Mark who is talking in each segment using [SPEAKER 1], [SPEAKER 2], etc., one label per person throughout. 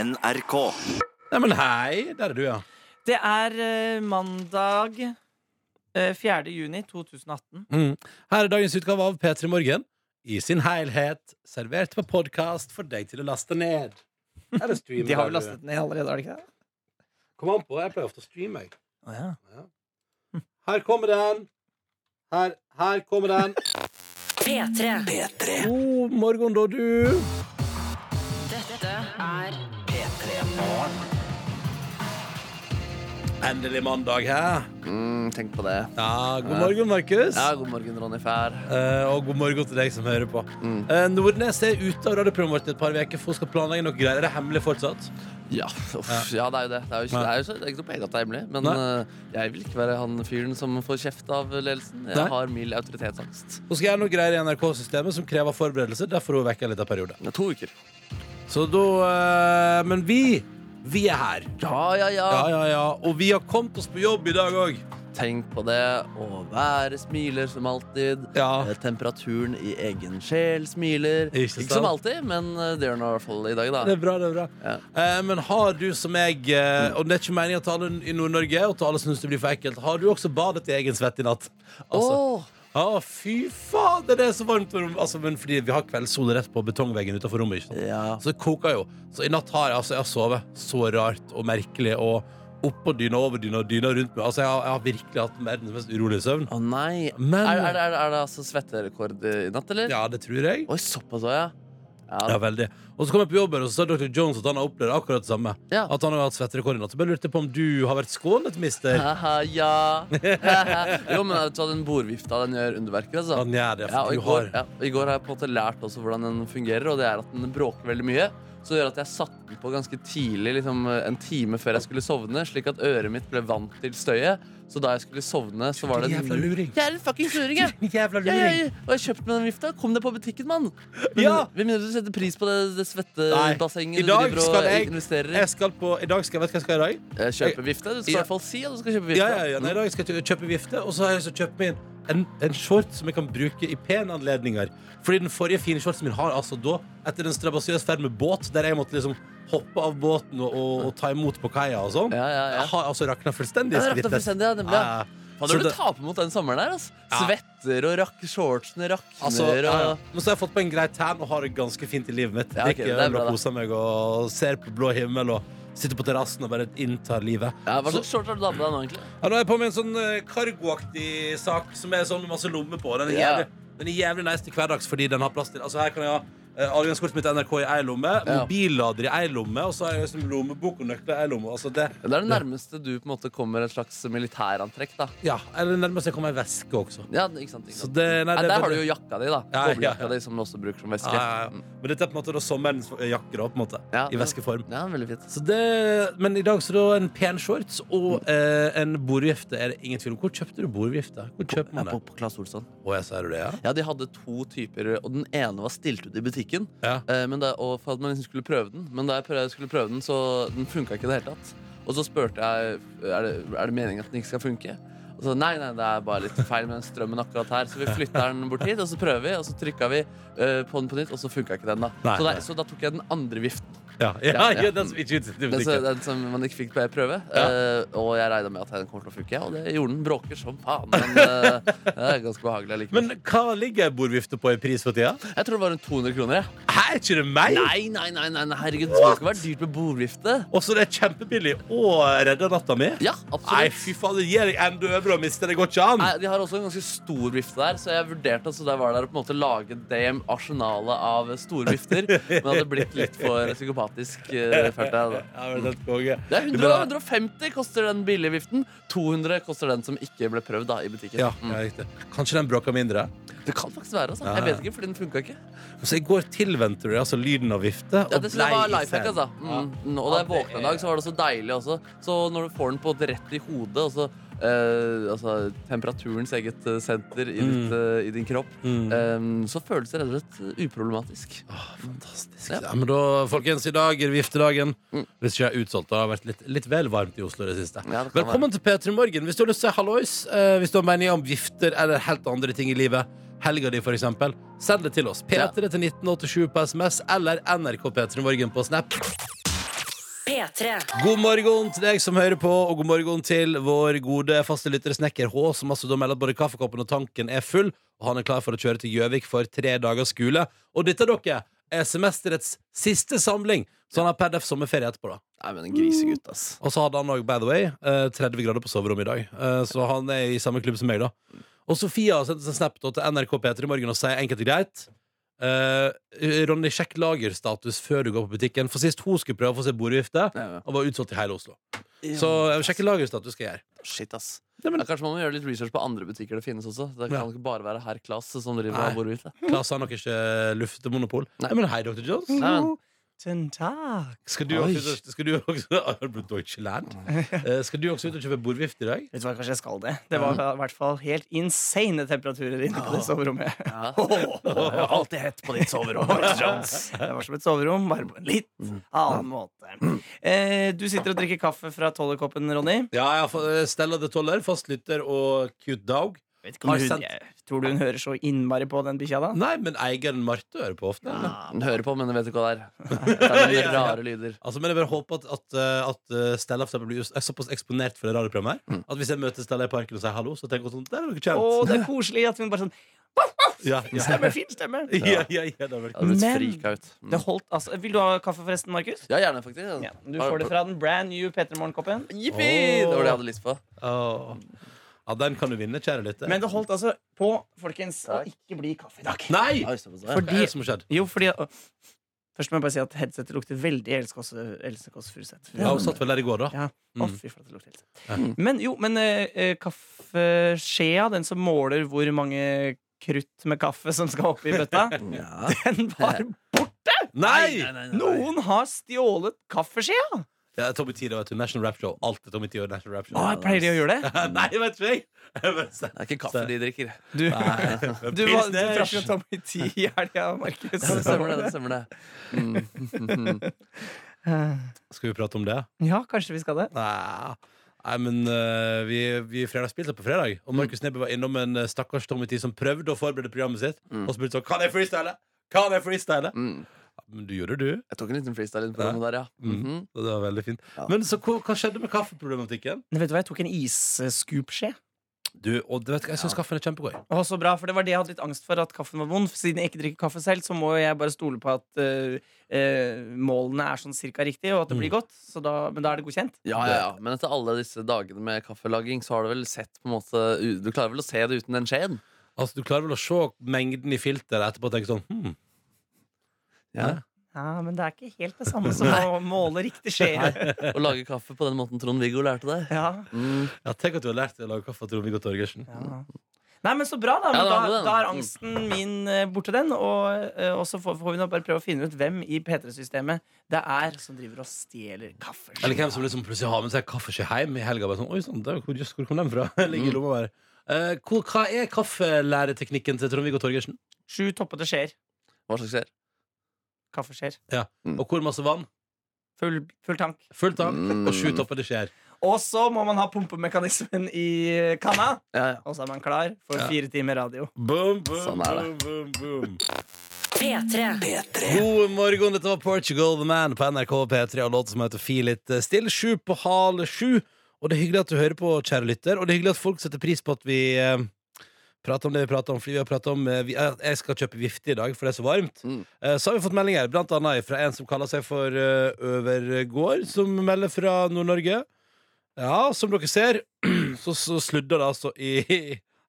[SPEAKER 1] NRK.
[SPEAKER 2] Nei, men hei, der er du, ja.
[SPEAKER 3] Det er eh, mandag eh, 4. juni 2018.
[SPEAKER 2] Mm. Her er dagens utgave av P3 Morgen. I sin helhet, servert på podkast for deg til å laste ned. Her er streamen,
[SPEAKER 3] De har
[SPEAKER 2] der
[SPEAKER 3] vel
[SPEAKER 2] du-
[SPEAKER 3] lastet ned allerede, har de ikke det?
[SPEAKER 2] Kom an på, jeg pleier ofte å streame, jeg.
[SPEAKER 3] Å ja.
[SPEAKER 2] Her kommer den. Her, her kommer den.
[SPEAKER 4] P3.
[SPEAKER 1] P3.
[SPEAKER 2] God morgen, da, du.
[SPEAKER 4] Dette er P3.
[SPEAKER 2] Endelig mandag, hæ?
[SPEAKER 5] Mm, tenk på det.
[SPEAKER 2] Ja, god morgen, Markus.
[SPEAKER 5] Ja, god morgen, Ronny Fær.
[SPEAKER 2] Eh, og god morgen til deg som hører på.
[SPEAKER 5] Mm.
[SPEAKER 2] Eh, Nordnes er ute av radioprogrammet vårt i et par uker, for hun skal planlegge noe greier. Er det hemmelig fortsatt?
[SPEAKER 5] Ja, uff, ja, det er jo det. Det er jo ikke,
[SPEAKER 2] Nei.
[SPEAKER 5] det er jo så, det er ikke så pent at det er hemmelig. Men
[SPEAKER 2] Nei.
[SPEAKER 5] eh, jeg vil ikke være han fyren som får kjeft av ledelsen. Jeg
[SPEAKER 2] Nei.
[SPEAKER 5] har mild autoritetsangst.
[SPEAKER 2] Hun skal gjøre noe greier i NRK-systemet som krever forberedelser. Derfor er hun vekk en liten periode.
[SPEAKER 5] Det er to uker.
[SPEAKER 2] Så da eh, Men vi, vi er her.
[SPEAKER 5] Ja, ja, ja.
[SPEAKER 2] Ja, ja, ja. Og vi har kommet oss på jobb i dag òg.
[SPEAKER 5] Tenk på det. Og været smiler som alltid.
[SPEAKER 2] Ja.
[SPEAKER 5] Eh, Temperaturen i egen sjel smiler.
[SPEAKER 2] Ikke sant?
[SPEAKER 5] som alltid, men eh, det gjør den i hvert fall i dag,
[SPEAKER 2] Det
[SPEAKER 5] da.
[SPEAKER 2] er bra, det er bra. Eh, men har du som jeg, eh, og det er ikke meninga til alle i Nord-Norge, og til alle syns det blir for ekkelt, har du også badet i egen svette i natt? Altså,
[SPEAKER 5] Åh,
[SPEAKER 2] Å, fy fader, det er så varmt! om- Altså, men fordi vi har kveldssol rett på betongveggen utenfor rommet. Ikke sant?
[SPEAKER 5] ja.
[SPEAKER 2] Så det koker jo. Så i natt har jeg, altså, jeg har sovet så rart og merkelig. Og oppå dyna, over dyna, og dyna rundt meg. Altså, jeg har, jeg har virkelig hatt verdens mest urolige søvn.
[SPEAKER 5] Å nei.
[SPEAKER 2] Men-
[SPEAKER 5] Er, er, det- er, det- er det altså svetterekord i natt, eller?
[SPEAKER 2] Ja, det tror jeg.
[SPEAKER 5] Oi, såpass òg, ja.
[SPEAKER 2] Ja,
[SPEAKER 5] Ja,
[SPEAKER 2] veldig. Og så kom jeg på jobben, og så sa Dr. Jones at han har opplevd akkurat det samme.
[SPEAKER 5] Ja.
[SPEAKER 2] At han har hatt svetterekord i natt. Så bare lurte jeg på om du har vært skånet, mister.
[SPEAKER 5] Haha, ja. jo, men vet du hva, den bordvifta den gjør underverker, altså.
[SPEAKER 2] Han gjør det,
[SPEAKER 5] Ja, og
[SPEAKER 2] for
[SPEAKER 5] i
[SPEAKER 2] du
[SPEAKER 5] går,
[SPEAKER 2] har
[SPEAKER 5] ja, og I går har jeg på en måte lært også hvordan den fungerer, og det er at den bråker veldig mye. Så det gjør at jeg satte den på ganske tidlig, liksom en time før jeg skulle sovne, slik at øret mitt ble vant til støyet. Så da jeg skulle sovne, så var det
[SPEAKER 2] Jævla luring.
[SPEAKER 5] Jeg er en fuckings luring, jeg!
[SPEAKER 2] Jævla
[SPEAKER 5] Ja, ja, ja. Og jeg kjøpte meg den vifta. Kom deg på butikken, mann! Men,
[SPEAKER 2] Ja.
[SPEAKER 5] Hvem mener du setter pris på det,
[SPEAKER 2] Nei.
[SPEAKER 5] det
[SPEAKER 2] I
[SPEAKER 5] svettebassenget du
[SPEAKER 2] dag
[SPEAKER 5] driver og
[SPEAKER 2] skal jeg-
[SPEAKER 5] investerer i?
[SPEAKER 2] Jeg skal på I dag skal jeg vet du hva jeg skal i dag.
[SPEAKER 5] Eh, Kjøpe vifte? Du skal i
[SPEAKER 2] Ja.
[SPEAKER 5] hvert fall si at du skal kjøpe
[SPEAKER 2] Ja,
[SPEAKER 5] vifte.
[SPEAKER 2] ja, ja. Nei, I dag skal jeg kjøpe vifte, og så har jeg lyst til å kjøpe meg en, en short som jeg kan bruke i pene anledninger. Fordi den forrige fine shortsen min har altså da, etter en strabasiøs ferd med båt, der jeg måtte liksom hoppe av båten og, og, og ta imot på kaia og sånn,
[SPEAKER 5] Ja, ja, ja.
[SPEAKER 2] jeg har altså rakna fullstendig.
[SPEAKER 5] Ja, det rakna
[SPEAKER 2] skrittet.
[SPEAKER 5] fullstendig, ja, nemlig, ja.
[SPEAKER 2] Ja, ja.
[SPEAKER 5] Fader,
[SPEAKER 2] Så
[SPEAKER 5] du
[SPEAKER 2] det-
[SPEAKER 5] taper mot den sommeren der. Altså.
[SPEAKER 2] Ja.
[SPEAKER 5] Svetter og rakk, shortsene rakner
[SPEAKER 2] Altså, ja, ja.
[SPEAKER 5] og
[SPEAKER 2] Men så har jeg fått på en grei tan og har det ganske fint i livet mitt.
[SPEAKER 5] Ja, ok,
[SPEAKER 2] Drikker
[SPEAKER 5] det er
[SPEAKER 2] øl
[SPEAKER 5] bra,
[SPEAKER 2] og
[SPEAKER 5] da.
[SPEAKER 2] koser meg og ser på blå himmel og sitter på terrassen og bare inntar livet.
[SPEAKER 5] ja, Hva
[SPEAKER 2] Så-
[SPEAKER 5] slags shorts har du da på deg nå, egentlig?
[SPEAKER 2] Ja, nå er jeg på med en sånn eh, cargoaktig sak som er sånn med masse lommer på. Den er
[SPEAKER 5] Ja.
[SPEAKER 2] jævlig, den er jævlig nice til hverdags fordi den har plass til Altså Her kan jeg ha eh, adgangskortet mitt til NRK i ei lomme,
[SPEAKER 5] Ja.
[SPEAKER 2] mobillader i ei lomme, og så har jeg liksom lommebok og nøkler i ei lomme. Altså det
[SPEAKER 5] Det er det nærmeste du på en måte kommer et slags militærantrekk. da
[SPEAKER 2] Ja, Eller nærmest jeg kommer ei veske også.
[SPEAKER 5] Ja, ikke sant, ikke
[SPEAKER 2] Så
[SPEAKER 5] sant.
[SPEAKER 2] det, nei,
[SPEAKER 5] Nei,
[SPEAKER 2] det er
[SPEAKER 5] der har
[SPEAKER 2] bare-
[SPEAKER 5] du jo jakka di, da.
[SPEAKER 2] Ja, ja, ja.
[SPEAKER 5] Boblejakka di, som du også bruker som veske. Mm.
[SPEAKER 2] ja, ja, ja. Men dette er på en måte da sommerens eh, jakker, da, på en måte.
[SPEAKER 5] Ja,
[SPEAKER 2] I
[SPEAKER 5] ja.
[SPEAKER 2] veskeform.
[SPEAKER 5] Ja, veldig fint.
[SPEAKER 2] Så det, men i dag så da en pen shorts og eh, en bordvifte. Er det ingen tvil om Hvor kjøpte du bordvifte? Hvor kjøper
[SPEAKER 5] Ja,
[SPEAKER 2] man
[SPEAKER 5] på,
[SPEAKER 2] det?
[SPEAKER 5] på Claes Olsson.
[SPEAKER 2] Å, jeg ser du det, ja?
[SPEAKER 5] Ja, De hadde to typer, og den ene var stilt ut i butikken.
[SPEAKER 2] ja.
[SPEAKER 5] Eh, men da, og for at man liksom skulle prøve den. Men da jeg prøvde, skulle prøve den, så den funka ikke i det hele tatt. Og så spurte jeg er det er det meningen at den ikke skal funke. Og så nei, nei, det er bare litt feil med den strømmen akkurat her. Så vi flytter den bort hit, og så prøver vi, og så trykka vi eh, på den på nytt, og så funka ikke den, da.
[SPEAKER 2] Nei,
[SPEAKER 5] så, da
[SPEAKER 2] nei.
[SPEAKER 5] så da tok jeg den andre viften.
[SPEAKER 2] Ja, ja, ja,
[SPEAKER 5] Ja, ja.
[SPEAKER 2] den som ikke utsitter i
[SPEAKER 5] Den, som-
[SPEAKER 2] butikken.
[SPEAKER 5] den som man ikke fikk på prøve.
[SPEAKER 2] Ja.
[SPEAKER 5] Eh, og jeg regna med at den kommer til å funke, ja, og det gjorde den. Bråker som faen. Men eh, det er ganske behagelig allikevel.
[SPEAKER 2] Men hva ligger ei bordvifte på i pris for tida?
[SPEAKER 5] Jeg tror det var rundt 200 kroner, jeg.
[SPEAKER 2] Hæ, er ikke det meg?
[SPEAKER 5] Nei, nei, nei, nei, nei, herregud. Det skal ikke være dyrt med bordvifte.
[SPEAKER 2] Og så det er kjempebillig og redder natta mi?
[SPEAKER 5] Ja,
[SPEAKER 2] Nei,
[SPEAKER 5] absolutt.
[SPEAKER 2] fy faen, det gir deg enda øvre og mister det går ikke an.
[SPEAKER 5] Nei, de har også en ganske stor vifte der, så jeg vurderte altså der var der å på en måte lage det arsenalet av store vifter. Men hadde blitt litt for psykopatisk. eh, Følte jeg da.
[SPEAKER 2] Ja, men det er helt konge.
[SPEAKER 5] Det er
[SPEAKER 2] bra.
[SPEAKER 5] 100, 150 koster den billige viften. 200 koster den som ikke ble prøvd da, i butikken.
[SPEAKER 2] Ja,
[SPEAKER 5] Mm.
[SPEAKER 2] ja, riktig. Kanskje den bråker mindre.
[SPEAKER 5] Det kan faktisk være. altså
[SPEAKER 2] Ja,
[SPEAKER 5] Jeg
[SPEAKER 2] ja.
[SPEAKER 5] vet ikke, fordi den funka ikke.
[SPEAKER 2] Så i går tilvente du deg altså lyden av vifte.
[SPEAKER 5] Ja,
[SPEAKER 2] og
[SPEAKER 5] det synes jeg
[SPEAKER 2] blei
[SPEAKER 5] var
[SPEAKER 2] i
[SPEAKER 5] lifehack,
[SPEAKER 2] scenen.
[SPEAKER 5] altså. Mm. Mm. Og da jeg våkna i dag, så var det så deilig også. Så når du får den på rett i hodet, og så eh, altså, temperaturens eget eh, senter i, ditt, eh, i din kropp, eh, så føles det rett og slett uproblematisk.
[SPEAKER 2] Åh, fantastisk.
[SPEAKER 5] Ja.
[SPEAKER 2] Ja, men da, folkens, i dag er det viftedagen.
[SPEAKER 5] Mm.
[SPEAKER 2] Hvis ikke jeg er utsolgt, det har vært litt, litt vel varmt i Oslo i det siste.
[SPEAKER 5] Ja, det kan
[SPEAKER 2] Velkommen til P3 Morgen. Hvis du har lyst til å si hallois, eh, hvis du har meninger om vifter eller helt andre ting i livet, helga di for eksempel, send det til oss. P3 til 1987 på SMS eller NRK P3 Morgen på Snap.
[SPEAKER 4] P3.
[SPEAKER 2] God morgen til deg som hører på, og god morgen til vår gode faste lytter Snekker H, som altså da melder at både kaffekoppen og tanken er full, og han er klar for å kjøre til Gjøvik for tre dagers skole. Og dette, dere, er semesterets siste samling, så han har per def sommerferie etterpå, da.
[SPEAKER 6] Nei, men en grisegutt, ass.
[SPEAKER 2] Og så hadde han òg, by the way, eh, 30 grader på soverommet i dag. Eh, Så han er i samme klubb som meg, da. Og Sofia har sendt oss en snap da til NRK P3 i morgen og sier enkelt og greit eh, Ronny, sjekk lagerstatus før du går på butikken. For sist hun skulle prøve å få seg bordvifte,
[SPEAKER 6] Nei, men-
[SPEAKER 2] og var utsolgt i hele Oslo. Så eh, sjekk lagerstatus skal jeg gjøre.
[SPEAKER 6] Shit, ass. Da kanskje man må gjøre litt research på andre butikker det finnes også. Det
[SPEAKER 2] Ja.
[SPEAKER 6] kan ikke bare være herr Klasse som driver
[SPEAKER 2] Nei.
[SPEAKER 6] av bordhvite.
[SPEAKER 2] Klasse har nok ikke eh, luftmonopol.
[SPEAKER 6] Nei.
[SPEAKER 2] Nei, men hei, Dr. Jones.
[SPEAKER 6] Nei, men-
[SPEAKER 3] Tusen takk.
[SPEAKER 2] Skal du
[SPEAKER 6] Oi.
[SPEAKER 2] også, skal du også Deutschland? Eh, Skal du også ut og kjøpe bordvift i dag?
[SPEAKER 3] Vet du hva, kanskje jeg skal det. Det var i hvert fall helt insane temperaturer inne på det soverommet.
[SPEAKER 6] Ja.
[SPEAKER 3] alltid hett på ditt soverom. Mm. det var som et soverom, bare på en litt annen måte. Eh, du sitter og drikker kaffe fra tollerkoppen, Ronny.
[SPEAKER 2] Ja, jeg har fått, eh, Stella de Toller, fastlytter og cute dog.
[SPEAKER 3] Vet ikke om
[SPEAKER 2] Har
[SPEAKER 3] hun,
[SPEAKER 2] sendt-
[SPEAKER 3] jeg, tror du hun hører så innmari på den bikkja da?
[SPEAKER 2] Nei, men egen Marte hører på ofte. eller?
[SPEAKER 6] Den hører på, men den vet ikke hva det er. Det er noen rare lyder.
[SPEAKER 2] Altså, men jeg bare håper at, at, eh, at eh, Stella for eksempel blir just- er såpass eksponert for det radioprogrammet her at hvis jeg møter Stella i parken og sier hallo, så tenker hun sånn Der er dere kjent.
[SPEAKER 3] Å, det er koselig at hun bare sånn
[SPEAKER 2] Ja, ja.
[SPEAKER 3] Stemme, fin stemme.
[SPEAKER 2] Ja, ja, ja, det er vel-
[SPEAKER 6] Jeg hadde blitt
[SPEAKER 3] Men-
[SPEAKER 6] frika ut. Mm.
[SPEAKER 3] Det holdt, altså. Vil du ha kaffe forresten, Markus?
[SPEAKER 6] Ja, gjerne, faktisk.
[SPEAKER 3] Ja,
[SPEAKER 6] altså.
[SPEAKER 3] du får det fra den brand new Petter Morgen-koppen.
[SPEAKER 6] Jippi! Det var det jeg hadde lyst på.
[SPEAKER 2] Åh. Ja, den kan du vinne, kjære lytter.
[SPEAKER 3] Men det holdt altså på, folkens, å ikke bli kaffe i dag.
[SPEAKER 2] Nei!
[SPEAKER 6] Oi, såpass, ja.
[SPEAKER 2] Fordi... Hva er det som har skjedd?
[SPEAKER 3] Jo, fordi å, Først må jeg bare si at headsetet lukter veldig Else Kåss Else Kåss Furuseth.
[SPEAKER 2] Ja, hun satt vel der i går, da.
[SPEAKER 3] Ja. Å,
[SPEAKER 2] Mm.
[SPEAKER 3] fy flate, det lukter Else.
[SPEAKER 2] Ja.
[SPEAKER 3] Men jo, men eh, eh, kaffeskjea, den som måler hvor mange krutt med kaffe som skal oppi bøtta,
[SPEAKER 6] Ja.
[SPEAKER 3] den var borte!
[SPEAKER 2] Nei!
[SPEAKER 3] Noen har stjålet kaffeskjea!
[SPEAKER 2] Ja, Tommy Tide vet du. National Rap Show. Alt er Tommy Tide og National Rap Show.
[SPEAKER 3] Å, jeg pleier de å gjøre det?
[SPEAKER 2] Nei, vet ikke jeg. jeg! vet ikke.
[SPEAKER 6] Det er ikke kaffe de drikker.
[SPEAKER 3] Du,
[SPEAKER 6] Nei.
[SPEAKER 3] du, var, du
[SPEAKER 2] Pilsner.
[SPEAKER 3] traff jo Tommy T i helga, Markus.
[SPEAKER 6] Ja, det stemmer, det. det, stemmer det. Mm.
[SPEAKER 2] Skal vi prate om det?
[SPEAKER 3] Ja, kanskje vi skal det.
[SPEAKER 2] Nei, Nei men eh, vi, vi fredagsspilte på fredag, og Markus Neby var innom en eh, stakkars Tommy Tee som prøvde å forberede programmet sitt, og spurte sånn Kan jeg freestyle? Kan jeg freestyle?
[SPEAKER 6] Mm.
[SPEAKER 2] Ja, Men du gjorde det, du.
[SPEAKER 6] Jeg tok en liten freestyle på den der, ja. Mhm.
[SPEAKER 2] Så Det var veldig fint.
[SPEAKER 6] Ja.
[SPEAKER 2] Men så hva, hva skjedde med kaffeproblematikken?
[SPEAKER 3] Men vet du hva, jeg tok en iscoop-skje.
[SPEAKER 2] Du, og du vet hva, jeg syns kaffen er kjempegod. jeg.
[SPEAKER 3] Å, så bra, for Det var det jeg hadde litt angst for, at kaffen var vond. Siden jeg ikke drikker kaffe selv, så må jeg bare stole på at eh, eh, målene er sånn cirka riktig, og at det blir godt. Så da, men da er det godkjent.
[SPEAKER 6] Ja, ja, ja. Men etter alle disse dagene med kaffelaging, så har du vel sett på en måte u- Du klarer vel å se det uten den skjeen?
[SPEAKER 2] Altså, Du klarer vel å se mengden i filteret etterpå og tenke sånn hm,
[SPEAKER 6] Ja.
[SPEAKER 3] Ja, Men det er ikke helt det samme som å måle riktig skje.
[SPEAKER 6] Å lage kaffe på den måten Trond-Viggo lærte deg.
[SPEAKER 3] Ja.
[SPEAKER 6] Mm.
[SPEAKER 2] ja, Tenk at du har lært deg å lage kaffe av Trond-Viggo Torgersen.
[SPEAKER 3] Ja. Nei, men så bra, da.
[SPEAKER 6] Ja,
[SPEAKER 3] Men
[SPEAKER 6] det var
[SPEAKER 3] da,
[SPEAKER 6] det. Mm.
[SPEAKER 3] da er angsten min eh, borte, den. Og, eh, og så får, får vi nå bare prøve å finne ut hvem i P3-systemet det er som driver og stjeler kaffe.
[SPEAKER 2] Eller hvem som liksom plutselig har med seg kaffeskje hjem i helga. Bare sånn, Oi, sånn, det, er- hvor, just, hvor kom den fra? Ligger i lomma bare. Eh, hvor, hva er kaffelæreteknikken til Trond-Viggo Torgersen?
[SPEAKER 3] Sju toppete skjeer.
[SPEAKER 6] Hva slags skjer?
[SPEAKER 3] Kaffeskjeer.
[SPEAKER 2] Og hvor masse vann?
[SPEAKER 3] Full, full tank.
[SPEAKER 2] Fullt av.
[SPEAKER 6] Mm.
[SPEAKER 2] Og sju topper det skjer.
[SPEAKER 3] Og så må man ha pumpemekanismen i kanna.
[SPEAKER 6] Ja, ja.
[SPEAKER 3] Og så er man klar for
[SPEAKER 2] Ja.
[SPEAKER 3] fire timer radio.
[SPEAKER 2] Boom, boom,
[SPEAKER 6] Sånn er
[SPEAKER 2] boom, boom, boom.
[SPEAKER 4] P3.
[SPEAKER 2] God morgen, dette var Portugal The Man på NRK P3 og låten som heter Feel It Still. Sju på hal sju. Og det er hyggelig at du hører på, kjære lytter. Og det er hyggelig at folk setter pris på at vi eh, prater om det vi prater om. Fordi vi har pratet om eh, vi, eh, Jeg skal kjøpe vifte i dag, for det er så varmt.
[SPEAKER 6] Mm.
[SPEAKER 2] Eh, så har vi fått meldinger, blant annet fra en som kaller seg for eh, Øvergård, som melder fra Nord-Norge. Ja, som dere ser, så, så sludder det altså i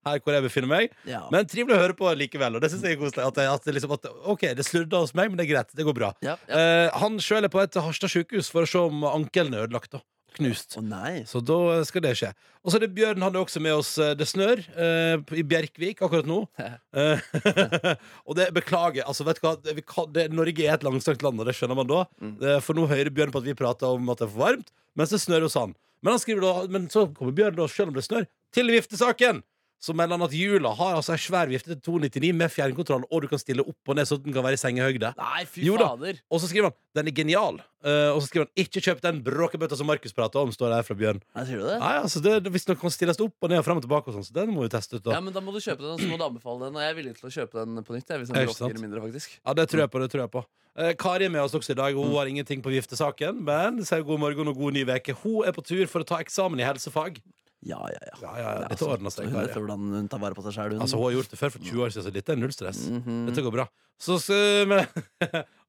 [SPEAKER 2] her hvor jeg befinner meg.
[SPEAKER 6] Ja.
[SPEAKER 2] Men trivelig å høre på likevel. Og det synes jeg er koselig. At det, at det liksom, at, det- ok, det sludda hos meg, men det er greit. Det går bra.
[SPEAKER 6] ja, ja.
[SPEAKER 2] Eh, han sjøl er på et Harstad sykehus for å se om ankelen er ødelagt. da Knust.
[SPEAKER 6] Å nei.
[SPEAKER 2] Så da skal det skje. Og så er det Bjørn han er også med oss. eh, Det snør eh, i Bjerkvik akkurat nå. Eh, og det beklager. Altså, vet du hva? Det, vi kan, det, Norge er et langstrakt land, og det skjønner man da. Eh, for nå hører Bjørn på at vi prater om at det er for varmt, mens det snør hos han. Men, han skriver da, men så kommer Bjørn, da, selv om det snør, til viftesaken. så mener han at jula har altså ei svær vifte til 299 med fjernkontroll, og du kan stille opp og ned så den kan være i sengehøyde.
[SPEAKER 5] Nei, fy
[SPEAKER 2] Jo da.
[SPEAKER 5] fader.
[SPEAKER 2] Og så skriver han den er genial. Eh, og så skriver han ikke kjøp den bråkebøtta som Markus prater om, står det her fra Bjørn.
[SPEAKER 5] Nei, sier du det?
[SPEAKER 2] Nei, altså det, det, Hvis den kan stilles opp og ned og frem og tilbake, og sånn, så den må vi teste ut. da
[SPEAKER 5] Ja, men Da må du kjøpe den, og så må du anbefale den. Og jeg er villig til å kjøpe den på nytt. Jeg, hvis den
[SPEAKER 2] Er
[SPEAKER 5] blir
[SPEAKER 2] ikke sant?
[SPEAKER 5] åtte kilo mindre, faktisk
[SPEAKER 2] Ja, det tror jeg på. det tror jeg på Eh, Kari er med oss også i dag.
[SPEAKER 5] Mm.
[SPEAKER 2] Hun har ingenting på giftesaken, men sier god morgen og god ny veke Hun er på tur for å ta eksamen i helsefag.
[SPEAKER 5] Ja, ja, ja.
[SPEAKER 2] Ja, ja, ja, dette ordner seg,
[SPEAKER 5] Hun vet
[SPEAKER 2] Kari.
[SPEAKER 5] hvordan hun tar vare på seg sjæl, hun.
[SPEAKER 2] Altså, Hun har gjort det før for 20 år siden, så dette er null stress.
[SPEAKER 5] Mhm.
[SPEAKER 2] Dette går bra. Så, så men,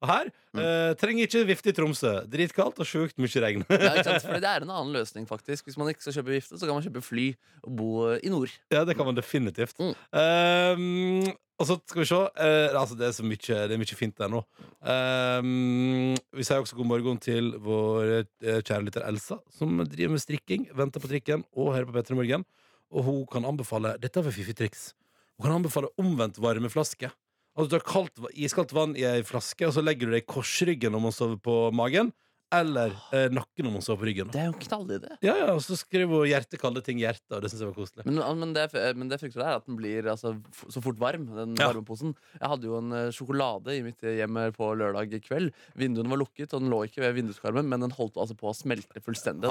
[SPEAKER 2] Og her
[SPEAKER 5] Mm.
[SPEAKER 2] eh, trenger ikke vifte i Tromsø. Dritkaldt og sjukt mye regn.
[SPEAKER 5] ja, ikke sant? Fordi det er en annen løsning, faktisk. Hvis man ikke skal kjøpe vifte, så kan man kjøpe fly og bo i nord.
[SPEAKER 2] Ja, det kan man definitivt.
[SPEAKER 5] Mm.
[SPEAKER 2] Ehm, og så skal vi se. eh, altså, det er så mye, det er mye fint der nå. Ehm, vi sier også god morgen til vår eh, kjære lytter Elsa, som driver med strikking, venter på trikken og hører på Petter i morgen. Og hun kan anbefale Dette er fiffig triks. Hun kan anbefale omvendt varmeflaske. Altså, du har kaldt, va- iskaldt vann i ei flaske, og så legger du det i korsryggen om man sover på magen, eller eh, nakken om man sover på ryggen.
[SPEAKER 5] Det er jo en knallidé.
[SPEAKER 2] Ja, ja, og så skriver hun hjertekalde ting i hjertet, og det syns jeg var koselig.
[SPEAKER 5] Men, men, det, jeg- men det jeg frykter, er at den blir altså, f- så fort varm. Den
[SPEAKER 2] Ja.
[SPEAKER 5] varmeposen Jeg hadde jo en eh, sjokolade i mitt hjem her på lørdag kveld. Vinduene var lukket, og den lå ikke ved vinduskarmen, men den holdt altså på å smelte fullstendig.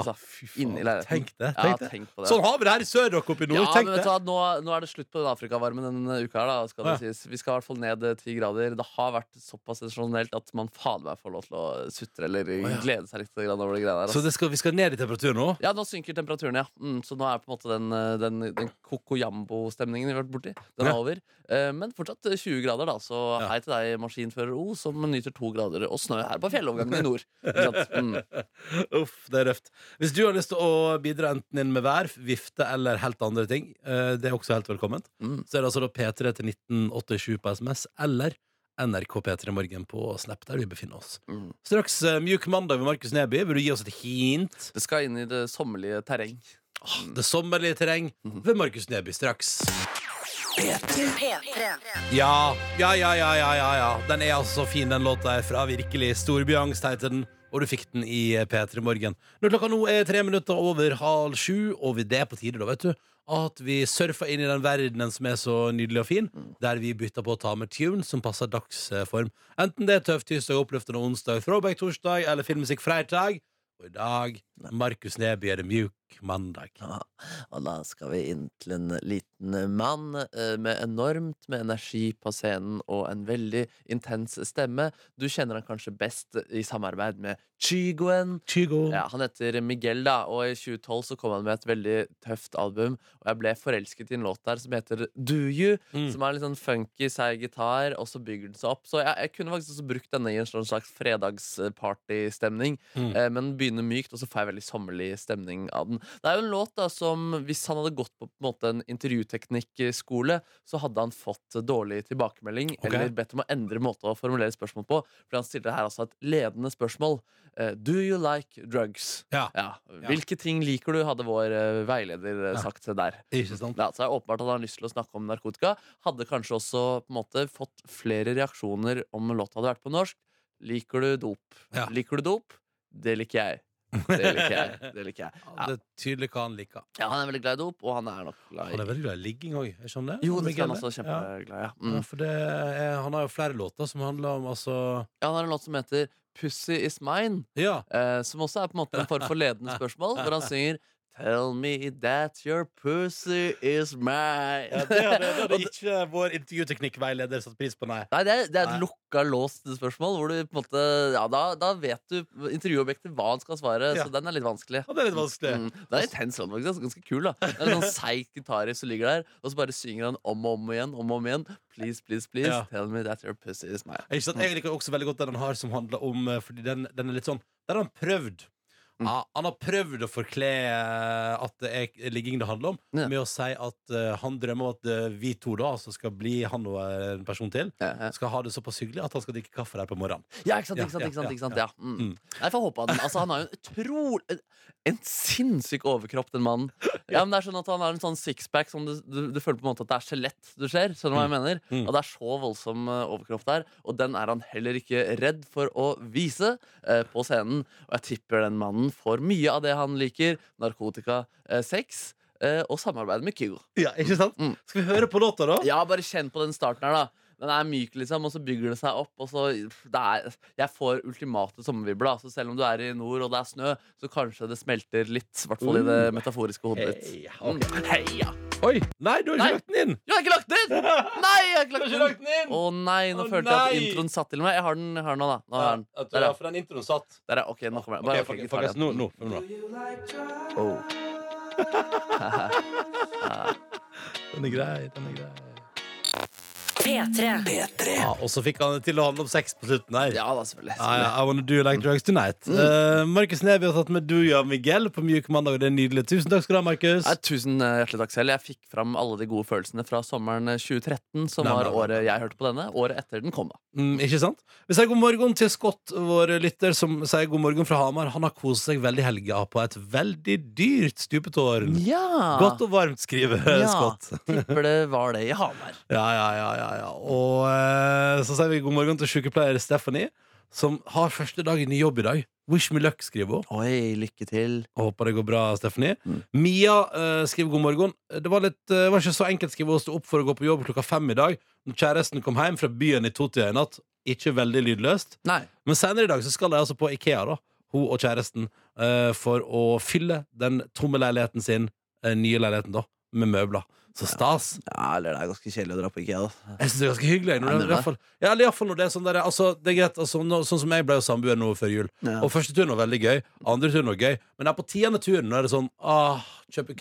[SPEAKER 2] Ah,
[SPEAKER 5] Altså,
[SPEAKER 2] fy faen.
[SPEAKER 5] inni leiligheten.
[SPEAKER 2] Tenk det.
[SPEAKER 5] ja,
[SPEAKER 2] Tenk det.
[SPEAKER 5] tenk på det.
[SPEAKER 2] Sånn har vi det her i sør dere oppe i nord.
[SPEAKER 5] Ja,
[SPEAKER 2] tenk
[SPEAKER 5] men vet
[SPEAKER 2] det.
[SPEAKER 5] du hva, nå, nå er det slutt på den Afrikavarmen denne uka. her da, skal det
[SPEAKER 2] Ja.
[SPEAKER 5] sies. Vi skal i hvert fall ned eh, ti grader. Det har vært såpass sensasjonelt at man fader meg får lov til å sutre eller
[SPEAKER 2] ja.
[SPEAKER 5] glede seg litt grann over det greiene her.
[SPEAKER 2] Så
[SPEAKER 5] Altså.
[SPEAKER 2] det skal, vi skal ned i temperatur nå?
[SPEAKER 5] Ja, nå synker temperaturen, ja. Mm, så nå er på en måte den, eh, den, den koko-jambo-stemningen vi har vært borti, den er
[SPEAKER 2] Ja.
[SPEAKER 5] over. Eh, men fortsatt 20 grader, da. Så
[SPEAKER 2] Ja.
[SPEAKER 5] hei til deg, maskinfører O, som nyter to grader og snø her på fjellovergangen i nord. Ikke sant? Mm.
[SPEAKER 2] Uff, det er røft. Hvis du har lyst til å bidra enten inn med vær, vifte eller helt andre ting, eh, det er også helt velkomment,
[SPEAKER 5] Mm.
[SPEAKER 2] så er det altså da P3 til 1987 på SMS eller NRK P3 Morgen på Snap, der vi befinner oss.
[SPEAKER 5] Mm.
[SPEAKER 2] Straks eh, Mjuk mandag med Markus Neby. Vil du gi oss et hint?
[SPEAKER 5] Det skal inn i det sommerlige terreng.
[SPEAKER 2] Det sommerlige terreng ved Markus Neby straks.
[SPEAKER 7] P3.
[SPEAKER 2] Ja, ja, ja, ja, ja, ja, ja. Den er altså så fin, den låta her fra virkelig Storbyangst, heter den. Og du fikk den i P3 Morgen. Når klokka nå er tre minutter over halv sju, og vi- det er på tide, da, vet du, at vi surfer inn i den verdenen som er så nydelig og fin, der vi bytter på å ta med tune som passer dagsform. Enten det er Tøff tirsdag, Oppløftende onsdag, Throwback torsdag eller Filmmusikk fredag. Og i dag, Markus Neby, er det Mjuk mandag.
[SPEAKER 5] Ja, og da skal vi inn til en liten mann eh, med enormt med energi på scenen og en veldig intens stemme. Du kjenner han kanskje best i samarbeid med Chigoen.
[SPEAKER 2] Kygo.
[SPEAKER 5] Ja, han heter Miguel, da, og i 2012 så kom han med et veldig tøft album. Og jeg ble forelsket i en låt der som heter Do You,
[SPEAKER 2] Mm.
[SPEAKER 5] som er litt sånn funky, seig gitar, og så bygger den seg opp. Så jeg, jeg kunne faktisk også brukt denne i en sånn slags fredagspartystemning,
[SPEAKER 2] Mm.
[SPEAKER 5] eh, men begynner mykt, og så får jeg veldig sommerlig stemning av den. Det er jo en låt da som, hvis han hadde gått på, på en måte en intervjuteknikkskole, så hadde han fått dårlig tilbakemelding,
[SPEAKER 2] Ok.
[SPEAKER 5] eller bedt om å endre måte å formulere spørsmål på, for han stiller her altså et ledende spørsmål. Eh, Do you like drugs?
[SPEAKER 2] Ja.
[SPEAKER 5] Hvilke ting liker du, hadde vår eh, veileder eh,
[SPEAKER 2] Ja.
[SPEAKER 5] sagt der.
[SPEAKER 2] Ikke sant?
[SPEAKER 5] Ja, så er det åpenbart at han har lyst til å snakke om narkotika. Hadde kanskje også på en måte fått flere reaksjoner om låta hadde vært på norsk. Liker du dop?
[SPEAKER 2] Ja.
[SPEAKER 5] Liker du dop? Det liker jeg. Det liker jeg. Det liker jeg.
[SPEAKER 2] Ja, det er tydelig hva han liker.
[SPEAKER 5] Ja, han er veldig glad i dop, og han er nok glad
[SPEAKER 2] Han
[SPEAKER 5] i
[SPEAKER 2] er veldig glad i ligging òg, er ikke han det?
[SPEAKER 5] Jo, det
[SPEAKER 2] Miguel,
[SPEAKER 5] skal han også
[SPEAKER 2] ja.
[SPEAKER 5] kjempeglad i. Ja.
[SPEAKER 2] Ja,
[SPEAKER 5] Mm.
[SPEAKER 2] for det er, han har jo flere låter som handler om altså
[SPEAKER 5] Ja, han har en låt som heter Pussy is mine.
[SPEAKER 2] Ja.
[SPEAKER 5] eh, som også er på en måte en form for ledende spørsmål, hvor han synger Tell me that your pussy is mine. Og det-
[SPEAKER 2] ikke vår intervjuteknikkveileder satt pris på, nei.
[SPEAKER 5] Nei, det er, det er
[SPEAKER 2] Nei.
[SPEAKER 5] et lukka, låst spørsmål. Hvor du på en måte, ja, da, da vet du intervjuobjektet hva han skal svare,
[SPEAKER 2] Ja.
[SPEAKER 5] så den er litt vanskelig.
[SPEAKER 2] Ja, det er litt vanskelig.
[SPEAKER 5] Mm, det er intens låt, faktisk. altså, Ganske kul. da Det er en sånn Seig gitarist som ligger der, og så bare synger han om og om igjen. Om og om igjen Please, please, please,
[SPEAKER 2] Ja.
[SPEAKER 5] tell me that your pussy is mine.
[SPEAKER 2] Ikke sant? Jeg liker også veldig godt den han har som handler om eh, Fordi den, den er litt sånn Der har han prøvd.
[SPEAKER 5] Mm.
[SPEAKER 2] Ja, han har prøvd å forkle eh, at det er ligging det handler om,
[SPEAKER 5] Ja.
[SPEAKER 2] med å si at eh, han drømmer om at eh, vi to da altså skal bli han og eh, en person til.
[SPEAKER 5] Ja,
[SPEAKER 2] Skal ha det såpass hyggelig at han skal drikke kaffe der på morgenen.
[SPEAKER 5] Ja, ikke sant,
[SPEAKER 2] Ja,
[SPEAKER 5] ikke sant,
[SPEAKER 2] ja,
[SPEAKER 5] ikke sant,
[SPEAKER 2] ja,
[SPEAKER 5] ikke sant
[SPEAKER 2] ja.
[SPEAKER 5] ja. Mm.
[SPEAKER 2] Mm.
[SPEAKER 5] Nei, får håpe han Altså, han har jo en utrolig En sinnssyk overkropp, den mannen Ja, men det er sånn at han har en sånn sixpack Som du, du, du føler på en måte at det er skjelett du ser Skjønner du hva jeg mener?
[SPEAKER 2] Mm.
[SPEAKER 5] Og det er så voldsom eh, overkropp der Og den er han heller ikke redd for å vise eh, På scenen Og jeg tipper den mannen får mye av det han liker Narkotika, eh, sex eh, og samarbeide med Kygo.
[SPEAKER 2] Ja, ikke sant?
[SPEAKER 5] Mm.
[SPEAKER 2] Skal vi høre på låta, da?
[SPEAKER 5] Ja, bare kjenn på den starten her, da. Den er myk, liksom, og så bygger det seg opp. Og så, pff, det er, jeg får ultimate sommervibler. da. Så selv om du er i nord og det er snø, så kanskje det smelter litt. I hvert fall i det
[SPEAKER 2] Mm.
[SPEAKER 5] metaforiske hodet ditt.
[SPEAKER 2] Heia,
[SPEAKER 5] Mm.
[SPEAKER 2] ok.
[SPEAKER 5] Heia.
[SPEAKER 2] Oi! Nei, du har ikke
[SPEAKER 5] Nei.
[SPEAKER 2] lagt den inn!
[SPEAKER 5] Jeg har ikke lagt den! Nei, jeg har ikke lagt den!
[SPEAKER 2] inn!
[SPEAKER 5] Å nei,
[SPEAKER 2] Å,
[SPEAKER 5] nå følte jeg at
[SPEAKER 2] nei.
[SPEAKER 5] introen satt til meg. Jeg har den, jeg har den nå, da. Nå har jeg den.
[SPEAKER 2] at du
[SPEAKER 5] Der,
[SPEAKER 2] har
[SPEAKER 5] ja.
[SPEAKER 2] for den introen satt.
[SPEAKER 5] Der, ja. Ok, nå kommer jeg.
[SPEAKER 2] Ok,
[SPEAKER 5] Bare, ok,
[SPEAKER 2] fuck-
[SPEAKER 5] gitar
[SPEAKER 2] fuck ass,
[SPEAKER 5] igjen.
[SPEAKER 2] nå, nå, nå. nå.
[SPEAKER 5] Oh.
[SPEAKER 2] Den er grei, den er grei.
[SPEAKER 8] P3.
[SPEAKER 2] Ja, og så fikk han det til å handle om sex på slutten her.
[SPEAKER 5] Ja da, selvfølgelig.
[SPEAKER 2] Ja, Ah, ja, I wanna do like drugs tonight. Eh, Markus Neby har tatt med Duja Miguel på Mjuk mandag, og det er nydelig. Tusen takk skal du ha, Markus.
[SPEAKER 5] Nei, tusen eh, hjertelig takk selv. Jeg fikk fram alle de gode følelsene fra sommeren eh, 2013, som
[SPEAKER 2] Nei,
[SPEAKER 5] var
[SPEAKER 2] nei, nei.
[SPEAKER 5] året jeg hørte på denne. Året etter den kom, da.
[SPEAKER 2] Mm, ikke sant? Vi sier god morgen til Scott, vår lytter, som sier god morgen fra Hamar. Han har kost seg veldig i helga på et veldig dyrt stupetårn.
[SPEAKER 5] Ja!
[SPEAKER 2] Godt og varmt, skriver
[SPEAKER 5] Ja.
[SPEAKER 2] Scott.
[SPEAKER 5] Tipper det var det i Hamar.
[SPEAKER 2] Ja, ja, ja, ja, ja. Og eh, så sier vi god morgen til sykepleier Stephanie, som har første dag i ny jobb i dag. Wish me luck, skriver hun.
[SPEAKER 5] Oi, lykke til.
[SPEAKER 2] Og Håper det går bra, Stephanie.
[SPEAKER 5] Mm.
[SPEAKER 2] Mia eh, skriver god morgen. Det var, litt, eh, det var ikke så enkelt skriver hun, å stå opp for å gå på jobb klokka fem i dag. Når kjæresten kom hjem fra byen i totida i natt. Ikke veldig lydløst.
[SPEAKER 5] Nei.
[SPEAKER 2] Men senere i dag så skal de altså på Ikea, da hun og kjæresten, eh, for å fylle den tomme leiligheten sin, eh, nye leiligheten, da, med møbler. Så stas.
[SPEAKER 5] Ja, eller det er ganske kjedelig å dra på IKEA, da.
[SPEAKER 2] Jeg synes det er ganske hyggelig. jeg, Når
[SPEAKER 5] Ja,
[SPEAKER 2] det,
[SPEAKER 5] men
[SPEAKER 2] i hvert fall, ja, eller i hvert fall når det er sånn der, altså, det er greit, altså, nå, sånn som jeg ble jo samboer nå før jul. Og første turen var veldig gøy, andre turen var gøy, men her på tiende turen nå er det sånn ah, Kjøpe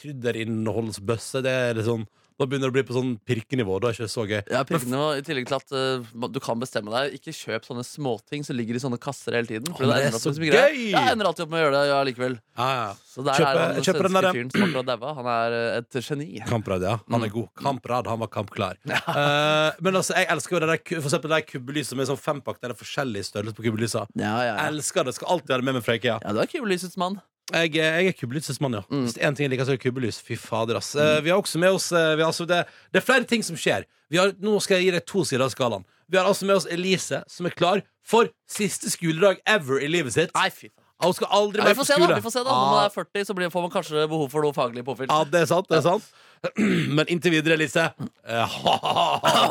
[SPEAKER 2] krydderinnholdsbøsse, det er det sånn Da begynner det å bli på sånn pirkenivå. Da er det ikke så gøy.
[SPEAKER 5] Ja, pirkene var I tillegg til at eh, du kan bestemme deg. Ikke kjøp sånne småting som ligger i sånne kasser hele tiden.
[SPEAKER 2] Å,
[SPEAKER 5] For det
[SPEAKER 2] det er
[SPEAKER 5] ender opp med
[SPEAKER 2] så
[SPEAKER 5] så mye greier.
[SPEAKER 2] gøy!
[SPEAKER 5] Ja, jeg ender alltid opp med å gjøre det ja, likevel.
[SPEAKER 2] Ja, ja.
[SPEAKER 5] Så der
[SPEAKER 2] Kjøpe-
[SPEAKER 5] er han den
[SPEAKER 2] kjøpe den
[SPEAKER 5] svenske
[SPEAKER 2] der-
[SPEAKER 5] fyren som akkurat daua. Han er eh, et geni.
[SPEAKER 2] Kamprad, ja. Han er god. Kamprad, han var kampklar. Eh, men altså, jeg elsker jo det der, ku- for eksempel det der kubbelyset med sånn fempakk der det er forskjellig størrelse på kubbelysa.
[SPEAKER 5] Ja, ja, ja.
[SPEAKER 2] Elsker det. Skal alltid ha det med meg fra IKEA.
[SPEAKER 5] ja Mm. du er kubbelysets mann.
[SPEAKER 2] Jeg, eh, jeg er kubbelysets mann, ja. Hvis det er én ting jeg liker, så er det kubbelys. Fy fader, ass.
[SPEAKER 5] Mm.
[SPEAKER 2] Eh, Vi har også med oss eh, vi har, altså, det, det er flere ting som skjer. Vi har, nå skal jeg gi deg to sider av skalaen. Vi har altså med oss Elise, som er klar for siste skoledag ever i livet sitt.
[SPEAKER 5] Nei, fy faen.
[SPEAKER 2] Og Hun skal aldri
[SPEAKER 5] Ja, vi
[SPEAKER 2] mer
[SPEAKER 5] får
[SPEAKER 2] på
[SPEAKER 5] se, da.
[SPEAKER 2] skole.
[SPEAKER 5] Vi får se da Når
[SPEAKER 2] Ah.
[SPEAKER 5] man er 40, så blir, får man kanskje behov for noe faglig påfyll.
[SPEAKER 2] Ja, det er sant, det er sant. Men inntil videre, Elise. eh,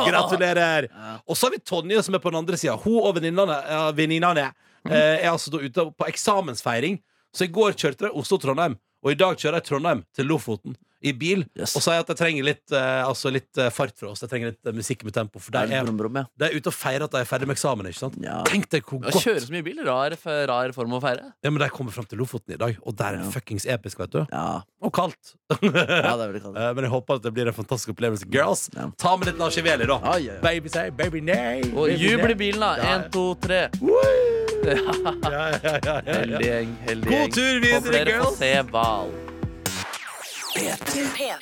[SPEAKER 2] Gratulerer! Og så har vi Tonje, som er på den andre sida. Hun og venninnene eh, venninnene, eh, er altså da ute på eksamensfeiring. Så i går kjørte de Oslo-Trondheim, og i dag kjører de Trondheim til Lofoten i bil.
[SPEAKER 5] Yes.
[SPEAKER 2] Og sier at de trenger litt, eh, altså litt eh, fart fra oss. De trenger litt eh, musikk med tempo. For
[SPEAKER 5] Det er
[SPEAKER 2] de
[SPEAKER 5] litt
[SPEAKER 2] er,
[SPEAKER 5] brum-brum, ja.
[SPEAKER 2] de er ute og feirer at de er ferdig med eksamen. ikke sant?
[SPEAKER 5] Ja.
[SPEAKER 2] Tenk deg hvor
[SPEAKER 5] Å
[SPEAKER 2] godt
[SPEAKER 5] kjøre så mye bil, rar, rar form å feire.
[SPEAKER 2] ja, men De kommer fram til Lofoten i dag, og der er det
[SPEAKER 5] Ja.
[SPEAKER 2] fuckings episk, vet du.
[SPEAKER 5] Ja,
[SPEAKER 2] Og kaldt.
[SPEAKER 5] ja det er veldig kaldt.
[SPEAKER 2] Eh, Men jeg håper at det blir en fantastisk opplevelse. Girls,
[SPEAKER 5] Ja.
[SPEAKER 2] ta med litt Lars Iveli, da.
[SPEAKER 5] Ai, ai, ai.
[SPEAKER 2] Baby say, baby nay.
[SPEAKER 5] Og
[SPEAKER 2] baby
[SPEAKER 5] jubel i
[SPEAKER 2] nay.
[SPEAKER 5] bilen, da.
[SPEAKER 2] Ja, ja.
[SPEAKER 5] Én, to, tre.
[SPEAKER 2] Ja, ja, ja, ja, ja.
[SPEAKER 5] Heldig gjeng, heldig
[SPEAKER 2] God
[SPEAKER 5] gjeng.
[SPEAKER 2] tur videre,
[SPEAKER 5] Håper dere
[SPEAKER 2] girls.
[SPEAKER 5] får se hval.
[SPEAKER 8] P3.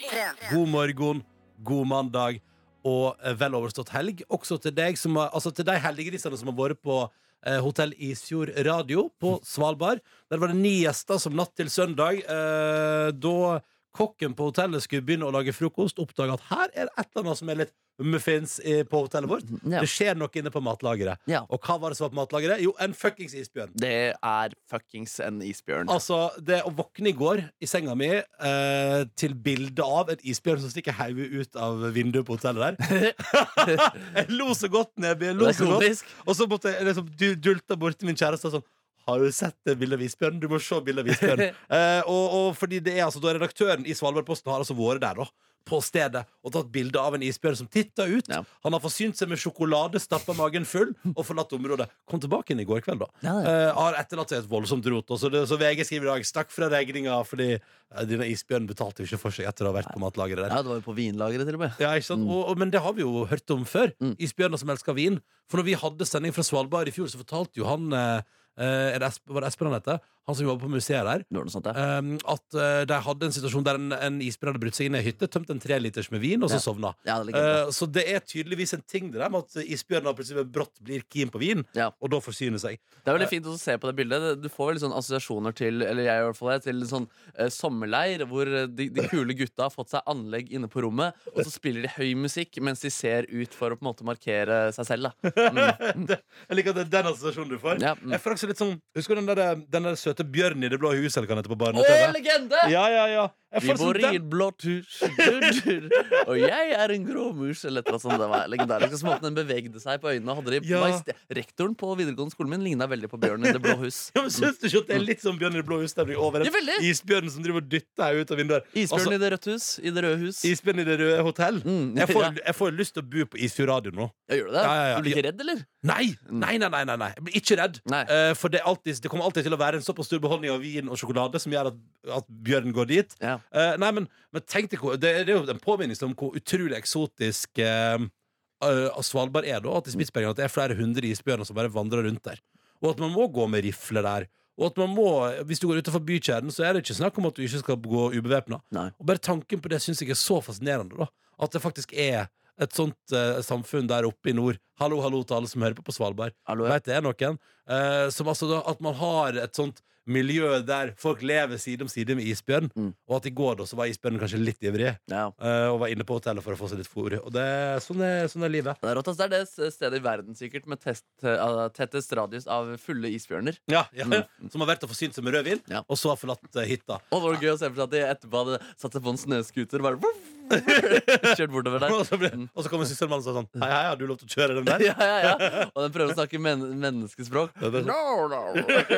[SPEAKER 2] God morgen, god mandag og eh, vel overstått helg. Også til deg som har, altså til de heldiggrisene som har vært på eh, Hotell Isfjord Radio på Svalbard. Der var det ni gjester som natt til søndag, eh, da kokken på hotellet skulle begynne å lage frokost, oppdaga at her er det et eller annet som er litt muffins i- på hotellet vårt.
[SPEAKER 5] Ja.
[SPEAKER 2] Det skjer noe inne på matlageret.
[SPEAKER 5] Ja.
[SPEAKER 2] Og hva var det som var på matlageret? Jo, en fuckings isbjørn.
[SPEAKER 5] Det er fuckings en isbjørn.
[SPEAKER 2] Altså, det å våkne i går i senga mi eh, til bilde av en isbjørn som stikker hodet ut av vinduet på hotellet der Jeg lo så godt, Neby. Jeg lo
[SPEAKER 5] Det er
[SPEAKER 2] så godt.
[SPEAKER 5] komisk.
[SPEAKER 2] Og så måtte jeg liksom du- dulte bort til min kjæreste og sånn Har du sett det bildet av isbjørnen? Du må se bildet av isbjørnen. eh, og, og fordi det er altså da redaktøren i Svalbardposten har altså vært der, da. På stedet og tatt bilde av en isbjørn som titta ut.
[SPEAKER 5] Ja.
[SPEAKER 2] Han har forsynt seg med sjokolade, stappa magen full og forlatt området. Kom tilbake inn i går kveld, da.
[SPEAKER 5] Ja, ja.
[SPEAKER 2] Eh, har etterlatt seg et voldsomt rot. Og så, det, så VG skriver i dag 'stakk fra regninga' fordi eh, denne isbjørnen betalte jo ikke for seg etter å ha vært på matlageret der.
[SPEAKER 5] Ja, det var jo på vinlageret, til og med.
[SPEAKER 2] Ja, ikke sant? Og, og, men det har vi jo hørt om før.
[SPEAKER 5] Mm.
[SPEAKER 2] Isbjørner som elsker vin. For når vi hadde sending fra Svalbard i fjor, så fortalte jo han eh, eh, er det Esp- Var det Espen han heter? Han som jobber på museet der.
[SPEAKER 5] Det var noe sånt, ja.
[SPEAKER 2] eh, at eh, de hadde en situasjon der en, en isbjørn hadde brutt seg inn i ei hytte, tømt en treliters med vin, og så
[SPEAKER 5] Ja.
[SPEAKER 2] sovna.
[SPEAKER 5] ja det ligger
[SPEAKER 2] Eh, så det er tydeligvis en ting det der med at isbjørner plutselig brått blir keen på vin,
[SPEAKER 5] Ja.
[SPEAKER 2] og da forsyner seg.
[SPEAKER 5] Det er veldig fint å se på det bildet. Du får veldig sånn assosiasjoner til Eller jeg i hvert fall det, til sånn eh, sommerleir hvor eh, de, de kule gutta har fått seg anlegg inne på rommet, og så spiller de høy musikk mens de ser ut for å på en måte markere seg selv. Da. Mm.
[SPEAKER 2] Jeg liker at det er den assosiasjonen du får.
[SPEAKER 5] Ja, mm.
[SPEAKER 2] Jeg får også litt sånn, Husker du den der, den der søte hete Bjørn i det blå huset, eller hva han heter på
[SPEAKER 5] Å, jeg er
[SPEAKER 2] barne-TV.
[SPEAKER 5] legende!
[SPEAKER 2] Ja, ja, ja. Jeg
[SPEAKER 5] Vi
[SPEAKER 2] får
[SPEAKER 5] bor
[SPEAKER 2] sånn
[SPEAKER 5] i
[SPEAKER 2] den-
[SPEAKER 5] et blått hus, og jeg er en grå mus. Eller et eller annet sånt. Det var legendarisk. Og så måten den bevegde seg på øynene hadde de
[SPEAKER 2] Ja.
[SPEAKER 5] majeste- Rektoren på videregående skolen min ligna veldig på Bjørn i Det blå hus.
[SPEAKER 2] Ja, men Syns du ikke at
[SPEAKER 5] Mm.
[SPEAKER 2] det er litt sånn Bjørn i det blå huset-stemning over
[SPEAKER 5] Ja,
[SPEAKER 2] den
[SPEAKER 5] veldig.
[SPEAKER 2] isbjørnen som driver og dytter deg ut av vinduer?
[SPEAKER 5] Isbjørn i Det rødt hus. Altså- I Det røde hus.
[SPEAKER 2] Isbjørn i det røde hotell?
[SPEAKER 5] Mm,
[SPEAKER 2] Jeg
[SPEAKER 5] ja.
[SPEAKER 2] får, jeg får lyst til å bo på Isfjord Radio nå.
[SPEAKER 5] Ja, gjør du det?
[SPEAKER 2] Ja, ja, ja.
[SPEAKER 5] Du blir ikke redd, eller?
[SPEAKER 2] Nei!
[SPEAKER 5] Mm.
[SPEAKER 2] Nei, nei, nei, nei, nei. Jeg blir ikke redd.
[SPEAKER 5] Nei.
[SPEAKER 2] Eh, for det, er alltid, det kommer alltid til å være en såpass stor beholdning av vin og sjokolade som gjør at, at bjørnen går dit.
[SPEAKER 5] Ja.
[SPEAKER 2] Eh, nei, men, men tenk deg hvor, det, er- det er jo en påminnelse om hvor utrolig eksotisk eh, eh, Svalbard er. da At i Spitsbergen at det er flere hundre isbjørner som bare vandrer rundt der. Og at man må gå med rifle der. Og at man må, Hvis du går utenfor bykjernen, så er det ikke snakk om at du ikke skal gå ubevæpna.
[SPEAKER 5] Nei.
[SPEAKER 2] Og bare tanken på det syns jeg er så fascinerende. da At det faktisk er et sånt eh, samfunn der oppe i nord. Hallo, hallo til alle som hører på på Svalbard.
[SPEAKER 5] Hallo, ja.
[SPEAKER 2] Vet det er noen. Eh, som altså da, at man har et sånt miljø der folk lever side om side med isbjørn.
[SPEAKER 5] Mm.
[SPEAKER 2] Og at i går da så var isbjørnen kanskje litt ivrig
[SPEAKER 5] Ja.
[SPEAKER 2] eh, og var inne på hotellet for å få seg litt fôr. Og det, sånn, er, sånn er livet.
[SPEAKER 5] Det er, rått, ass. det er det stedet i verden sikkert med test, eh, tettest radius av fulle isbjørner.
[SPEAKER 2] Ja, ja. Som har vært og forsynt seg med rødvin,
[SPEAKER 5] Mm. Ja.
[SPEAKER 2] og så har forlatt eh, hytta.
[SPEAKER 5] Og det var gøy å se for seg at de etterpå hadde satt seg på en snøscooter og bare voff, kjørt bortover der.
[SPEAKER 2] Og så, ble, og så kommer søsteren og sier sånn Hei, hei, har du lov til å kjøre den der?
[SPEAKER 5] Ja, ja, ja. Og den prøver å snakke men menneskespråk.
[SPEAKER 2] Ja, det er sånn.
[SPEAKER 5] No, no.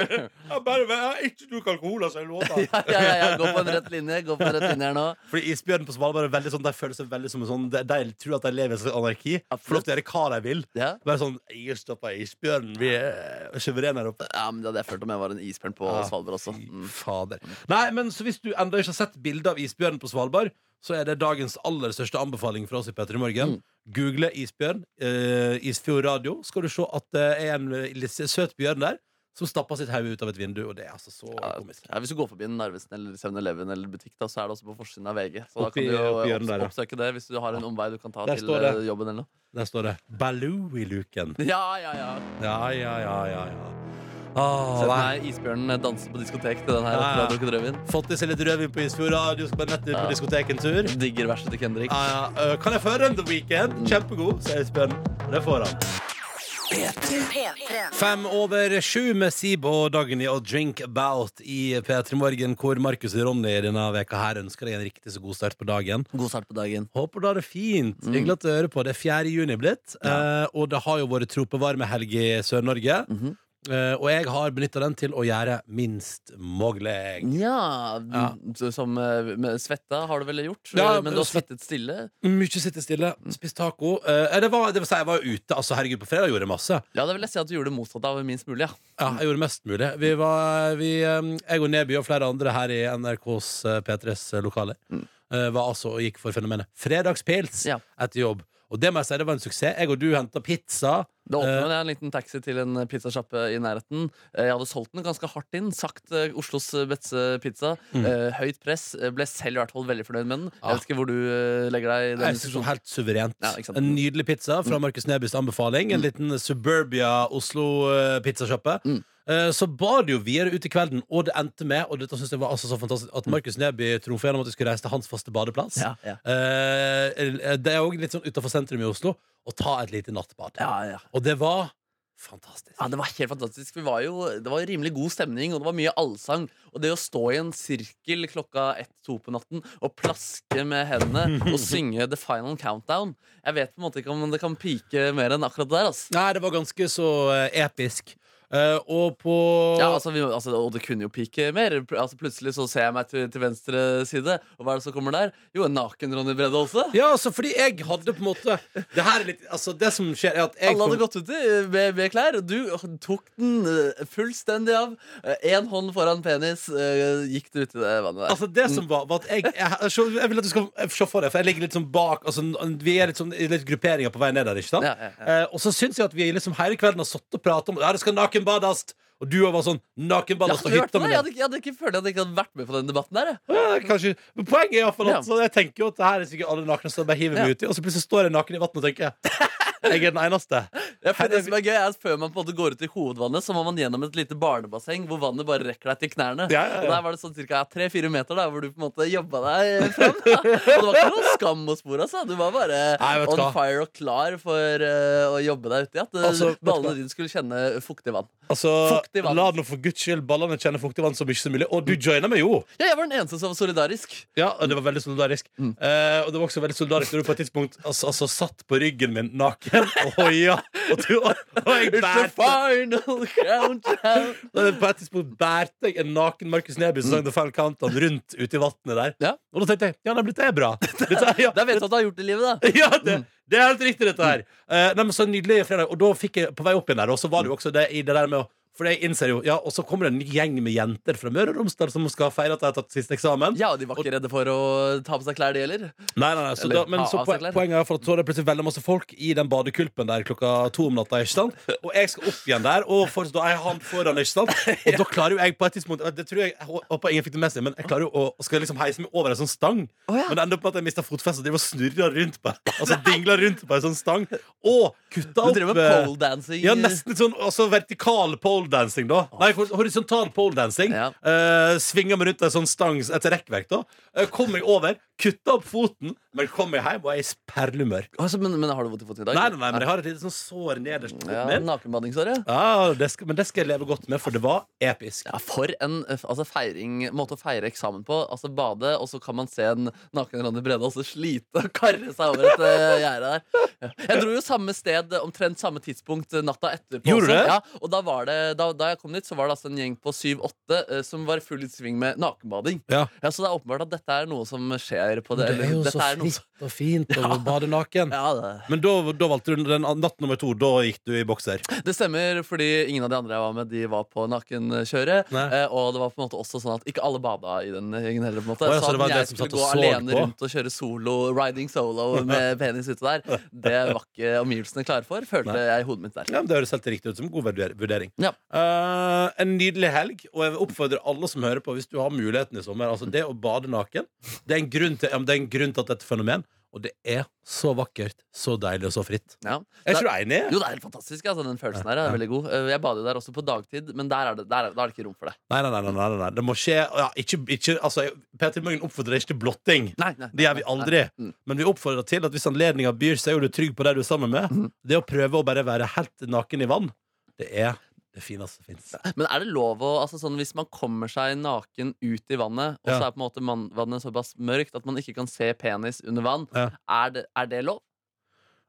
[SPEAKER 2] Jeg bare, jeg har ikke drukket alkohol, altså. Jeg lover.
[SPEAKER 5] Ja, ja, ja, gå på en rett linje Gå på en rett linje her nå
[SPEAKER 2] Fordi isbjørnen på Svalbard er veldig sånn, de føler seg veldig som en sånn De, de tror at de lever i en slags anarki. Får lov til å gjøre hva de vil.
[SPEAKER 5] ja.
[SPEAKER 2] Bare sånn Jeg stopper isbjørnen. Vi er suverene her oppe.
[SPEAKER 5] ja, men det hadde jeg følt om jeg var en isbjørn på
[SPEAKER 2] Ja,
[SPEAKER 5] Svalbard også
[SPEAKER 2] Fy
[SPEAKER 5] mm.
[SPEAKER 2] Fader. Nei, men så hvis du enda ikke har sett bilde av isbjørnen på Svalbard, så er det dagens aller største anbefaling fra oss i Petter i Morgen.
[SPEAKER 5] Mm.
[SPEAKER 2] Google isbjørn, eh, Isfjord radio, skal du se at det er en eh, litt søt bjørn der som stapper sitt hode ut av et vindu, og det er altså så
[SPEAKER 5] ja,
[SPEAKER 2] komisk.
[SPEAKER 5] ja, Hvis du går forbi en Narvesen eller 7-Eleven eller butikk da, Så er det også på forsiden av VG Så
[SPEAKER 2] Oppi- oppi
[SPEAKER 5] da kan du jo
[SPEAKER 2] hjørnet der, ja.
[SPEAKER 5] opps oppsøke det Hvis du har en omvei du kan ta
[SPEAKER 2] Der
[SPEAKER 5] til
[SPEAKER 2] står det.
[SPEAKER 5] eh, jobben eller noe
[SPEAKER 2] Der står det 'Baloo i luken'.
[SPEAKER 5] Ja, ja, ja
[SPEAKER 2] Ja, ja, ja, ja. ja. Ah,
[SPEAKER 5] Se
[SPEAKER 2] nei.
[SPEAKER 5] meg isbjørnen eh, danse på diskotek til den her
[SPEAKER 2] Ja,
[SPEAKER 5] Fra
[SPEAKER 2] ja.
[SPEAKER 5] drukket rødvin
[SPEAKER 2] Fått i seg litt rødvin på Isfjord radio, skal bare nett ut på
[SPEAKER 5] Ja.
[SPEAKER 2] diskoteket en tur.
[SPEAKER 5] Digger verset til Kendrick
[SPEAKER 2] Ja, ja. Øh, Kan jeg få den The Weekend? Kjempegod, sier Esbjørn. Og Det får han.
[SPEAKER 9] P3.
[SPEAKER 2] Fem over sju med Sib og Dagny og Drink About i P3 Morgen, hvor Markus og Ronny denne veka her ønsker deg en riktig så god start på dagen.
[SPEAKER 5] God start på dagen
[SPEAKER 2] Håper du har det fint. Hyggelig at du hører på. Det er 4. juni blitt, eh, og det har jo vært tropevarmehelg i Sør-Norge.
[SPEAKER 5] Mhm.
[SPEAKER 2] Eh, og jeg har benytta den til å gjøre minst mulig.
[SPEAKER 5] Mm. Ja,
[SPEAKER 2] Ja.
[SPEAKER 5] så- som eh, med svetta har du vel gjort
[SPEAKER 2] Ja,
[SPEAKER 5] Men du har
[SPEAKER 2] svett-
[SPEAKER 5] sittet stille
[SPEAKER 2] Mye sitte stille, spist taco. Eh, det var, det vil si, jeg var ute. Altså, herregud, på fredag gjorde jeg masse.
[SPEAKER 5] Ja, det vil jeg si at du gjorde det motsatt av minst mulig, ja.
[SPEAKER 2] Ja, jeg gjorde mest mulig. Vi var, vi, eh, jeg og Neby og flere andre her i NRKs eh, P3s lokaler eh, var altså og gikk for fenomenet fredagspils
[SPEAKER 5] Mm. Ja.
[SPEAKER 2] etter jobb. Og det må jeg si, det var en suksess. Jeg og du henta pizza.
[SPEAKER 5] Da
[SPEAKER 2] Eh.
[SPEAKER 5] åpnet jeg en liten taxi til en pizzasjappe i nærheten. Eh, Jeg hadde solgt den ganske hardt inn. Sagt eh, Oslos beste pizza.
[SPEAKER 2] Mm.
[SPEAKER 5] Eh, Høyt press. Eh, Ble selv i hvert fall veldig fornøyd med den.
[SPEAKER 2] Ja.
[SPEAKER 5] Jeg vet ikke hvor du eh, legger deg i
[SPEAKER 2] Ah. Jeg
[SPEAKER 5] den
[SPEAKER 2] synes det var
[SPEAKER 5] diskusjonen.
[SPEAKER 2] Helt suverent.
[SPEAKER 5] Ja, ikke sant. Mm.
[SPEAKER 2] en nydelig pizza fra Markus Nebys anbefaling. En liten Suburbia Oslo-pizzasjappe.
[SPEAKER 5] Mm.
[SPEAKER 2] Eh, Så bar det jo videre ut i kvelden, og det endte med Og dette synes jeg var altså så fantastisk at Markus Neby trumfa gjennom at vi skulle reise til hans faste badeplass.
[SPEAKER 5] Mm. Ja, ja.
[SPEAKER 2] Eh, Det er òg litt sånn utafor sentrum i Oslo. Og ta et lite nattbad.
[SPEAKER 5] Ja, ja.
[SPEAKER 2] Og det var fantastisk.
[SPEAKER 5] Ja, Det var helt fantastisk. Vi var jo, det var rimelig god stemning, og det var mye allsang. Og det å stå i en sirkel klokka ett-to på natten og plaske med hendene og synge The Final Countdown Jeg vet på en måte ikke om det kan pike mer enn akkurat det der. ass.
[SPEAKER 2] Nei, det var ganske så eh, episk. Eh, og på
[SPEAKER 5] Ja, altså, vi, altså, og det kunne jo pike mer. Pl- Altså, plutselig så ser jeg meg til, til venstre side, og hva er det som kommer der? Jo, en naken Ronny Brede Aase.
[SPEAKER 2] Ja, altså, fordi jeg hadde på en måte Det her er litt Altså, det som skjer, er at jeg
[SPEAKER 5] Alle hadde gått uti eh, med, med klær, og du tok den eh, fullstendig av. Én hånd foran penis, eh, gikk du uti det vannet der.
[SPEAKER 2] Altså det som var, var at jeg, jeg, jeg, så- jeg vil at du skal se for deg, for jeg ligger litt sånn bak altså, Vi er litt sånn i litt grupperinger på vei ned der, ikke sant?
[SPEAKER 5] Ja, ja,
[SPEAKER 2] Eh, og så syns jeg at vi liksom hele kvelden har sittet og pratet om Ja, det skal nakenbadast! Og du var sånn
[SPEAKER 5] Jeg
[SPEAKER 2] Nakenbadast
[SPEAKER 5] hadde,
[SPEAKER 2] og
[SPEAKER 5] hørt
[SPEAKER 2] hytta
[SPEAKER 5] det.
[SPEAKER 2] med
[SPEAKER 5] Jeg,
[SPEAKER 2] den.
[SPEAKER 5] hadde, ikke- jeg hadde ikke følt at jeg ikke hadde vært med på den debatten der. jeg.
[SPEAKER 2] Ja, kanskje, men poenget er iallfall at
[SPEAKER 5] Ja.
[SPEAKER 2] så jeg tenker jo at det her er sikkert alle nakne, så jeg bare hiver meg
[SPEAKER 5] Ja.
[SPEAKER 2] uti, og så plutselig står jeg naken i vannet og tenker Jeg er den eneste.
[SPEAKER 5] Ja, for
[SPEAKER 2] Her er
[SPEAKER 5] det som er gøy er at Før man på en måte går ut i hovedvannet, så må man gjennom et lite barnebasseng hvor vannet bare rekker deg til knærne.
[SPEAKER 2] Ja, ja, ja.
[SPEAKER 5] Og Der var det sånn ca. tre-fire meter da, hvor du på en måte jobba deg fram. Da. Og det var ikke noe skam å spore. Altså. Du var bare
[SPEAKER 2] Nei, vet du
[SPEAKER 5] on
[SPEAKER 2] hva.
[SPEAKER 5] fire og klar for eh, å jobbe deg uti. At eh,
[SPEAKER 2] Altså, vet du hva.
[SPEAKER 5] ballene dine skulle kjenne fuktig vann.
[SPEAKER 2] Altså,
[SPEAKER 5] Fuktig vann.
[SPEAKER 2] La nå for guds skyld ballene kjenne fuktig vann så mye som mulig. Og du joina meg jo!
[SPEAKER 5] Ja, jeg var den eneste som var solidarisk.
[SPEAKER 2] Ja, og Det var veldig solidarisk.
[SPEAKER 5] Mm.
[SPEAKER 2] Eh, og det var også veldig solidarisk når du på et tidspunkt altså, altså, satt på ryggen min naken og hoia. Og, du, og, og jeg
[SPEAKER 5] It's the
[SPEAKER 2] bærte
[SPEAKER 5] final countdown.
[SPEAKER 2] På et tidspunkt bærte jeg en naken Markus Neby som sang The Final Countdown rundt ute i vannet der.
[SPEAKER 5] Mm. Ja.
[SPEAKER 2] Og da tenkte jeg ja, nei, men dette er bra. Dette, er- ja,
[SPEAKER 5] Da vet du at du har gjort det i livet, da.
[SPEAKER 2] Ja, det, det er helt riktig, dette her. Eh, nei, men så Nydelig fredag. Og da fikk jeg på vei opp igjen der, og så var det jo også det i det der med å For jeg innser jo, ja, og så kommer det en ny gjeng med jenter fra Møre og Romsdal som skal feire at de har tatt siste eksamen.
[SPEAKER 5] Ja, og de var ikke redde for å ta på seg klær, de heller.
[SPEAKER 2] Nei, nei, nei, så
[SPEAKER 5] Eller
[SPEAKER 2] da, men
[SPEAKER 5] ta
[SPEAKER 2] så
[SPEAKER 5] av
[SPEAKER 2] poen,
[SPEAKER 5] seg klær.
[SPEAKER 2] poenget er for at så er det plutselig veldig masse folk i den badekulpen der klokka to om natta. ikke sant? Og jeg skal opp igjen der, og for, da er han foran. ikke sant? Og da klarer jo jeg på et tidspunkt Det tror jeg, jeg hå- håper ingen fikk det med seg, men jeg klarer jo å og skal liksom heise meg over en sånn stang.
[SPEAKER 5] Å, ja.
[SPEAKER 2] Men det ender opp med at jeg mister fotfestet og driver og snurrer rundt på Altså dingler rundt på en sånn stang. Og kutta
[SPEAKER 5] Du
[SPEAKER 2] opp
[SPEAKER 5] driver med
[SPEAKER 2] eh,
[SPEAKER 5] pole dancing.
[SPEAKER 2] ja, nesten sånn altså vertikal poledancing, da. Nei, hor- horisontal poledancing.
[SPEAKER 5] Ja.
[SPEAKER 2] Eh, svinger meg rundt en sånn stang, et rekkverk, da. Eh, kom meg over, kutta opp foten, men kom meg hjem, og jeg er i perlehumør.
[SPEAKER 5] Altså, men, men har du vondt i foten i dag?
[SPEAKER 2] Nei, nei, nei, men jeg har et lite sånn sår nederst på
[SPEAKER 5] Ja,
[SPEAKER 2] foten min.
[SPEAKER 5] Nakenbadingssår, ja.
[SPEAKER 2] Ja, det skal, men det skal jeg leve godt med, for det var episk.
[SPEAKER 5] Ja, For en eh, altså, feiring, måte å feire eksamen på. Altså Bade, og så kan man se en naken Ronny Brede og så slite og karre seg over et eh, gjerde der. Ja. Jeg dro jo samme sted eh, omtrent samme tidspunkt eh, natta etterpå.
[SPEAKER 2] Gjorde du
[SPEAKER 5] også.
[SPEAKER 2] det?
[SPEAKER 5] Ja, og da, var det, da, da jeg kom dit, så var det altså en gjeng på 7-8 eh, som var i full sving med nakenbading.
[SPEAKER 2] Ja.
[SPEAKER 5] Ja, Så det er åpenbart at dette er noe som skjer på det.
[SPEAKER 2] Det er
[SPEAKER 5] eller
[SPEAKER 2] jo så
[SPEAKER 5] dette er noe som-
[SPEAKER 2] fritt og fint å bade naken.
[SPEAKER 5] Ja, det
[SPEAKER 2] Men da, da valgte du den natt nummer to. Da gikk du i bokser.
[SPEAKER 5] Det stemmer, fordi ingen av de andre jeg var med, de var på nakenkjøret.
[SPEAKER 2] Nei.
[SPEAKER 5] Eh, og det var på en måte også sånn at ikke alle bada i den gjengen heller. på en måte
[SPEAKER 2] Å, ja, så
[SPEAKER 5] Så
[SPEAKER 2] det
[SPEAKER 5] at
[SPEAKER 2] var
[SPEAKER 5] jeg
[SPEAKER 2] det som
[SPEAKER 5] skulle
[SPEAKER 2] satt og
[SPEAKER 5] gå
[SPEAKER 2] så
[SPEAKER 5] alene
[SPEAKER 2] på?
[SPEAKER 5] rundt og kjøre solo, riding solo med penis ute der, det var ikke omgivelsene klare for, følte
[SPEAKER 2] Nei.
[SPEAKER 5] jeg i hodet mitt der.
[SPEAKER 2] Ja, men Det høres helt riktig ut som en god vurder- vurdering.
[SPEAKER 5] Ja.
[SPEAKER 2] Eh, en nydelig helg, og jeg vil oppfordre alle som hører på, hvis du har muligheten i sommer Altså, det å bade naken, det er en grunn til, ja, men det er en grunn til at dette er et fenomen. Og det er så vakkert, så deilig og så fritt.
[SPEAKER 5] Ja.
[SPEAKER 2] Er
[SPEAKER 5] Det-
[SPEAKER 2] ikke du enig?
[SPEAKER 5] Jo, det er helt fantastisk. Altså, den følelsen her er veldig god. Eh, Jeg bader jo der også på dagtid, men der er det, der er, da er det ikke rom for det.
[SPEAKER 2] Nei, nei, nei, nei, nei, nei. Det må skje ja, ikke, ikke, altså, jeg- Peter Morgan oppfordrer ikke til blotting.
[SPEAKER 5] Nei, nei,
[SPEAKER 2] Det gjør vi aldri.
[SPEAKER 5] Mm.
[SPEAKER 2] Men vi oppfordrer til at hvis anledninga byr seg, og du er trygg på det du er sammen med,
[SPEAKER 5] Mm.
[SPEAKER 2] det å prøve å bare være helt naken i vann, det er det fineste som fins.
[SPEAKER 5] Men er det lov å altså sånn, Hvis man kommer seg naken ut i vannet, og
[SPEAKER 2] Ja.
[SPEAKER 5] så er på en måte man, vannet såpass mørkt at man ikke kan se penis under vann,
[SPEAKER 2] Ja.
[SPEAKER 5] er, det, er det lov?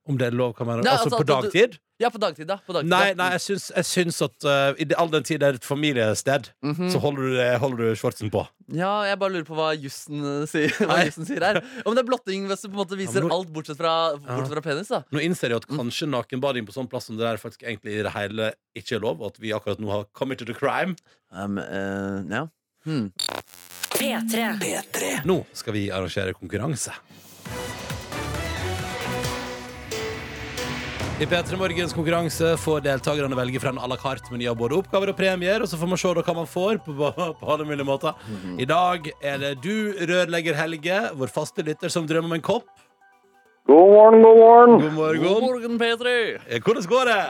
[SPEAKER 2] Om det er lov, kan man
[SPEAKER 5] Nei,
[SPEAKER 2] Altså,
[SPEAKER 5] altså,
[SPEAKER 2] på
[SPEAKER 5] at du-
[SPEAKER 2] dagtid?
[SPEAKER 5] Ja, på dagtid, da. På dagtid,
[SPEAKER 2] Nei,
[SPEAKER 5] da.
[SPEAKER 2] nei jeg, syns, jeg syns at eh, i det- all den tid det er et familiested,
[SPEAKER 5] Mhm.
[SPEAKER 2] så holder du, det- holder du shortsen på.
[SPEAKER 5] Ja, jeg bare lurer på hva jussen eh, sier, hva
[SPEAKER 2] Nei.
[SPEAKER 5] jussen sier her. Om det er blotting hvis du på en måte
[SPEAKER 2] Ja,
[SPEAKER 5] viser
[SPEAKER 2] men nå-
[SPEAKER 5] alt bortsett fra, bortsett fra penis, da.
[SPEAKER 2] Nå innser jeg at kanskje nakenbading på sånn plass som det der faktisk egentlig i det hele ikke er lov, og at vi akkurat nå har committed a crime.
[SPEAKER 5] Um, eh, ja. Hmm.
[SPEAKER 10] P3.
[SPEAKER 2] Nå skal vi arrangere konkurranse. I P3 Morgens konkurranse får deltakerne velge fra en à la carte-meny av både oppgaver og premier, og så får man se da hva man får på, på alle mulige måter. I dag er det du, rørlegger Helge, vår faste lytter, som drømmer om en kopp.
[SPEAKER 11] God morgen, god morgen.
[SPEAKER 2] God
[SPEAKER 5] God
[SPEAKER 2] morgen.
[SPEAKER 5] morgen, Petri!
[SPEAKER 2] Eh, Hvordan går det?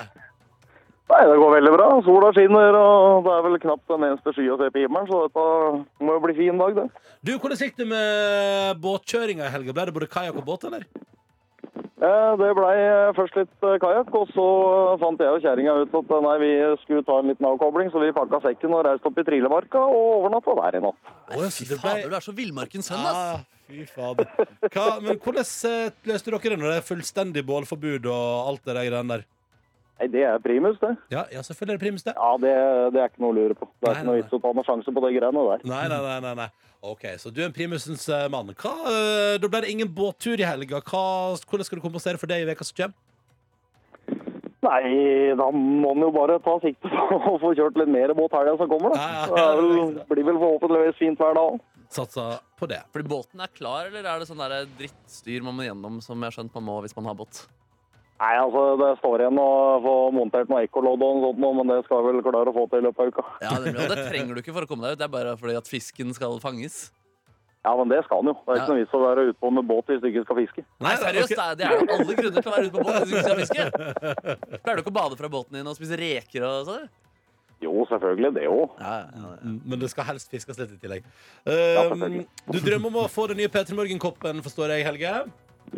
[SPEAKER 11] Nei, Det går veldig bra. Sola skinner, og det er vel knapt en eneste sky å se på himmelen, så dette må jo bli fin dag, det.
[SPEAKER 2] Du, Hvordan gikk det med båtkjøringa i helga? Ble det både kajakk og båt, eller?
[SPEAKER 11] Eh, Det blei eh, først litt eh, kajakk, og så eh, fant jeg og kjerringa ut at eh, nei, vi skulle ta en liten avkobling, så vi pakka sekken og reiste opp i Trillemarka og overnatta der i natt.
[SPEAKER 2] Åh,
[SPEAKER 5] Fy
[SPEAKER 2] så det ble-
[SPEAKER 5] fader, du er så villmarkens sønn, ass!
[SPEAKER 2] Ah, fy fader. Hva, men hvordan eh, løste dere det når det er fullstendig bålforbud og alt det der greiene der?
[SPEAKER 11] Nei, Det er primus, det.
[SPEAKER 2] Ja, ja selvfølgelig er det primus, det.
[SPEAKER 11] Ja, Det, det er ikke noe å lure på. Det
[SPEAKER 2] Nei,
[SPEAKER 11] er ikke noe
[SPEAKER 2] nei,
[SPEAKER 11] vits å ta noen sjanse på de greiene der.
[SPEAKER 2] Nei, nei, nei. nei, nei. OK, så du er en primusens eh, mann. Hva, eh, da ble det ingen båttur i helga. Hva, hvordan skal du kompensere for det i veka som kommer?
[SPEAKER 11] Nei, da må en jo bare ta sikte på å få kjørt litt mer båt helga som kommer, da.
[SPEAKER 2] Ja, ja, ja,
[SPEAKER 11] Det er
[SPEAKER 2] det er
[SPEAKER 11] vel,
[SPEAKER 2] riktig,
[SPEAKER 11] blir vel forhåpentligvis fint vær da òg.
[SPEAKER 2] Satsa på det.
[SPEAKER 5] Fordi båten er klar, eller er det sånn der drittstyr man må gjennom, som jeg har skjønt man må hvis man har båt?
[SPEAKER 11] Nei, altså, det står igjen å få montert noe ekkolodd og noe sånt, nå, men det skal jeg vel klare å få til i løpet av uka.
[SPEAKER 5] Ja, det, og det trenger du ikke for å komme deg ut, det er bare fordi at fisken skal fanges.
[SPEAKER 11] Ja, men det skal han jo. Det er
[SPEAKER 5] Ja.
[SPEAKER 11] ikke noe vits å være utpå med båt hvis du ikke skal fiske.
[SPEAKER 5] Nei, seriøst,
[SPEAKER 2] ok.
[SPEAKER 5] det er- det er jo alle grunner til å være ute på båt hvis du ikke skal fiske. Pleier du ikke å bade fra båten din og spise reker og sånn?
[SPEAKER 11] Jo, selvfølgelig, det òg.
[SPEAKER 5] Ja, ja, ja.
[SPEAKER 2] Mm, Men det skal helst fiskes litt i tillegg.
[SPEAKER 11] selvfølgelig.
[SPEAKER 2] Um, du drømmer om å få den nye P3 Morgen-koppen, forstår jeg, Helge?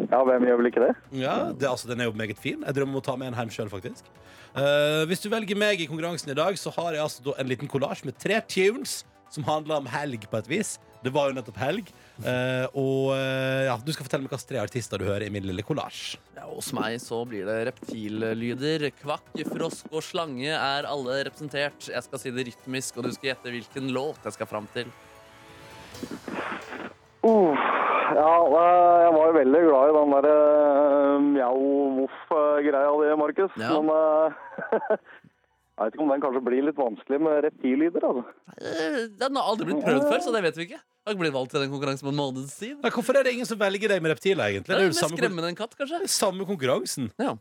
[SPEAKER 11] Ja, hvem gjør vel ikke det?
[SPEAKER 2] Ja, det, altså, Den er jo meget fin. Jeg drømmer om å ta med en hjem sjøl, faktisk. Eh, hvis du velger meg i konkurransen i dag, så har jeg altså da en liten kollasj med tre tunes som handler om helg, på et vis. Det var jo nettopp helg. Eh, og eh, ja, du skal fortelle meg hvilke tre artister du hører i min lille kollasj.
[SPEAKER 5] Ja, hos meg så blir det reptillyder. Kvakk, frosk og slange er alle representert. Jeg skal si det rytmisk, og du skal gjette hvilken låt jeg skal fram til.
[SPEAKER 11] Uff, ja, eh, jeg var jo veldig glad i den der eh, mjau-voff-greia di, Markus.
[SPEAKER 5] Ja.
[SPEAKER 11] Men eh, jeg vet ikke om den kanskje blir litt vanskelig med reptillyder, altså.
[SPEAKER 5] Eh, Den har aldri blitt prøvd før, så det vet vi ikke. Jeg har ikke blitt valgt til den konkurransen på en måneds tid.
[SPEAKER 2] Nei, hvorfor er det ingen som velger deg med reptiler, egentlig?
[SPEAKER 5] Det
[SPEAKER 2] Det er
[SPEAKER 5] er
[SPEAKER 2] jo
[SPEAKER 5] mer
[SPEAKER 2] det samme, kon
[SPEAKER 5] skremmende enn katt, kanskje.
[SPEAKER 2] samme konkurransen.
[SPEAKER 5] Ja.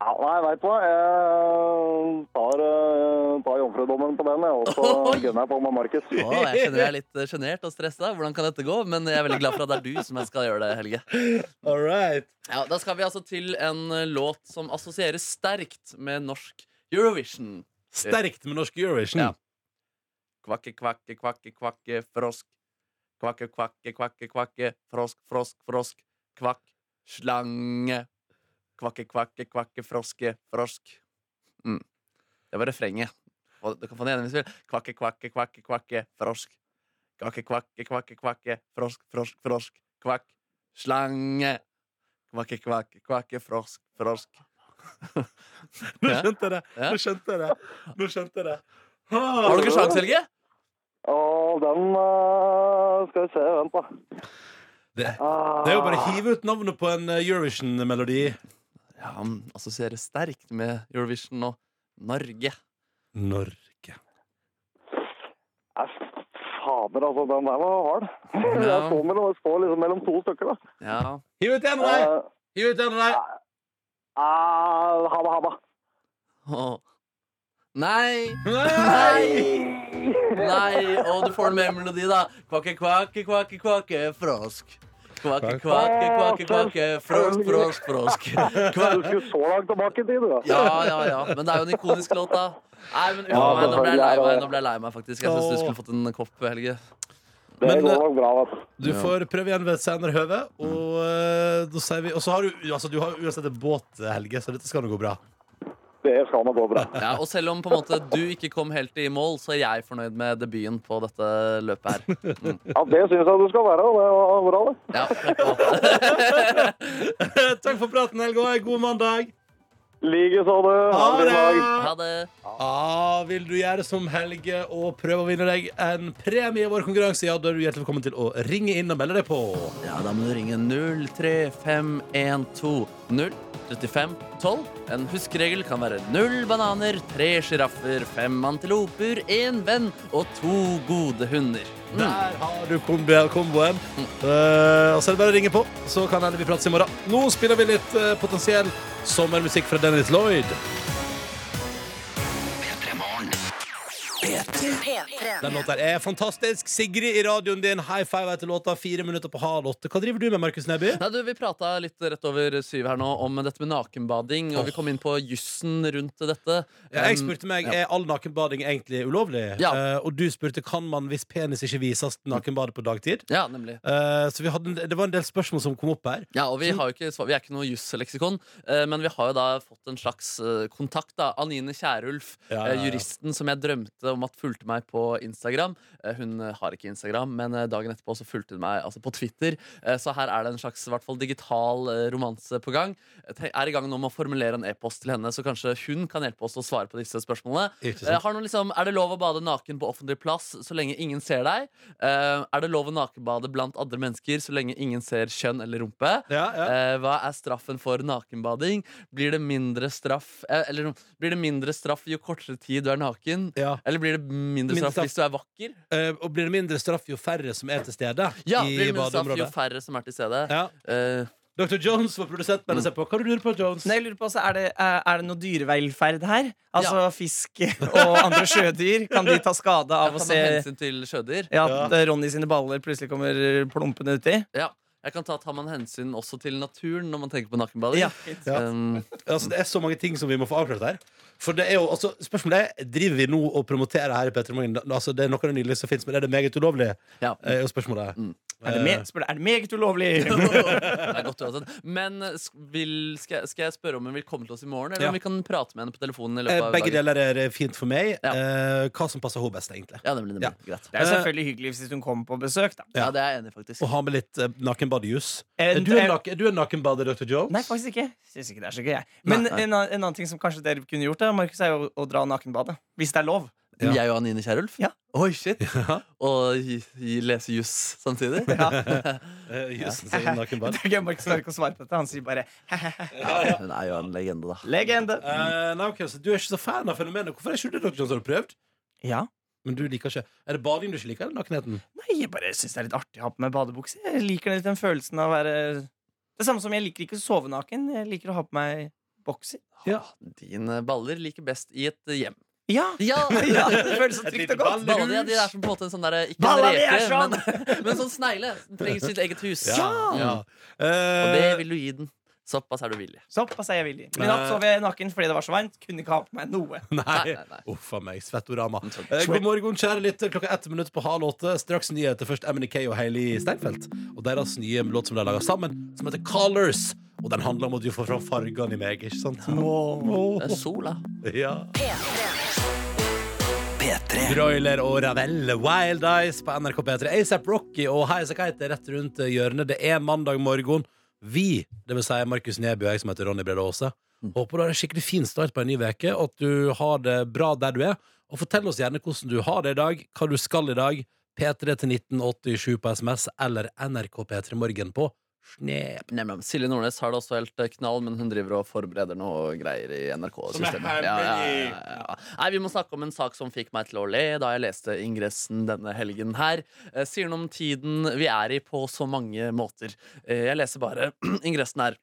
[SPEAKER 11] Ja, nei, veit du hva. Jeg tar, eh, tar jomfrudommen på den, jeg, og så
[SPEAKER 5] Oi.
[SPEAKER 11] gunner jeg på med Markus.
[SPEAKER 5] Å, jeg kjenner jeg er litt eh, sjenert og stressa. Hvordan kan dette gå? Men jeg er veldig glad for at det er du som skal gjøre det, Helge.
[SPEAKER 2] All right.
[SPEAKER 5] Ja, Da skal vi altså til en eh, låt som assosieres sterkt med norsk Eurovision.
[SPEAKER 2] Sterkt med norsk Eurovision.
[SPEAKER 5] Ja. Kvakke, kvakke, kvakke, kvakke, frosk. Kvakke, kvakke, kvakke, kvakke, frosk, frosk, frosk. Kvakk, slange. Kvakke, kvakke, kvakke, froske, frosk. Mm. Det var refrenget. Og Du kan få den igjen hvis du vil. Kvakke, kvakke, kvakke, kvakke, frosk. Kvakke, kvakke, kvakke, kvakke, frosk, frosk, frosk. Kvakk, slange. Kvakke, kvakke, kvakke, frosk, frosk.
[SPEAKER 2] Nå
[SPEAKER 5] Ja.
[SPEAKER 2] skjønte jeg det!
[SPEAKER 5] Ja.
[SPEAKER 2] Nå skjønte jeg det! Nå skjønte jeg det. Ah.
[SPEAKER 5] Har du ikke sjans, Helge?
[SPEAKER 11] Og den eh, Skal vi se, vent, da.
[SPEAKER 2] Det,
[SPEAKER 11] Ah.
[SPEAKER 2] det er jo bare å hive ut navnet på en eh, Eurovision-melodi.
[SPEAKER 5] Ja, han assosierer sterkt med Eurovision og Norge.
[SPEAKER 2] Norge.
[SPEAKER 11] Nei, Fader, altså. Den der var hard. Jeg står mellom, jeg står liksom mellom to stykker, da.
[SPEAKER 5] Ja,
[SPEAKER 2] Hiv ut en av deg!
[SPEAKER 11] Eh,
[SPEAKER 2] Hiv ut en av deg!
[SPEAKER 11] ah, ha det, ha det.
[SPEAKER 5] Åh. Nei,
[SPEAKER 2] Nei!
[SPEAKER 5] nei, nei. Og du får den med melodi, da. Kvakke, kvakke, kvakke, kvakke, frosk. Kvakke, kvakke, kvakke, kvakke, frosk, frosk, frosk.
[SPEAKER 11] Du
[SPEAKER 5] Kvakke.
[SPEAKER 11] skulle så langt tilbake i tid, du. da.
[SPEAKER 5] Ja, ja, ja. Men det er jo en ikonisk låt, da. Nei, men uff,
[SPEAKER 11] Ja,
[SPEAKER 5] nei, nå ble jeg lei
[SPEAKER 11] selvfølgelig er det
[SPEAKER 5] meg,
[SPEAKER 11] det.
[SPEAKER 5] nå ble jeg lei meg faktisk. Jeg syns du skulle fått en kopp, Helge.
[SPEAKER 11] det
[SPEAKER 2] men,
[SPEAKER 11] går
[SPEAKER 2] eh,
[SPEAKER 11] nok bra. Vet. du.
[SPEAKER 2] Du får prøve igjen ved et senere høve. Og, eh, da sier vi, og så har du altså, du har jo uansett en båt, Helge, så dette skal nå gå bra.
[SPEAKER 11] Det skal nok gå bra.
[SPEAKER 5] Ja, og selv om på en måte du ikke kom helt i mål, så er jeg fornøyd med debuten på dette løpet her.
[SPEAKER 11] Ja, Det syns jeg du skal være. og Det var bra, det.
[SPEAKER 5] Ja, flott.
[SPEAKER 2] Takk for praten, Helge, og en god mandag!
[SPEAKER 11] Likeså, du. Ha en fin dag.
[SPEAKER 5] ha det.
[SPEAKER 2] Ah, vil du gjøre som Helge og prøve å vinne deg en premie i vår konkurranse, ja, da er du hjertelig velkommen til å ringe inn og melde deg på.
[SPEAKER 5] Ja, da må du ringe 03512 03512. En huskeregel kan være null bananer, tre sjiraffer, fem antiloper, én venn og to gode hunder. Mm.
[SPEAKER 2] Der har du kombi- komboen. Eh, og så er det bare å ringe på, så kan hende vi prates i morgen. Nå spiller vi litt eh, potensiell sommermusikk fra Dennis Lloyd.
[SPEAKER 12] P3.
[SPEAKER 2] Den låta er fantastisk. Sigrid i radioen din, high five etter låta. Fire minutter på halv åtte. Hva driver du med, Markus Neby?
[SPEAKER 5] Nei, du, Vi prata litt rett over syv her nå om dette med nakenbading, og vi kom inn på jussen rundt dette.
[SPEAKER 2] Ja, jeg
[SPEAKER 5] Um,
[SPEAKER 2] spurte meg, Er all nakenbading egentlig ulovlig?
[SPEAKER 5] Ja.
[SPEAKER 2] Eh, og du spurte kan man hvis penis ikke vises nakenbade på dagtid.
[SPEAKER 5] ja, nemlig.
[SPEAKER 2] Eh, så vi hadde, en- det var en del spørsmål som kom opp her.
[SPEAKER 5] Ja, og vi, har jo ikke, svar- vi er ikke noe jusseleksikon, eh, men vi har jo da fått en slags eh, kontakt. da Anine Kierulf,
[SPEAKER 2] Ja,
[SPEAKER 5] eh,
[SPEAKER 2] ja, ja.
[SPEAKER 5] juristen som jeg drømte om at fulgte meg på Instagram. Eh, Hun eh, har ikke Instagram, men eh, dagen etterpå så fulgte hun meg altså på Twitter. Eh, Så her er det en slags i hvert fall digital eh, romanse på gang. Jeg tenk- er i gang nå med å formulere en e-post til henne, så kanskje hun kan hjelpe oss å svare på disse spørsmålene.
[SPEAKER 2] Ikke
[SPEAKER 5] Eh,
[SPEAKER 2] sant?
[SPEAKER 5] Har noen liksom, er det lov å bade naken på offentlig plass så lenge ingen ser deg? Eh, Er det lov å nakenbade blant andre mennesker så lenge ingen ser kjønn eller rumpe?
[SPEAKER 2] Ja, ja.
[SPEAKER 5] Eh, hva er straffen for nakenbading? Blir det mindre straff eh, Eller blir det mindre straff jo kortere tid du er naken?
[SPEAKER 2] ja.
[SPEAKER 5] Eller blir det mindre
[SPEAKER 2] Mindre
[SPEAKER 5] straff,
[SPEAKER 2] straff.
[SPEAKER 5] hvis du er vakker?
[SPEAKER 2] Eh, og blir det mindre straff jo færre som er til stede
[SPEAKER 5] Ja,
[SPEAKER 2] i
[SPEAKER 5] blir det mindre straff jo
[SPEAKER 2] badeområdet?
[SPEAKER 5] færre som er til stede.
[SPEAKER 2] Ja.
[SPEAKER 5] Eh,
[SPEAKER 2] Dr. Jones var produsent, men jeg ser på. Hva du lurer på, Jones?
[SPEAKER 3] Nei, jeg lurer på også, er, det, eh, er er det noe dyrevelferd her? Altså fisk og andre sjødyr? Kan de ta skade
[SPEAKER 6] Jeg
[SPEAKER 3] av å
[SPEAKER 6] kan ta
[SPEAKER 3] se
[SPEAKER 6] hensyn til sjødyr.
[SPEAKER 3] ja, at eh, Ronny sine baller plutselig kommer plumpende uti?
[SPEAKER 6] Ja. Jeg kan ta, tar man hensyn også til naturen når man tenker på nakkenballer?
[SPEAKER 3] Ja.
[SPEAKER 6] Um,
[SPEAKER 2] Altså, det er så mange ting som vi må få avklart her. For det er jo, altså, spørsmålet er, Driver vi nå og promoterer her i Petter Morgen? Altså, det er noe av det nydeligste som fins, men er det meget ulovlig?
[SPEAKER 6] ja.
[SPEAKER 2] Eh, Er jo spørsmålet.
[SPEAKER 3] Er det, me spør, du, er det meget ulovlig?
[SPEAKER 6] Det er godt uansett. Men eh, sk- vil, skal, jeg- skal jeg spørre om hun vil komme til oss i morgen, eller
[SPEAKER 2] Ja.
[SPEAKER 6] om vi kan prate med henne på telefonen? i løpet
[SPEAKER 2] Eh,
[SPEAKER 6] av
[SPEAKER 2] Begge
[SPEAKER 6] dagen?
[SPEAKER 2] deler er fint for meg.
[SPEAKER 6] Ja.
[SPEAKER 2] Eh, Hva som passer henne best, egentlig.
[SPEAKER 6] Ja, nemlig, nemlig. Greit.
[SPEAKER 3] Det er jo selvfølgelig hyggelig hvis hun kommer på besøk, da.
[SPEAKER 6] Ja, det er jeg enig i, faktisk.
[SPEAKER 2] Og ha med litt eh, nakenbadejus.
[SPEAKER 3] Eh,
[SPEAKER 2] Er du en,
[SPEAKER 3] eh,
[SPEAKER 2] nak er du en nakenbader, Dr. Jones?
[SPEAKER 3] Nei, faktisk ikke. Synes ikke det er så gøy, jeg. Men
[SPEAKER 6] Nei, nei.
[SPEAKER 3] En, annen- en annen ting som kanskje dere kunne gjort, da, Markus, er jo å dra nakenbadet. Hvis det er lov.
[SPEAKER 2] Ja.
[SPEAKER 6] Jeg og Anine Kierulf?
[SPEAKER 3] Ja.
[SPEAKER 6] Oi, shit. Og gi, gi, lese juss samtidig?
[SPEAKER 2] Eh, jusen sin nakenbad.
[SPEAKER 3] Det er gøy, Markus klarer ikke å svare på dette. Han sier bare
[SPEAKER 6] Ja, Hun er jo en legende, da.
[SPEAKER 3] legende.
[SPEAKER 2] Eh, nei, ok, så du er ikke så fan av fenomenet. Hvorfor er ikke du det, Dr. Jones? Har du prøvd?
[SPEAKER 3] Ja.
[SPEAKER 2] Men du liker ikke Er det bading du ikke liker, eller nakenheten?
[SPEAKER 3] Nei, jeg bare syns det er litt artig å ha på meg badebukse. Jeg liker litt den følelsen av å være Det samme som jeg liker ikke å sove naken. Jeg liker å ha på meg bokser.
[SPEAKER 2] Ja.
[SPEAKER 6] Dine baller liker best i et hjem.
[SPEAKER 3] Ja!
[SPEAKER 6] Ja,
[SPEAKER 3] ja det føles så trygt og godt.
[SPEAKER 6] Ballene ja, de er som på en måte en sånn derre Ikke en
[SPEAKER 3] Ballene
[SPEAKER 6] reke,
[SPEAKER 3] er sånn!
[SPEAKER 6] men, men sånn snegle. Den trenger sitt eget hus.
[SPEAKER 2] Ja.
[SPEAKER 6] Og det
[SPEAKER 2] Eh,
[SPEAKER 6] vil du gi den. Såpass er du villig.
[SPEAKER 3] Såpass er jeg villig. Men i natt sov jeg naken fordi det var så varmt. Kunne ikke ha på meg noe.
[SPEAKER 2] Nei.
[SPEAKER 6] Nei, nei, nei.
[SPEAKER 2] Uff a meg. Svettorama. Eh, god morgen, kjære lytter. Klokka ett minutt på halv åtte. Straks nyheter. Først MNK og Hailey Steinfeld. Og deres nye låt som de har laga sammen, som heter Colors. Og den handler om at du får fram fargene i meg, ikke sant? Åh.
[SPEAKER 6] Det er sola.
[SPEAKER 2] Ja.
[SPEAKER 4] P3.
[SPEAKER 2] Broiler og Ravel, Wild Eyes på NRK P3. ASAP Rocky og Highasakite er rett rundt hjørnet. Det er mandag morgen. Vi, det vil si Markus Neby og jeg som heter Ronny Brede Aase, håper du har en skikkelig fin start på en ny uke, og at du har det bra der du er. Og fortell oss gjerne hvordan du har det i dag, hva du skal i dag. P3 til 1987 på SMS eller NRK P3 Morgen på Snap.
[SPEAKER 6] Nemlig. Silje Nordnes har det også helt eh, knall, men hun driver og forbereder noe greier i
[SPEAKER 2] Som er
[SPEAKER 6] NRK-systemet. Ja, ja, ja, ja. Nei, Vi må snakke om en sak som fikk meg til å le da jeg leste ingressen denne helgen her. Eh, Sier noe om tiden vi er i på så mange måter. Eh, Jeg leser bare ingressen her.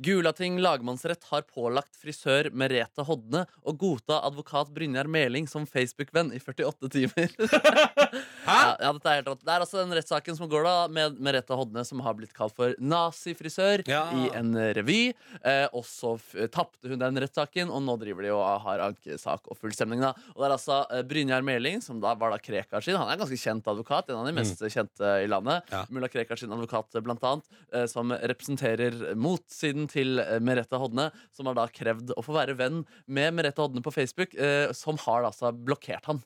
[SPEAKER 6] Gulating lagmannsrett har pålagt frisør Merete Hodne å godta advokat Brynjar Meling som Facebook-venn i 48 timer. Ja, ja, dette er helt rått. Det er altså den rettssaken som går da med Merete Hodne, som har blitt kalt for nazifrisør
[SPEAKER 2] Ja.
[SPEAKER 6] i en revy. Eh, og så f- tapte hun den rettssaken, og nå driver de og eh, har ankesak og full stemning. da Og det er altså eh, Brynjar Meling, som da var da Krekar sin. Han er en ganske kjent advokat. En av de
[SPEAKER 5] Mm.
[SPEAKER 6] mest kjente i landet.
[SPEAKER 2] Mm. Ja.
[SPEAKER 6] Mulla Krekar sin advokat, eh, blant annet, eh, som representerer motsiden til eh, Merete Hodne, som har da krevd å få være venn med Merete Hodne på Facebook, eh, som har da altså blokkert han.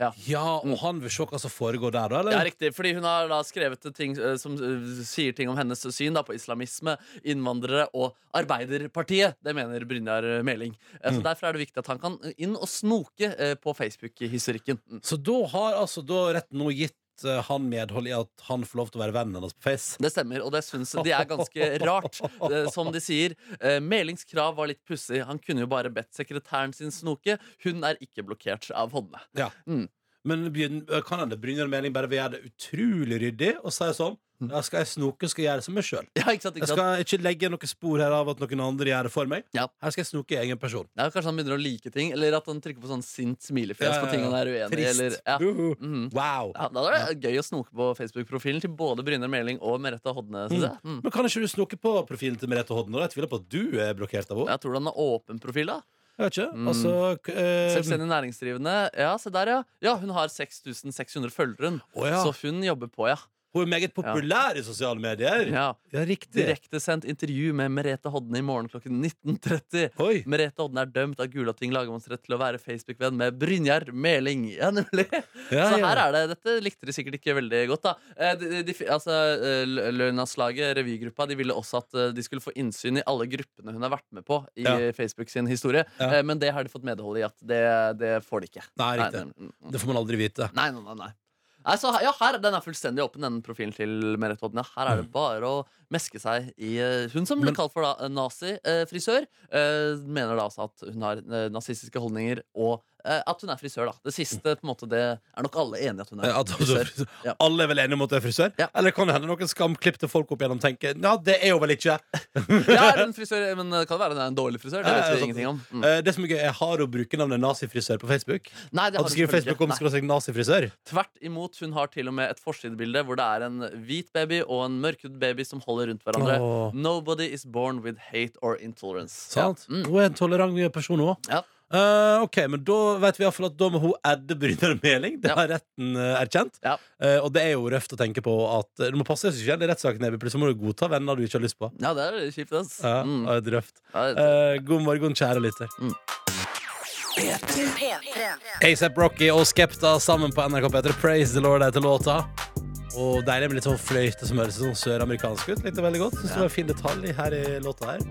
[SPEAKER 6] Ja.
[SPEAKER 2] Ja, og han vil se hva som foregår der, da,
[SPEAKER 6] Ja,
[SPEAKER 2] eller?
[SPEAKER 6] riktig, fordi Hun har da skrevet ting eh, som eh, sier ting om hennes syn da, på islamisme, innvandrere og Arbeiderpartiet. Det mener Brynjar Meling. Eh, Så Derfor er det viktig at han kan inn og snoke eh, på Facebook-hysterikken. Mm.
[SPEAKER 2] Så da har altså da retten nå gitt eh, han medhold i at han får lov til å være vennen hennes på Face.
[SPEAKER 6] Det stemmer, og det syns de er ganske rart. Eh, Som de sier, eh, Melings krav var litt pussig. Han kunne jo bare bedt sekretæren sin snoke. Hun er ikke blokkert av håndene.
[SPEAKER 2] Ja.
[SPEAKER 6] Mm.
[SPEAKER 2] Men begyn- kan hende Brynjar Meling bare vil gjøre det utrolig ryddig og si sånn Da skal jeg snoke, skal jeg gjøre det som meg sjøl.
[SPEAKER 6] Ja, ikke sant,
[SPEAKER 2] Jeg
[SPEAKER 6] Mm. ikke sant?
[SPEAKER 2] skal ikke legge noen spor her av at noen andre gjør det for meg.
[SPEAKER 6] Ja.
[SPEAKER 2] Her skal jeg snoke i egen person.
[SPEAKER 6] Ja, kanskje han begynner å like ting, eller at han trykker på sånn sint smilefjes
[SPEAKER 2] Ja, ja,
[SPEAKER 6] på ting han
[SPEAKER 2] ja.
[SPEAKER 6] er uenig i.
[SPEAKER 2] Trist.
[SPEAKER 6] Eller, ja.
[SPEAKER 2] Uhu.
[SPEAKER 6] Mhm.
[SPEAKER 2] Wow.
[SPEAKER 6] Ja, da er det gøy å snoke på Facebook-profilen til både Brynjar Meling og Merete Hodne. Synes jeg. Mm.
[SPEAKER 2] Men kan ikke du snoke på profilen til Merete Hodden? Og jeg tviler på at du er blokkert av henne.
[SPEAKER 6] Mhm. Jeg tror han har åpen profil, da.
[SPEAKER 2] Jeg vet ikke.
[SPEAKER 6] Mm.
[SPEAKER 2] Altså k- eh,
[SPEAKER 6] Selvstendig næringsdrivende. Ja, se der, ja. Ja, hun har 6600 følgere, hun.
[SPEAKER 2] Å, ja.
[SPEAKER 6] Så hun jobber på, ja.
[SPEAKER 2] Hun er meget populær i sosiale medier. Ja,
[SPEAKER 6] ja.
[SPEAKER 2] riktig.
[SPEAKER 6] Direktesendt intervju med Merete Hodne i morgen klokken 19.30.
[SPEAKER 2] Oi.
[SPEAKER 6] Merete Hodne er dømt av Gulating lagmannsrett til å være Facebook-venn med Brynjar Meling. Ja, nemlig.
[SPEAKER 2] Ja,
[SPEAKER 6] så
[SPEAKER 2] ja.
[SPEAKER 6] her er det, Dette likte de sikkert ikke veldig godt. da Eh, de, de, altså, eh, Lø- Lønnaslaget, revygruppa, de ville også at eh, de skulle få innsyn i alle gruppene hun har vært med på i
[SPEAKER 2] Ja.
[SPEAKER 6] Facebook sin historie,
[SPEAKER 2] Ja.
[SPEAKER 6] Eh, men det har de fått medhold i at det, det får de ikke.
[SPEAKER 2] Nei, riktig.
[SPEAKER 6] Nei, mm, mm.
[SPEAKER 2] Det får man aldri vite.
[SPEAKER 6] nei, nei, nei, nei. Nei, så her- ja, her, Den er fullstendig åpen, den profilen til Merete Hodne. Her er det bare å meske seg i eh, Hun som ble
[SPEAKER 2] Mm. Men-
[SPEAKER 6] kalt for da, nazifrisør, eh, mener da altså at hun har eh, nazistiske holdninger og eh, at hun er frisør, da. Det siste på en måte, det er nok alle enige at hun
[SPEAKER 2] Eh,
[SPEAKER 6] er
[SPEAKER 2] Mm. At, altså,
[SPEAKER 6] frisør.
[SPEAKER 2] frisør.
[SPEAKER 6] Ja.
[SPEAKER 2] Alle er vel enige om at det er frisør?
[SPEAKER 6] Ja.
[SPEAKER 2] Eller kan det hende noen skamklipp til folk opp igjennom tenker Ja, det er jo vel ikke
[SPEAKER 6] Ja, er hun frisør, men det kan være hun er en dårlig frisør.
[SPEAKER 2] altså- Ja,
[SPEAKER 6] Det
[SPEAKER 2] ja,
[SPEAKER 6] vet
[SPEAKER 2] sant.
[SPEAKER 6] vi ingenting om. Mm.
[SPEAKER 2] Eh, Det som er gøy, jeg har å bruke navnet nazifrisør på Facebook.
[SPEAKER 6] Nei, det
[SPEAKER 2] At du skriver
[SPEAKER 6] har hun selvfølgelig
[SPEAKER 2] Facebook om
[SPEAKER 6] ikke. Nei.
[SPEAKER 2] skråstrek nazifrisør.
[SPEAKER 6] Tvert imot, hun har til og med et forsidebilde hvor det er en hvit baby og en mørkhud baby som holder rundt hverandre.
[SPEAKER 2] Åh.
[SPEAKER 6] Nobody is born with hate or intolerance.
[SPEAKER 2] Sant?
[SPEAKER 6] Ja. Mm.
[SPEAKER 2] Hun er en tolerant person òg.
[SPEAKER 6] Ja.
[SPEAKER 2] ok, men da vet vi i hvert fall at da må hun adde Brynjar Meling. Det
[SPEAKER 6] Ja.
[SPEAKER 2] har retten eh, erkjent.
[SPEAKER 6] Ja.
[SPEAKER 2] Eh, og det er jo røft å tenke på at eh, Du må passe deg så ikke i rettssaken, Evy, plutselig må du godta venner du ikke har lyst på.
[SPEAKER 6] ja, det er veldig kjipt, ass.
[SPEAKER 2] Ja,
[SPEAKER 6] Mm.
[SPEAKER 2] det er røft.
[SPEAKER 6] Ja, det- Mm.
[SPEAKER 2] Eh, god morgen, kjære lytter.
[SPEAKER 4] P3.
[SPEAKER 2] ASAP Rocky og Skepta sammen på NRK P3. Praise the Lord heter låta. Og deilig med litt sånn fløyte som høres sånn søramerikansk ut. Likte veldig godt. Synes det var en fin detalj her i låta her.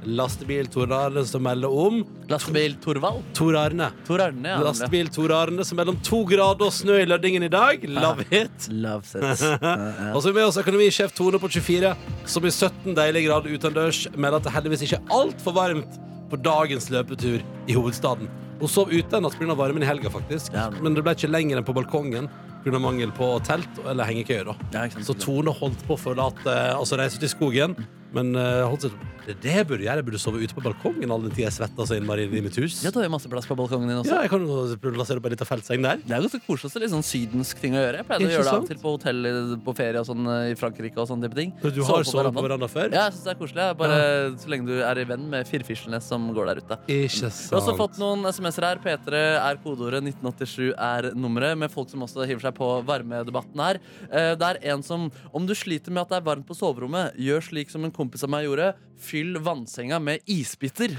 [SPEAKER 2] lastebil Tor Arne som melder om
[SPEAKER 6] Lastebil Torvald.
[SPEAKER 2] Tor Arne.
[SPEAKER 6] Tor Arne, ja. nemlig.
[SPEAKER 2] Lastebil Tor Arne som mellom to grader og snø i Lødingen i dag. Love it.
[SPEAKER 6] Loves it. Ja, ja.
[SPEAKER 2] Og så er vi med oss økonomisjef Tone på 24, som i 17 deilige grader utendørs melder at det heldigvis ikke er altfor varmt på dagens løpetur i hovedstaden. Hun sov ute en natt pga. varmen i helga, faktisk,
[SPEAKER 6] Ja.
[SPEAKER 2] men det ble ikke lenger enn på balkongen pga. mangel på telt eller hengekøye. da.
[SPEAKER 6] Ja, ikke sant?
[SPEAKER 2] Så Tone holdt på å forlate Altså reise til skogen, men eh, holdt seg Det er det jeg burde gjøre. Jeg burde sove ute på balkongen all den tid jeg svetter så innmari i mitt hus.
[SPEAKER 6] Ja, du har jo masse plass på balkongen din også.
[SPEAKER 2] Ja, jeg kan jo plassere på ei lita feltseng der.
[SPEAKER 6] Det er jo ganske koselig også, litt sånn sydensk ting å gjøre. Jeg pleide å
[SPEAKER 2] Ikke
[SPEAKER 6] gjøre det av og
[SPEAKER 2] sant?
[SPEAKER 6] til på hotell eh, på ferie og sånn eh, i Frankrike og sånne type ting.
[SPEAKER 2] Du
[SPEAKER 6] Sove
[SPEAKER 2] har sovet på
[SPEAKER 6] verandaen.
[SPEAKER 2] veranda før?
[SPEAKER 6] Ja, jeg synes det er koselig. jeg. Bare så lenge du er i venn med firfisjene som går der ute.
[SPEAKER 2] Ikke
[SPEAKER 6] Vi har også
[SPEAKER 2] sant.
[SPEAKER 6] fått noen SMS-er her. P3 er kodeordet, 1987 er nummeret. Med folk som også hiver seg på varmedebatten her. Eh, Det er en som Om du sliter med at det er varmt på soverommet, gjør slik som en kompis av meg gjorde. Fyll vannsenga med isbiter.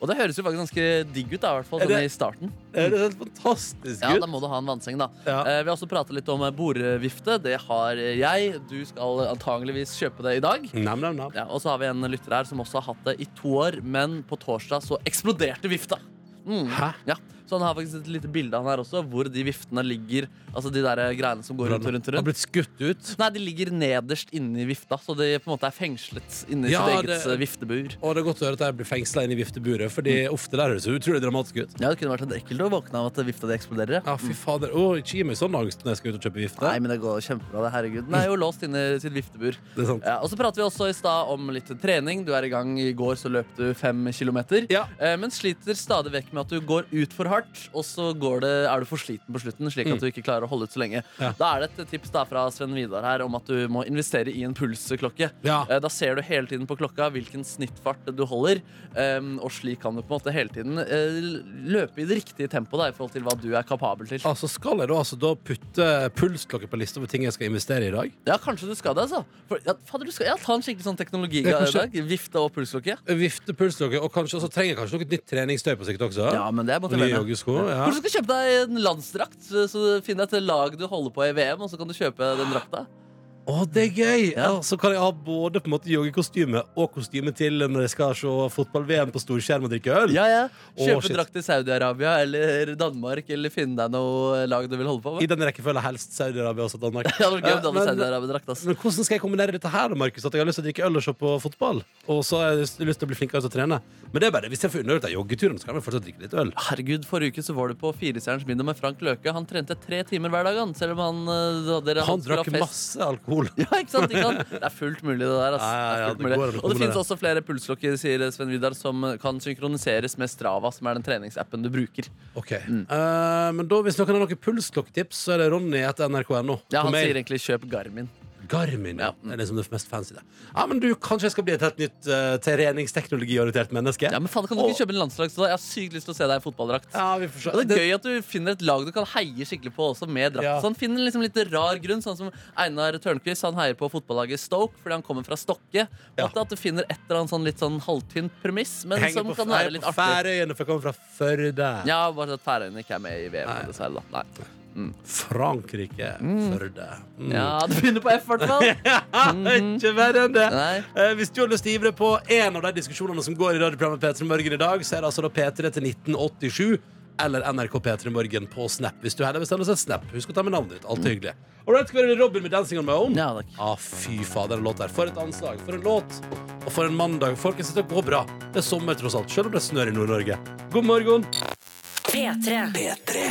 [SPEAKER 6] Og det høres jo faktisk ganske digg ut, da, i hvert fall
[SPEAKER 2] Er det-
[SPEAKER 6] sånn i starten.
[SPEAKER 2] Det er helt fantastisk
[SPEAKER 6] Ja,
[SPEAKER 2] gutt.
[SPEAKER 6] da må du ha en vannseng, da.
[SPEAKER 2] Ja.
[SPEAKER 6] Eh, Vi har også pratet litt om eh, bordvifte. Det har eh, jeg. Du skal antageligvis kjøpe det i dag.
[SPEAKER 2] Nam, nam, nam.
[SPEAKER 6] Ja, og så har vi en lytter her som også har hatt det i to år, men på torsdag så eksploderte vifta. Mm.
[SPEAKER 2] Hæ?
[SPEAKER 6] Ja. Så han har faktisk et lite bilde av han her også, hvor de viftene ligger. Altså de der greiene som går rundt og rundt og
[SPEAKER 2] Har
[SPEAKER 6] rundt.
[SPEAKER 2] blitt skutt ut.
[SPEAKER 6] Nei, de ligger nederst inni vifta, så de på en måte er fengslet inni
[SPEAKER 2] Ja,
[SPEAKER 6] sitt eget
[SPEAKER 2] det-
[SPEAKER 6] eh, viftebur.
[SPEAKER 2] Og det er godt å høre at jeg blir fengsla inne i vifteburet, Fordi ofte der høres det utrolig dramatisk ut.
[SPEAKER 6] Ja, det kunne vært litt ekkelt å våkne av at vifta di eksploderer. ja.
[SPEAKER 2] Ja, fy fader. Å, ikke gi meg sånn angst når jeg skal ut og kjøpe vifte.
[SPEAKER 6] Nei, men det går kjempebra, det. Herregud. Den er jo låst inne i sitt viftebur.
[SPEAKER 2] Det er sant.
[SPEAKER 6] Ja, og så prater vi også i stad om litt trening. Du er i gang. I går så løp du fem kilometer.
[SPEAKER 2] Ja.
[SPEAKER 6] Eh, men sliter stadig vekk med at du går ut for hardt, og så går det, er du for sliten på slutten, slik at du ikke klarer å holde ut så lenge.
[SPEAKER 2] Ja.
[SPEAKER 6] Da er det et tips da fra Sven Vidar her om at du må investere i en pulsklokke.
[SPEAKER 2] Ja.
[SPEAKER 6] Eh, da ser du hele tiden på klokka hvilken snittfart du holder, eh, og slik kan du på en måte hele tiden eh, løpe i det riktige tempoet da, i forhold til hva du er kapabel til.
[SPEAKER 2] Altså, skal jeg da, altså, da putte pulsklokke på lista over ting jeg skal investere i i dag?
[SPEAKER 6] Ja, kanskje du skal det, altså. For, ja, fader, du skal, ja, ta en skikkelig sånn teknologi
[SPEAKER 2] Ja, kanskje.
[SPEAKER 6] Vifte og pulsklokke.
[SPEAKER 2] Vifte, pulsklokke, og kanskje, og så trenger jeg kanskje noe nytt treningstøy på sikt også.
[SPEAKER 6] Ja, men det er
[SPEAKER 2] og nye
[SPEAKER 6] motiverende.
[SPEAKER 2] joggesko. Ja.
[SPEAKER 6] Kanskje du skal kjøpe deg en landsdrakt? Så Finn deg et lag du holder på i VM, og så kan du kjøpe den drakta.
[SPEAKER 2] Å, det er gøy! Ja.
[SPEAKER 6] Ja.
[SPEAKER 2] så kan jeg ha både på en måte joggekostyme og kostyme til når jeg skal se fotball-VM på storskjerm og drikke øl.
[SPEAKER 6] Ja, ja.
[SPEAKER 2] Å,
[SPEAKER 6] Kjøpe
[SPEAKER 2] shit.
[SPEAKER 6] drakt i Saudi-Arabia eller Danmark, eller finne deg noe lag du vil holde på
[SPEAKER 2] I
[SPEAKER 6] med.
[SPEAKER 2] den rekkefølgen helst Saudi-Arabia også, Danmark.
[SPEAKER 6] Ja, det var gøy om du hadde
[SPEAKER 2] Men-
[SPEAKER 6] Saudi-Arabia-drakt, ass.
[SPEAKER 2] Men hvordan skal jeg kombinere dette her, da, Markus? At jeg har lyst til å drikke øl og se på fotball? Og så har jeg lyst lyst til å bli flinkere til å trene. Men det er bare, hvis jeg får unnagjort den joggeturen, så kan jeg fortsatt drikke litt øl.
[SPEAKER 6] Herregud, Forrige uke så var du på Firestjerners middag med Frank Løke. Han trente tre timer hver dag, han, selv om han eh, dere,
[SPEAKER 2] Han
[SPEAKER 6] skulle ha
[SPEAKER 2] drakk
[SPEAKER 6] fest.
[SPEAKER 2] masse alkohol.
[SPEAKER 6] Ja, ikke sant, ikke sant? Det er fullt mulig, det der. ass.
[SPEAKER 2] Ja, ja, ja,
[SPEAKER 6] Det er fullt
[SPEAKER 2] det
[SPEAKER 6] mulig.
[SPEAKER 2] går an å
[SPEAKER 6] og det
[SPEAKER 2] kombinere.
[SPEAKER 6] finnes også flere pulsklokker, sier Sven Vidar, som kan synkroniseres med Strava, som er den treningsappen du bruker.
[SPEAKER 2] Ok.
[SPEAKER 6] Mm.
[SPEAKER 2] Eh, men da, hvis noen har noen pulsklokketips, så er det Ronny etter nrk.no.
[SPEAKER 6] Ja,
[SPEAKER 2] På
[SPEAKER 6] Han
[SPEAKER 2] mail.
[SPEAKER 6] sier egentlig 'kjøp Garmin'.
[SPEAKER 2] Garmin, ja.
[SPEAKER 6] Ja.
[SPEAKER 2] Det er liksom det mest fancy der. Ja, men du, kanskje jeg skal bli et helt nytt uh, treningsteknologiorientert menneske?
[SPEAKER 6] Ja, men faen, Kan du ikke kjøpe en landslags? da? Jeg har sykt lyst til å se deg i fotballdrakt.
[SPEAKER 2] Ja, vi får se.
[SPEAKER 6] Og det er gøy at du finner et lag du kan heie skikkelig på også med drakt.
[SPEAKER 2] Ja.
[SPEAKER 6] Så han finner liksom litt rar grunn, sånn som Einar Tørnquist. Han heier på fotballaget Stoke fordi han kommer fra Stokke.
[SPEAKER 2] Ja.
[SPEAKER 6] Måtte At du finner et eller annet sånn litt sånn halvtynt premiss, men
[SPEAKER 2] Henger
[SPEAKER 6] som
[SPEAKER 2] på,
[SPEAKER 6] kan
[SPEAKER 2] nei,
[SPEAKER 6] være litt
[SPEAKER 2] på liksom
[SPEAKER 6] artig.
[SPEAKER 2] sånn Færøyene, for jeg kommer fra Førde.
[SPEAKER 6] Ja, bare at Færøyene ikke er med i VM, dessverre. da
[SPEAKER 2] Mm.
[SPEAKER 6] Nei.
[SPEAKER 2] Frankrike. Førde. Mm.
[SPEAKER 6] Ja, det begynner på F, i hvert fall.
[SPEAKER 2] Ikke verre enn det.
[SPEAKER 6] Nei.
[SPEAKER 2] Eh, hvis du har lyst til å ivre på en av de diskusjonene som går i radioprogrammet P3 Morgen i dag, så er det altså da P3 til 1987 eller NRK P3 Morgen på Snap. Hvis du heller vil sende oss en Snap, husk å ta med navnet ditt. Alt er hyggelig. All right, skal vi høre Robin med 'Dancing on my own'?
[SPEAKER 6] Mm. Ja, takk.
[SPEAKER 2] Ah, fy fader, den låten her. For et anslag. For en låt. Og for en mandag. Folkens, dette går bra. Det er sommer, tross alt. Selv om det snør i Nord-Norge. God morgen.
[SPEAKER 4] P3.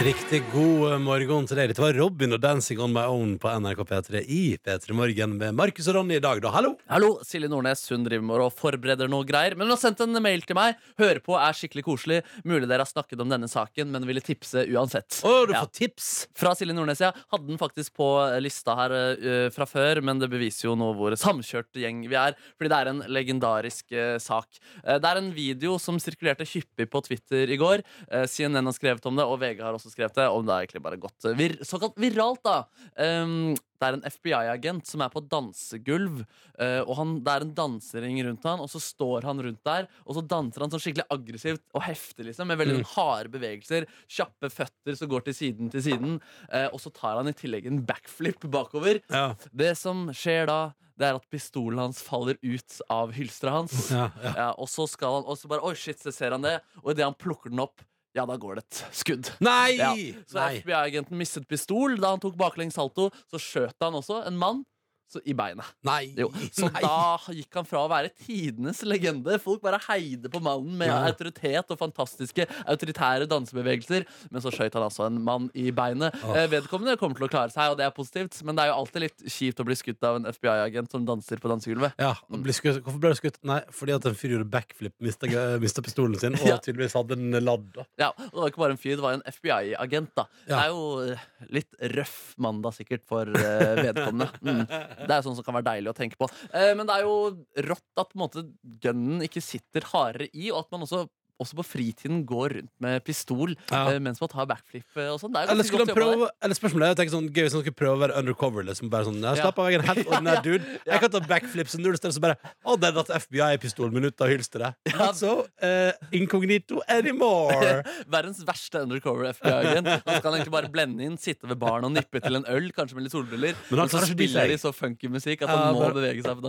[SPEAKER 2] Riktig god morgen til deg. Dette var Robin og 'Dancing on my own' på NRK P3 i P3 Morgen med Markus og Ronny i dag, da. Hallo!
[SPEAKER 6] Hallo, Silje Nordnes. Hun driver med og forbereder noe greier. Men hun har sendt en mail til meg. Hører på, er skikkelig koselig. Mulig dere har snakket om denne saken, men ville tipse uansett.
[SPEAKER 2] Å, du
[SPEAKER 6] Ja.
[SPEAKER 2] får tips!
[SPEAKER 6] Fra Silje Nordnes, ja. Hadde den faktisk på lista her eh, fra før, men det beviser jo nå hvor samkjørt gjeng vi er. Fordi det er en legendarisk eh, sak. Eh, det er en video som sirkulerte hyppig på Twitter i går. Eh, CNN har skrevet om det, og VG har også skrevet det. Om det er egentlig bare gått eh, vir såkalt viralt, da. Ehm, det er en FBI-agent som er på dansegulv. eh, og han, Det er en dansering rundt han, og så står han rundt der. Og så danser han sånn skikkelig aggressivt og heftig, liksom, med
[SPEAKER 2] Mm.
[SPEAKER 6] veldig sånn harde bevegelser. Kjappe føtter som går til siden til siden. eh, og så tar han i tillegg en backflip bakover.
[SPEAKER 2] Ja.
[SPEAKER 6] Det som skjer da, det er at pistolen hans faller ut av hylsteret hans.
[SPEAKER 2] Ja, ja.
[SPEAKER 6] Ja, og så skal han og så bare Oi, shit, så ser han det. Og idet han plukker den opp, ja, da går det et skudd.
[SPEAKER 2] Nei!
[SPEAKER 6] Ja. Så
[SPEAKER 2] Nei.
[SPEAKER 6] FBI-agenten mistet pistol da han tok baklengs salto. Så skjøt han også en mann så, i beinet.
[SPEAKER 2] Nei.
[SPEAKER 6] Jo. Så
[SPEAKER 2] Nei.
[SPEAKER 6] da gikk han fra å være tidenes legende. Folk bare heide på mannen med
[SPEAKER 2] Ja.
[SPEAKER 6] autoritet og fantastiske autoritære dansebevegelser. Men så skjøt han altså en mann i beinet.
[SPEAKER 2] Åh.
[SPEAKER 6] Eh, vedkommende kommer til å klare seg, og det er positivt. Men det er jo alltid litt kjipt å bli skutt av en FBI-agent som danser på dansegulvet.
[SPEAKER 2] Ja, og ble skutt. Hvorfor ble du skutt? Nei, fordi at en fyr gjorde backflip, mista, mista pistolen sin og
[SPEAKER 6] Ja.
[SPEAKER 2] tydeligvis hadde en ladd. da.
[SPEAKER 6] Ja, og Det var ikke bare en fyr, det var jo en FBI-agent. da Det
[SPEAKER 2] Ja.
[SPEAKER 6] er jo eh, litt røff mandag sikkert for eh, vedkommende. Mm. Det er jo sånn som kan være deilig å tenke på. Eh, men det er jo rått at på en måte gunnen ikke sitter hardere i, og at man også også på fritiden går rundt med pistol
[SPEAKER 2] Ja.
[SPEAKER 6] eh, mens man tar backflip eh, og sånn. Det er jo
[SPEAKER 2] Eller,
[SPEAKER 6] ganske
[SPEAKER 2] skulle han
[SPEAKER 6] godt jobba der.
[SPEAKER 2] prøve, eller spørsmålet er jeg tenker sånn, gøy hvis han skulle prøve å være undercover. Liksom, bare sånn, jeg slapp av, jeg er en helt ordinær dude. Jeg kan ta backflips og null steder, så bare Å, der datt FBI-pistolen min ut av hylsteret.
[SPEAKER 6] Ja.
[SPEAKER 2] Not so eh, incognito anymore.
[SPEAKER 6] Verdens verste undercover FBI-agent. Han skal egentlig bare blende inn, sitte ved baren og nippe til en øl, kanskje med litt solbriller.
[SPEAKER 2] Men
[SPEAKER 6] Men
[SPEAKER 2] han
[SPEAKER 6] så
[SPEAKER 2] klarer ikke å bli
[SPEAKER 6] spiller
[SPEAKER 2] seg.
[SPEAKER 6] de så funky musikk at han
[SPEAKER 2] Ja,
[SPEAKER 6] må
[SPEAKER 2] bare-
[SPEAKER 6] bevege seg på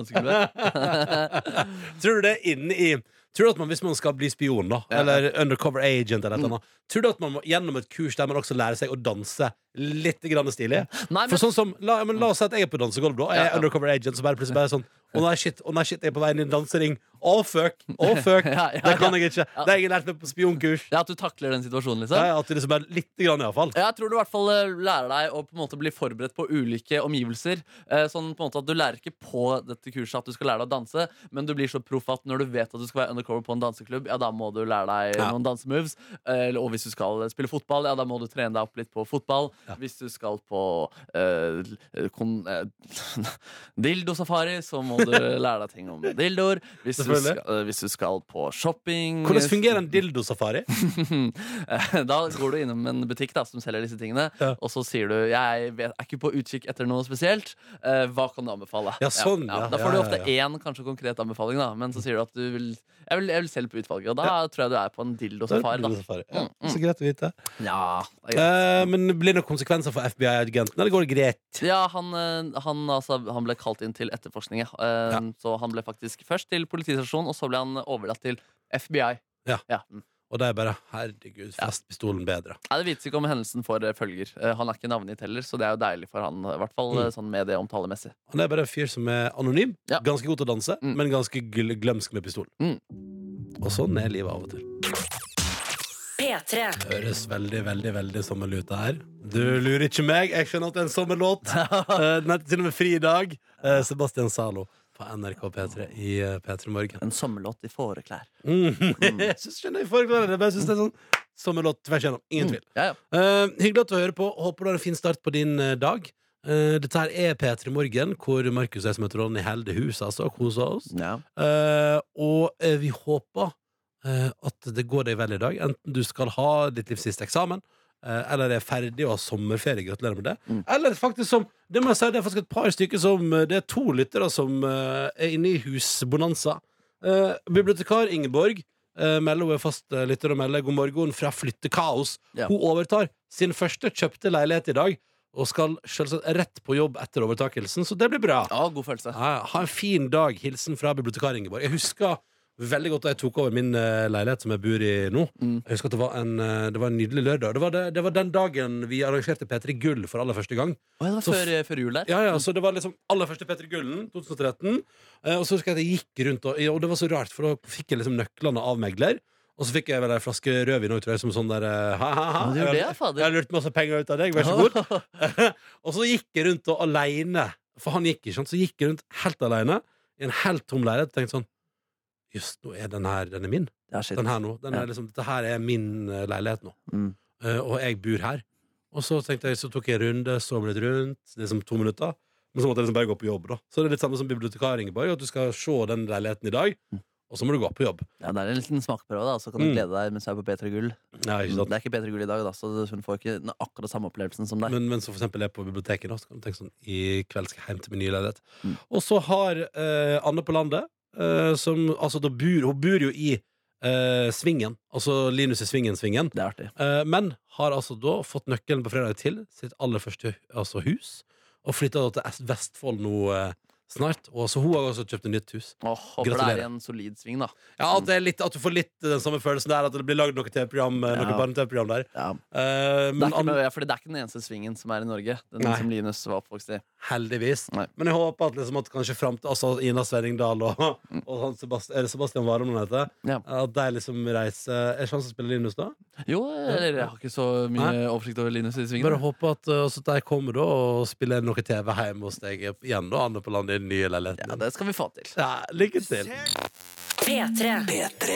[SPEAKER 6] dansegulvet.
[SPEAKER 2] Tror du det er inne i Tror du at man, Hvis man skal bli spion, da
[SPEAKER 6] Ja. Mm.
[SPEAKER 2] eller undercover agent, eller et eller annet, tror du at man må gjennom et kurs der man også lærer seg å danse litt grann stilig?
[SPEAKER 6] Nei, men-
[SPEAKER 2] For sånn som, la, men la oss si at jeg er på dansegulv, da. Jeg
[SPEAKER 6] Ja, ja.
[SPEAKER 2] er undercover agent, så bare plutselig bare sånn Å nei, shit, å nei, shit, jeg er på vei inn i en dansering. Å, fuck! Å, fuck!
[SPEAKER 6] Ja, ja,
[SPEAKER 2] Det kan
[SPEAKER 6] ja.
[SPEAKER 2] jeg ikke. Det har jeg lært meg på spionkurs.
[SPEAKER 6] Ja, At du takler den situasjonen, liksom?
[SPEAKER 2] Ja, ja, at det liksom er lite grann, iallfall.
[SPEAKER 6] Jeg tror du i hvert fall eh, lærer deg å på en måte bli forberedt på ulike omgivelser. Eh, Sånn på en måte at Du lærer ikke på dette kurset at du skal lære deg å danse, men du blir så proff at når du vet at du skal være undercover på en danseklubb, ja, da må du lære deg
[SPEAKER 2] Ja.
[SPEAKER 6] noen dansemoves. Eh, Og hvis du skal spille fotball, ja, da må du trene deg opp litt på fotball. Hvis du skal på eh, kon, eh, dildosafari, så må du lære deg ting om dildoer. Hvis, du
[SPEAKER 2] Selvfølgelig.
[SPEAKER 6] skal- eh, hvis du skal på shopping
[SPEAKER 2] Hvordan fungerer en dildosafari?
[SPEAKER 6] da går du innom en butikk da, som selger disse tingene,
[SPEAKER 2] Ja.
[SPEAKER 6] og så sier du Jeg vet, er ikke på utkikk etter noe spesielt. Eh, hva kan du anbefale?
[SPEAKER 2] Ja, sånn, ja.
[SPEAKER 6] Da får
[SPEAKER 2] Ja,
[SPEAKER 6] du
[SPEAKER 2] ja,
[SPEAKER 6] ofte én kanskje konkret anbefaling, da, men så sier du at du vil jeg vil, jeg vil selv på utvalget, og da tror jeg du er på en
[SPEAKER 2] Da er
[SPEAKER 6] dildosafari.
[SPEAKER 2] det
[SPEAKER 6] Da. Mm,
[SPEAKER 2] dildosafari. Ja, så greit å vite.
[SPEAKER 6] Ja, det er greit.
[SPEAKER 2] Eh, men blir det noen konsekvenser for FBI-agenten, eller går det greit?
[SPEAKER 6] ja han, eh, han, altså, han ble kalt inn til etterforskning, ja. Eh,
[SPEAKER 2] Ja.
[SPEAKER 6] så han ble faktisk først til politistasjonen, og så ble han overlatt til FBI.
[SPEAKER 2] Ja.
[SPEAKER 6] mm.
[SPEAKER 2] Og de bare Herregud, fest pistolen bedre.
[SPEAKER 6] Nei, Det vites ikke om hendelsen får eh, følger. Eh, Han er ikke navngitt heller, så det er jo deilig for han. I hvert fall
[SPEAKER 2] Mm.
[SPEAKER 6] eh, sånn medieomtalemessig.
[SPEAKER 2] Han er bare en fyr som er anonym,
[SPEAKER 6] Ja.
[SPEAKER 2] ganske god til å danse,
[SPEAKER 6] Mm.
[SPEAKER 2] men ganske gl glømsk med pistol.
[SPEAKER 6] Mm.
[SPEAKER 2] Og sånn er livet av og til.
[SPEAKER 4] P3.
[SPEAKER 2] Høres veldig, veldig veldig sommerlig ut, det her. Du lurer ikke meg. Jeg skjønner at det er en sommerlåt. Eh, Den heter til og med Fridag. Eh, Sebastian Zalo på NRK P3 i eh, P3 Morgen.
[SPEAKER 6] En sommerlåt i fåreklær.
[SPEAKER 2] Mm. jeg synes, skjønner jeg foreklarer det, men jeg synes det er sånn
[SPEAKER 6] Mm.
[SPEAKER 2] sommerlåt tvers igjennom. Ingen tvil.
[SPEAKER 6] Ja, ja.
[SPEAKER 2] Eh, hyggelig at du hører på. Håper du har en fin start på din eh, dag. Eh, Dette her er P3 Morgen, hvor Markus og jeg som heter Ronny holder huset, altså. Koser oss.
[SPEAKER 13] Ja.
[SPEAKER 2] Eh, og eh, vi håper eh, at det går deg vel i dag. Enten du skal ha ditt livs siste eksamen, eh, eller er ferdig og har sommerferie. Gratulerer med det.
[SPEAKER 6] Mm.
[SPEAKER 2] Eller faktisk som Det må jeg si, det er faktisk et par stykker som eh, Det er to lyttere som eh, er inne i husbonanza. Eh, bibliotekar Ingeborg eh, melder hun er fast eh, lytter og melder god morgen fra flyttekaos.
[SPEAKER 6] Ja.
[SPEAKER 2] Hun overtar sin første kjøpte leilighet i dag. Og skal selvsagt rett på jobb etter overtakelsen, så det blir bra.
[SPEAKER 6] Ja, god følelse.
[SPEAKER 2] Ja, ja. ha en fin dag. Hilsen fra bibliotekar Ingeborg. Jeg husker veldig godt da jeg tok over min eh, leilighet som jeg bor i nå.
[SPEAKER 6] Mm.
[SPEAKER 2] Jeg husker at Det var en, eh, det var en nydelig lørdag. Det var, det, det var den dagen vi arrangerte P3 Gull for aller første gang.
[SPEAKER 6] Å, ja, det var
[SPEAKER 2] Så f-
[SPEAKER 6] før, før jul der.
[SPEAKER 2] Ja, ja, så Det var liksom aller første P3 Gullen, 2013. Eh, og så husker jeg at jeg gikk rundt, og, ja, og det var så rart, for da fikk jeg liksom nøklene av megler. Og så fikk jeg vel ei flaske rødvin òg, tror jeg, som sånn der eh, ha-ha-ha.
[SPEAKER 6] Ja, du gjorde det, ja,
[SPEAKER 2] Jeg har
[SPEAKER 6] fader.
[SPEAKER 2] lurt masse penger ut av deg, vær så god. og så gikk jeg rundt og aleine, for han gikk ikke, sant? så gikk jeg rundt helt aleine i en helt tom leilighet og tenkte sånn Jøss, nå er den her den er min.
[SPEAKER 6] Ja, shit.
[SPEAKER 2] Den her nå. Den
[SPEAKER 6] Ja.
[SPEAKER 2] er liksom, dette her er min eh, leilighet nå.
[SPEAKER 6] Mm.
[SPEAKER 2] Eh, og jeg bor her. Og så tenkte jeg, så tok jeg en runde, så meg litt rundt, liksom to minutter. Men så måtte jeg liksom bare gå på jobb, da. Så det er litt samme som bibliotekar Ingeborg, at du skal se den leiligheten i dag,
[SPEAKER 6] Mm.
[SPEAKER 2] og så må du gå på jobb.
[SPEAKER 6] Ja, det er en liten smakprøve, da. Så kan du
[SPEAKER 2] Mm.
[SPEAKER 6] glede deg mens du er på P3 Gull. Mm,
[SPEAKER 2] Ja, ikke sant?
[SPEAKER 6] Det er ikke P3 Gull i dag, da, så hun får ikke den akkurat samme opplevelsen som deg.
[SPEAKER 2] Men mens du for eksempel er på biblioteket, da, så kan du tenke sånn I kveld skal jeg hjem til min nye leilighet.
[SPEAKER 6] Mm.
[SPEAKER 2] Og så har eh, Anne på landet, eh, som altså da bor Hun bor jo i eh, Svingen, altså Linus i Svingen-svingen,
[SPEAKER 6] Det er artig.
[SPEAKER 2] eh, men har altså da fått nøkkelen på fredag til sitt aller første altså hus, og flytta da til S- Vestfold nå eh, snart. Og så hun har også kjøpt et nytt hus.
[SPEAKER 6] Åh, håper det
[SPEAKER 2] Gratulerer.
[SPEAKER 6] er i en solid sving, da.
[SPEAKER 2] Ja, At, det er litt, at du får litt den samme følelsen der, at det blir lagd noe TV-program eh, Noe
[SPEAKER 6] Ja.
[SPEAKER 2] barne-TV-program der.
[SPEAKER 6] Ja.
[SPEAKER 2] Eh,
[SPEAKER 6] Det er,
[SPEAKER 2] men
[SPEAKER 6] ikke,
[SPEAKER 2] Anne-
[SPEAKER 6] med- ja, fordi det er ikke den eneste svingen som er i Norge. Den
[SPEAKER 2] Nei.
[SPEAKER 6] som Linus var oppvokst i.
[SPEAKER 2] Heldigvis.
[SPEAKER 6] Nei.
[SPEAKER 2] Men jeg håper at, liksom, at kanskje fram til altså, Ina Svenningsdal og, og han Sebastian, er det Sebastian Warholm han heter,
[SPEAKER 6] Ja.
[SPEAKER 2] at de liksom reiser Er det sjanse å spille Linus da?
[SPEAKER 6] Jo, eller jeg har ikke så mye
[SPEAKER 2] Nei.
[SPEAKER 6] oversikt over Linus i svingen.
[SPEAKER 2] Bare håper at uh, altså, at de kommer da og spiller noe TV hjemme hos deg igjen, da, Anne på landet i den nye
[SPEAKER 6] Ja,
[SPEAKER 2] leiligheten. din.
[SPEAKER 6] det skal vi få til.
[SPEAKER 2] Ja, lykke til.
[SPEAKER 4] P3.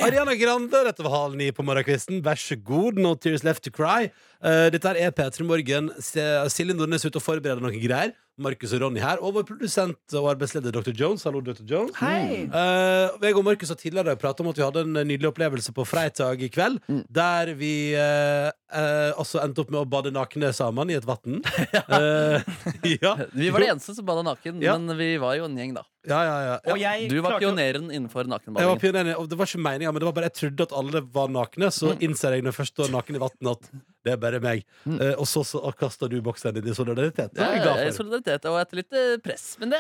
[SPEAKER 2] Ariana Grande rett over halv ni på morgenkvisten. Vær så god, no tears left to cry. Eh, dette her er P3 Morgen. Se- Silje Nordnes er ute og forbereder noen greier. Markus og Ronny her. Og vår produsent og arbeidsleder Dr. Jones. Hallo, Dr. Jones.
[SPEAKER 3] Hei.
[SPEAKER 2] Eh, jeg og Markus har tidligere pratet om at vi hadde en nydelig opplevelse på fredag i kveld.
[SPEAKER 6] Mm.
[SPEAKER 2] Der vi eh, eh, altså endte opp med å bade nakne sammen i et vann. Eh, ja.
[SPEAKER 6] Vi var de eneste som bada naken,
[SPEAKER 2] Ja.
[SPEAKER 6] men vi var jo en gjeng, da.
[SPEAKER 2] ja, ja, ja. ja.
[SPEAKER 3] Og jeg
[SPEAKER 6] Du var
[SPEAKER 3] klarte å-
[SPEAKER 6] pioneren innenfor
[SPEAKER 2] Jeg var
[SPEAKER 6] nakenbadingen.
[SPEAKER 2] pioneren, og det var ikke meningen, men det var bare jeg trodde at alle var nakne. Så innser jeg når jeg først står naken i vann, at det er bare meg. Eh, og så, så kaster du boksen din i solidaritet. Det er jeg
[SPEAKER 6] Ja,
[SPEAKER 2] glad for.
[SPEAKER 6] solidaritet og etter litt eh, press. Men det,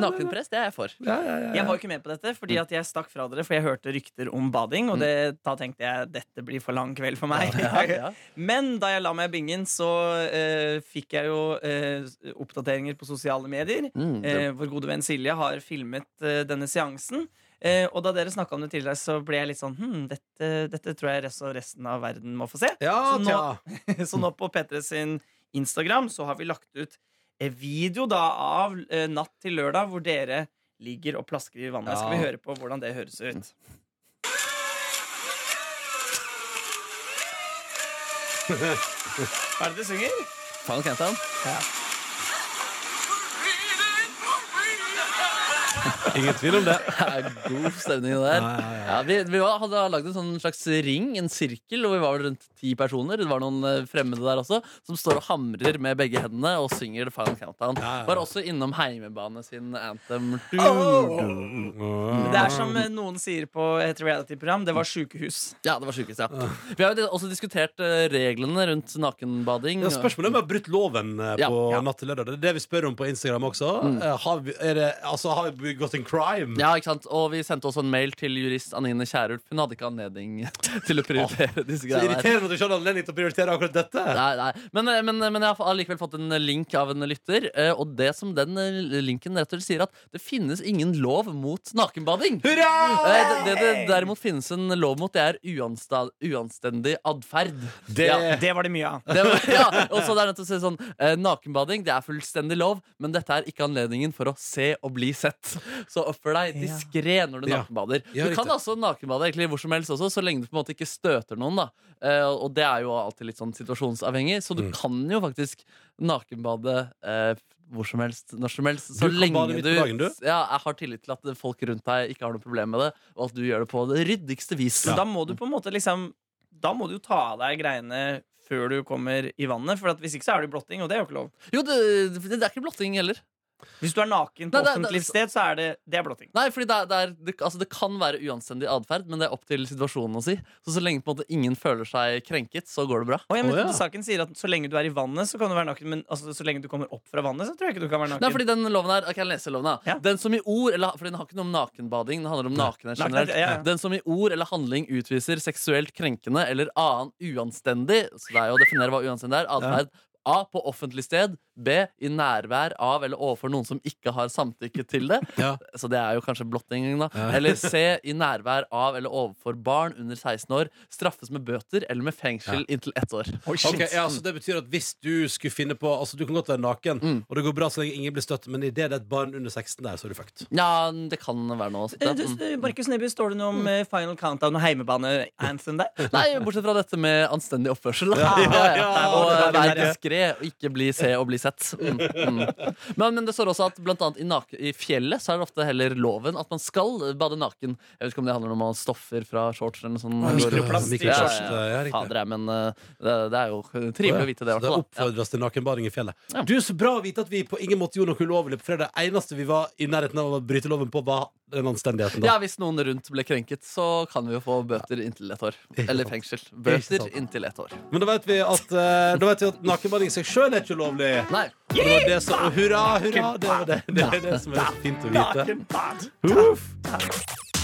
[SPEAKER 6] nakenpress, det er jeg for.
[SPEAKER 3] Jeg var jo ikke med på dette,
[SPEAKER 6] Mm.
[SPEAKER 3] fordi at jeg stakk fra dere, for jeg hørte rykter om bading. Og det, da tenkte jeg dette blir for lang kveld for meg.
[SPEAKER 6] ja.
[SPEAKER 3] Men da jeg la meg i bingen, så eh, fikk jeg jo eh, oppdateringer på sosiale medier.
[SPEAKER 6] Mm, det-
[SPEAKER 3] Eh, vår gode venn Silje har filmet eh, denne seansen. Eh, og da dere snakka om det tidligere, så ble jeg litt sånn hm, dette, dette tror jeg resten, resten av verden må få se.
[SPEAKER 2] Ja,
[SPEAKER 3] Så nå-
[SPEAKER 2] tja.
[SPEAKER 3] Så nå på P3 sin Instagram så har vi lagt ut eh, video da av eh, natt til lørdag hvor dere ligger og plasker i vannet. Skal vi høre på hvordan det høres ut? Hva er det du synger?
[SPEAKER 6] Faen, Kentan.
[SPEAKER 2] Ingen tvil om det.
[SPEAKER 6] Det er god stemning det der.
[SPEAKER 2] Ja, ja, ja.
[SPEAKER 6] Ja, vi vi var, hadde lagd en sånn slags ring, en sirkel, og vi var vel rundt ti personer. Det var noen eh, fremmede der også, som står og hamrer med begge hendene og synger The Final Countdown.
[SPEAKER 2] Ja, ja.
[SPEAKER 6] Var også innom heimebane sin anthem.
[SPEAKER 3] Det er som eh, noen sier på et reality-program. Det var sjukehus.
[SPEAKER 6] Ja, det var sjukest, ja. Vi har jo også diskutert eh, reglene rundt nakenbading.
[SPEAKER 2] Ja, spørsmålet er om vi har brutt loven eh,
[SPEAKER 6] Ja,
[SPEAKER 2] på
[SPEAKER 6] ja.
[SPEAKER 2] natt til lørdag. Det er det vi spør om på Instagram også. Eh, Har vi, er det, altså, har vi begått en crime?
[SPEAKER 6] Ja, ikke sant? Og vi sendte også en mail til jurist Anine Kierulf. Hun hadde ikke anledning til å prioritere disse
[SPEAKER 2] Så
[SPEAKER 6] greiene. her.
[SPEAKER 2] irriterende at du ikke hadde anledning til å prioritere akkurat dette.
[SPEAKER 6] Nei, nei. Men, eh, men, men jeg har likevel fått en link av en lytter. eh, Og det som den eh, linken rett og slett sier, at det finnes ingen lov mot nakenbading.
[SPEAKER 2] Hurra!
[SPEAKER 6] Eh, Det, det det derimot finnes en lov mot, det er uansta- uanstendig atferd.
[SPEAKER 2] Det,
[SPEAKER 6] Ja.
[SPEAKER 3] Det var det mye av.
[SPEAKER 6] Det var- ja, og så det er nødt til å si sånn eh, Nakenbading det er fullstendig lov, men dette er ikke anledningen for å se og bli sett. Så oppfør deg diskré når du
[SPEAKER 2] Ja.
[SPEAKER 6] nakenbader.
[SPEAKER 2] Ja,
[SPEAKER 6] Du kan
[SPEAKER 2] riktig.
[SPEAKER 6] altså nakenbade egentlig hvor som helst også, så lenge du på en måte ikke støter noen. da Eh, Og det er jo alltid litt sånn situasjonsavhengig, så du
[SPEAKER 2] Mm.
[SPEAKER 6] kan jo faktisk nakenbade eh, hvor som helst, når som helst. Så
[SPEAKER 2] Du kan
[SPEAKER 6] lenge
[SPEAKER 2] bade midt
[SPEAKER 6] du,
[SPEAKER 2] på dagen, du.
[SPEAKER 6] Ja, jeg har tillit til at folk rundt deg ikke har noe problem med det, og at du gjør det på det ryddigste vis.
[SPEAKER 3] Men da må du på en måte liksom Da må du jo ta av deg greiene før du kommer i vannet. For at hvis ikke så er det jo blotting, og det er jo ikke lov.
[SPEAKER 6] Jo, det, det er ikke blotting heller.
[SPEAKER 3] Hvis du er naken på
[SPEAKER 6] Nei, det- det-
[SPEAKER 3] offentlig sted, så er det, det er blotting.
[SPEAKER 6] Nei, fordi det, er- det, er, det, altså det kan være uanstendig atferd, men det er opp til situasjonen å si. Så så lenge på en måte ingen føler seg krenket, så går det bra.
[SPEAKER 3] Og jeg mener,
[SPEAKER 2] Å, ja.
[SPEAKER 3] Saken sier at så lenge du er i vannet, så kan du være naken. Men altså, så lenge du kommer opp fra vannet, så tror jeg ikke du kan være naken.
[SPEAKER 6] Nei, fordi den loven her, ok, jeg leser loven her.
[SPEAKER 3] Ja.
[SPEAKER 6] Den som i ord, eller, for den har ikke noe om nakenbading, den handler om nakenhet
[SPEAKER 3] Nakenhet,
[SPEAKER 6] generelt.
[SPEAKER 3] ja, ja.
[SPEAKER 6] Den som i ord eller handling utviser seksuelt krenkende eller annen uanstendig, så det er jo å definere hva uanstendig er, atferd. A. På offentlig sted. B. I nærvær av eller overfor noen som ikke har samtykke til det.
[SPEAKER 2] Ja.
[SPEAKER 6] Så det er jo kanskje blotting, da. Eller C. I nærvær av eller overfor barn under 16 år. Straffes med bøter eller med fengsel inntil ett år.
[SPEAKER 2] Ok, ja,
[SPEAKER 6] Mm.
[SPEAKER 2] så det betyr at hvis du skulle finne på Altså, du kan godt være naken,
[SPEAKER 6] Mm.
[SPEAKER 2] og det går bra så lenge ingen blir støtt, men i det det er et barn under 16 der, så er du fucked.
[SPEAKER 6] Ja, det kan være noe sånt.
[SPEAKER 3] Eh,
[SPEAKER 6] ja.
[SPEAKER 3] du,
[SPEAKER 6] Mm.
[SPEAKER 3] eh, Markus Neby, står det noe om eh, Final Countdown og heimebane-anthem der?
[SPEAKER 6] Nei, bortsett fra dette med anstendig oppførsel. da. Og
[SPEAKER 3] ja, ja.
[SPEAKER 6] vær diskré, og ikke bli se og bli sett. Mm, mm. Men, men det står også at blant annet i, nak i fjellet så er det ofte heller loven at man skal bade naken. Jeg vet ikke om det handler om å ha stoffer fra shorts eller noe sånt.
[SPEAKER 3] Mikroplast.
[SPEAKER 6] Ja, ja,
[SPEAKER 2] Mikroplast,
[SPEAKER 6] ja.
[SPEAKER 2] ja, riktig.
[SPEAKER 6] Fader, jeg, men eh, det, det er jo trivelig å vite det.
[SPEAKER 2] Så
[SPEAKER 6] i
[SPEAKER 2] det
[SPEAKER 6] hvert fall, da. Ja.
[SPEAKER 2] oppfordres til nakenbading i fjellet.
[SPEAKER 6] Ja.
[SPEAKER 2] Du, Så bra å vite at vi på ingen måte gjorde noe ulovlig på fredag. Eneste vi var i nærheten av å bryte loven på, var den anstendigheten.
[SPEAKER 6] Ja,
[SPEAKER 2] da
[SPEAKER 6] Hvis noen rundt ble krenket, så kan vi jo få bøter inntil ett år. Eller fengsel. Bøter
[SPEAKER 2] sant.
[SPEAKER 6] inntil ett år.
[SPEAKER 2] Men da vet vi at, eh, da vet vi at nakenbading i seg sjøl er ikke ulovlig.
[SPEAKER 6] Nei.
[SPEAKER 2] Og det var det som, og hurra, hurra! Det var det, det, er det som er så fint å vite.
[SPEAKER 3] Nakenbad.
[SPEAKER 2] Uff.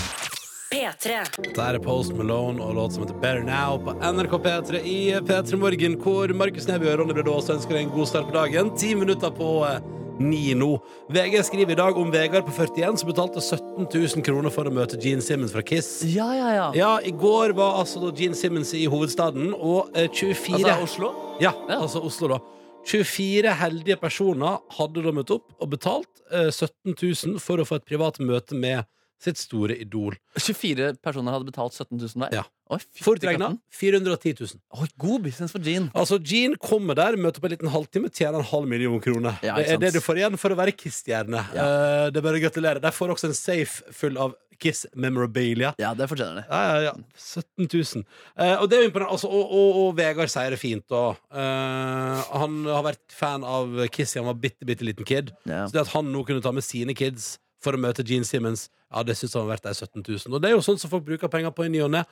[SPEAKER 4] P3.
[SPEAKER 2] Der er Post Malone og låt som heter Better Now på NRK P3 i P3 Morgen, hvor Markus Neby og Ronny Brede Aase ønsker deg en god start på dagen. Ti minutter på eh, ni nå. VG skriver i dag om Vegard på 41 som betalte 17 000 kroner for å møte Gene Simmons fra Kiss.
[SPEAKER 6] Ja, ja, ja.
[SPEAKER 2] Ja, i går var altså da Gene Simmons i hovedstaden, og eh, 24
[SPEAKER 6] Altså Oslo?
[SPEAKER 2] Ja,
[SPEAKER 6] Ja.
[SPEAKER 2] altså Oslo, da. 24 heldige personer hadde da møtt opp og betalt eh, 17 000 for å få et privat møte med sitt store idol.
[SPEAKER 6] 24 personer hadde betalt 17 000 hver?
[SPEAKER 2] Ja.
[SPEAKER 6] Oi, fy-
[SPEAKER 2] Fort regna 410 000.
[SPEAKER 6] Oi, god business for Jean.
[SPEAKER 2] Altså, Gene kommer der, møter på en liten halvtime, tjener en halv million kroner.
[SPEAKER 6] Ja,
[SPEAKER 2] det
[SPEAKER 6] ikke
[SPEAKER 2] er det
[SPEAKER 6] sant.
[SPEAKER 2] du får igjen for å være Kiss-stjerne. Eh, det er bare å gratulere. De får også en safe full av Kiss-memorabilia.
[SPEAKER 6] Ja, det fortjener det.
[SPEAKER 2] Ja, ja, ja. 17 000. Eh, og det er jo imponerende. Altså, og, og, og Vegard sier det fint. Og, eh, han har vært fan av Kiss siden han var bitte, bitte liten kid.
[SPEAKER 6] Ja.
[SPEAKER 2] Så det at han nå kunne ta med sine kids for å møte Gene Simmons, ja, det syns han var verdt de 17 000. Og det er jo sånn som folk bruker penger på i ny og ne.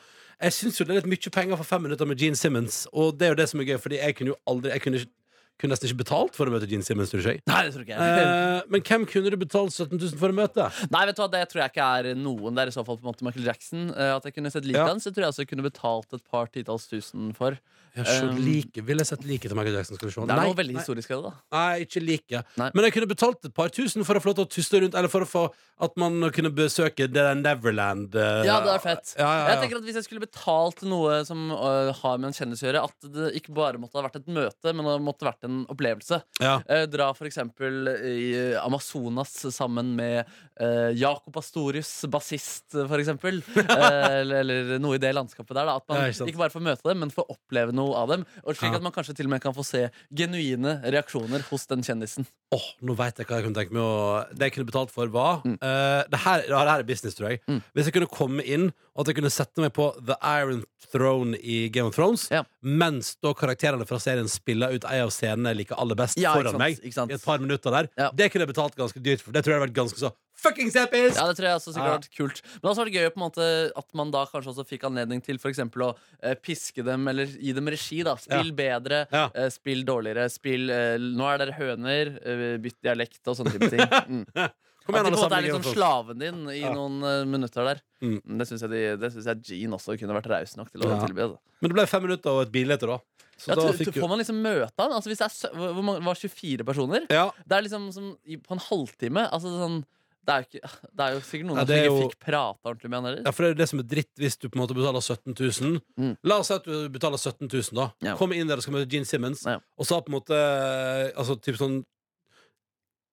[SPEAKER 2] Jeg syns jo det er litt mye penger for fem minutter med Gene Simmons, og det er jo det som er gøy, fordi jeg kunne jo aldri Jeg kunne, ikke- kunne nesten ikke betalt for å møte Gene Simmons, tror jeg.
[SPEAKER 6] Nei, det tror ikke jeg.
[SPEAKER 2] Eh, men hvem kunne du betalt 17 000 for å møte?
[SPEAKER 6] Nei, vet du hva, det tror jeg ikke er noen der. I så fall på en måte Michael Jackson. eh, At jeg kunne sett liket
[SPEAKER 2] Ja.
[SPEAKER 6] hans, det tror jeg også jeg kunne betalt et par titalls tusen for.
[SPEAKER 2] Jeg så
[SPEAKER 6] Um,
[SPEAKER 2] like, Eh, Ville jeg sett like til Michael Jackson? Skal vi se.
[SPEAKER 6] Det er
[SPEAKER 2] Nei,
[SPEAKER 6] noe veldig
[SPEAKER 2] nei.
[SPEAKER 6] historisk ved det, da.
[SPEAKER 2] Nei, ikke like.
[SPEAKER 6] Nei.
[SPEAKER 2] Men jeg kunne betalt et par tusen for å få lov til å tusle rundt, eller for å få at man kunne besøke det der Neverland eh,
[SPEAKER 6] Ja, det er fett.
[SPEAKER 2] Ja, ja, ja.
[SPEAKER 6] Jeg tenker at Hvis jeg skulle betalt noe som øh, har med en kjendis å gjøre, at det ikke bare måtte ha vært et møte, men det måtte ha vært en opplevelse.
[SPEAKER 2] ja.
[SPEAKER 6] Eh, dra for eksempel i eh, Amazonas sammen med eh, Jakob Astorius, bassist, eh, for eksempel. Eh, eller, eller noe i det landskapet der. Da. At man
[SPEAKER 2] Ja, ikke sant.
[SPEAKER 6] ikke, bare får møte dem, men får oppleve noe av dem. Og slik
[SPEAKER 2] Ja.
[SPEAKER 6] at man kanskje til og med kan få se genuine reaksjoner hos den kjendisen.
[SPEAKER 2] Åh, nå vet jeg hva jeg kunne tenke meg å Det jeg kunne betalt for, var
[SPEAKER 6] Mm.
[SPEAKER 2] eh, det, her, ja, det her er business, tror jeg. Hvis jeg kunne komme inn, og at jeg kunne sette meg på The Iron Throne i Game of Thrones,
[SPEAKER 6] Ja.
[SPEAKER 2] mens da karakterene fra serien spiller ut ei av scenene jeg liker aller best,
[SPEAKER 6] Ja, ikke
[SPEAKER 2] foran
[SPEAKER 6] sant,
[SPEAKER 2] meg,
[SPEAKER 6] ikke sant.
[SPEAKER 2] i et par minutter der,
[SPEAKER 6] Ja.
[SPEAKER 2] det kunne jeg betalt ganske dyrt for. Det tror jeg hadde vært ganske så fuckings episk!
[SPEAKER 6] Ja, det tror jeg også sikkert
[SPEAKER 2] Ja.
[SPEAKER 6] har vært kult Men det har også vært gøy på en måte at man da kanskje også fikk anledning til for eksempel å eh, piske dem Eller gi dem regi da Spill bedre,
[SPEAKER 2] Ja.
[SPEAKER 6] eh, spill dårligere Spill, eh, nå er dere høner eh, Bytt dialekt og sånne type ting mm.
[SPEAKER 2] Kom
[SPEAKER 6] At de på en måte er
[SPEAKER 2] Game
[SPEAKER 6] litt
[SPEAKER 2] of
[SPEAKER 6] sånn
[SPEAKER 2] Thrones.
[SPEAKER 6] slaven din i noen eh, minutter der.
[SPEAKER 2] Mm.
[SPEAKER 6] Men Det syns jeg, de, det synes jeg Jean også kunne vært raus nok til å
[SPEAKER 2] Ja.
[SPEAKER 6] tilby. altså. Da.
[SPEAKER 2] Men det ble fem minutter og et billete, da. Så
[SPEAKER 6] Ja,
[SPEAKER 2] da
[SPEAKER 6] tu- tu-
[SPEAKER 2] fikk jo
[SPEAKER 6] får man liksom møte han? Altså, hvis det er, sø- hvor hvor mange, var 24 personer?
[SPEAKER 2] ja.
[SPEAKER 6] Det er liksom som i- på en halvtime. Altså, sånn, det, er jo ikke, det er jo sikkert noen
[SPEAKER 2] Ja,
[SPEAKER 6] som
[SPEAKER 2] det er
[SPEAKER 6] ikke
[SPEAKER 2] jo-
[SPEAKER 6] fikk prate ordentlig med han heller.
[SPEAKER 2] ja, for det er jo det som er dritt hvis du på en måte betaler 17 000.
[SPEAKER 6] Mm.
[SPEAKER 2] La oss si at du betaler 17 000, da.
[SPEAKER 6] Ja.
[SPEAKER 2] Kom inn der og skal møte Gene Simmons,
[SPEAKER 6] Ja.
[SPEAKER 2] og så har på en måte Altså typ sånn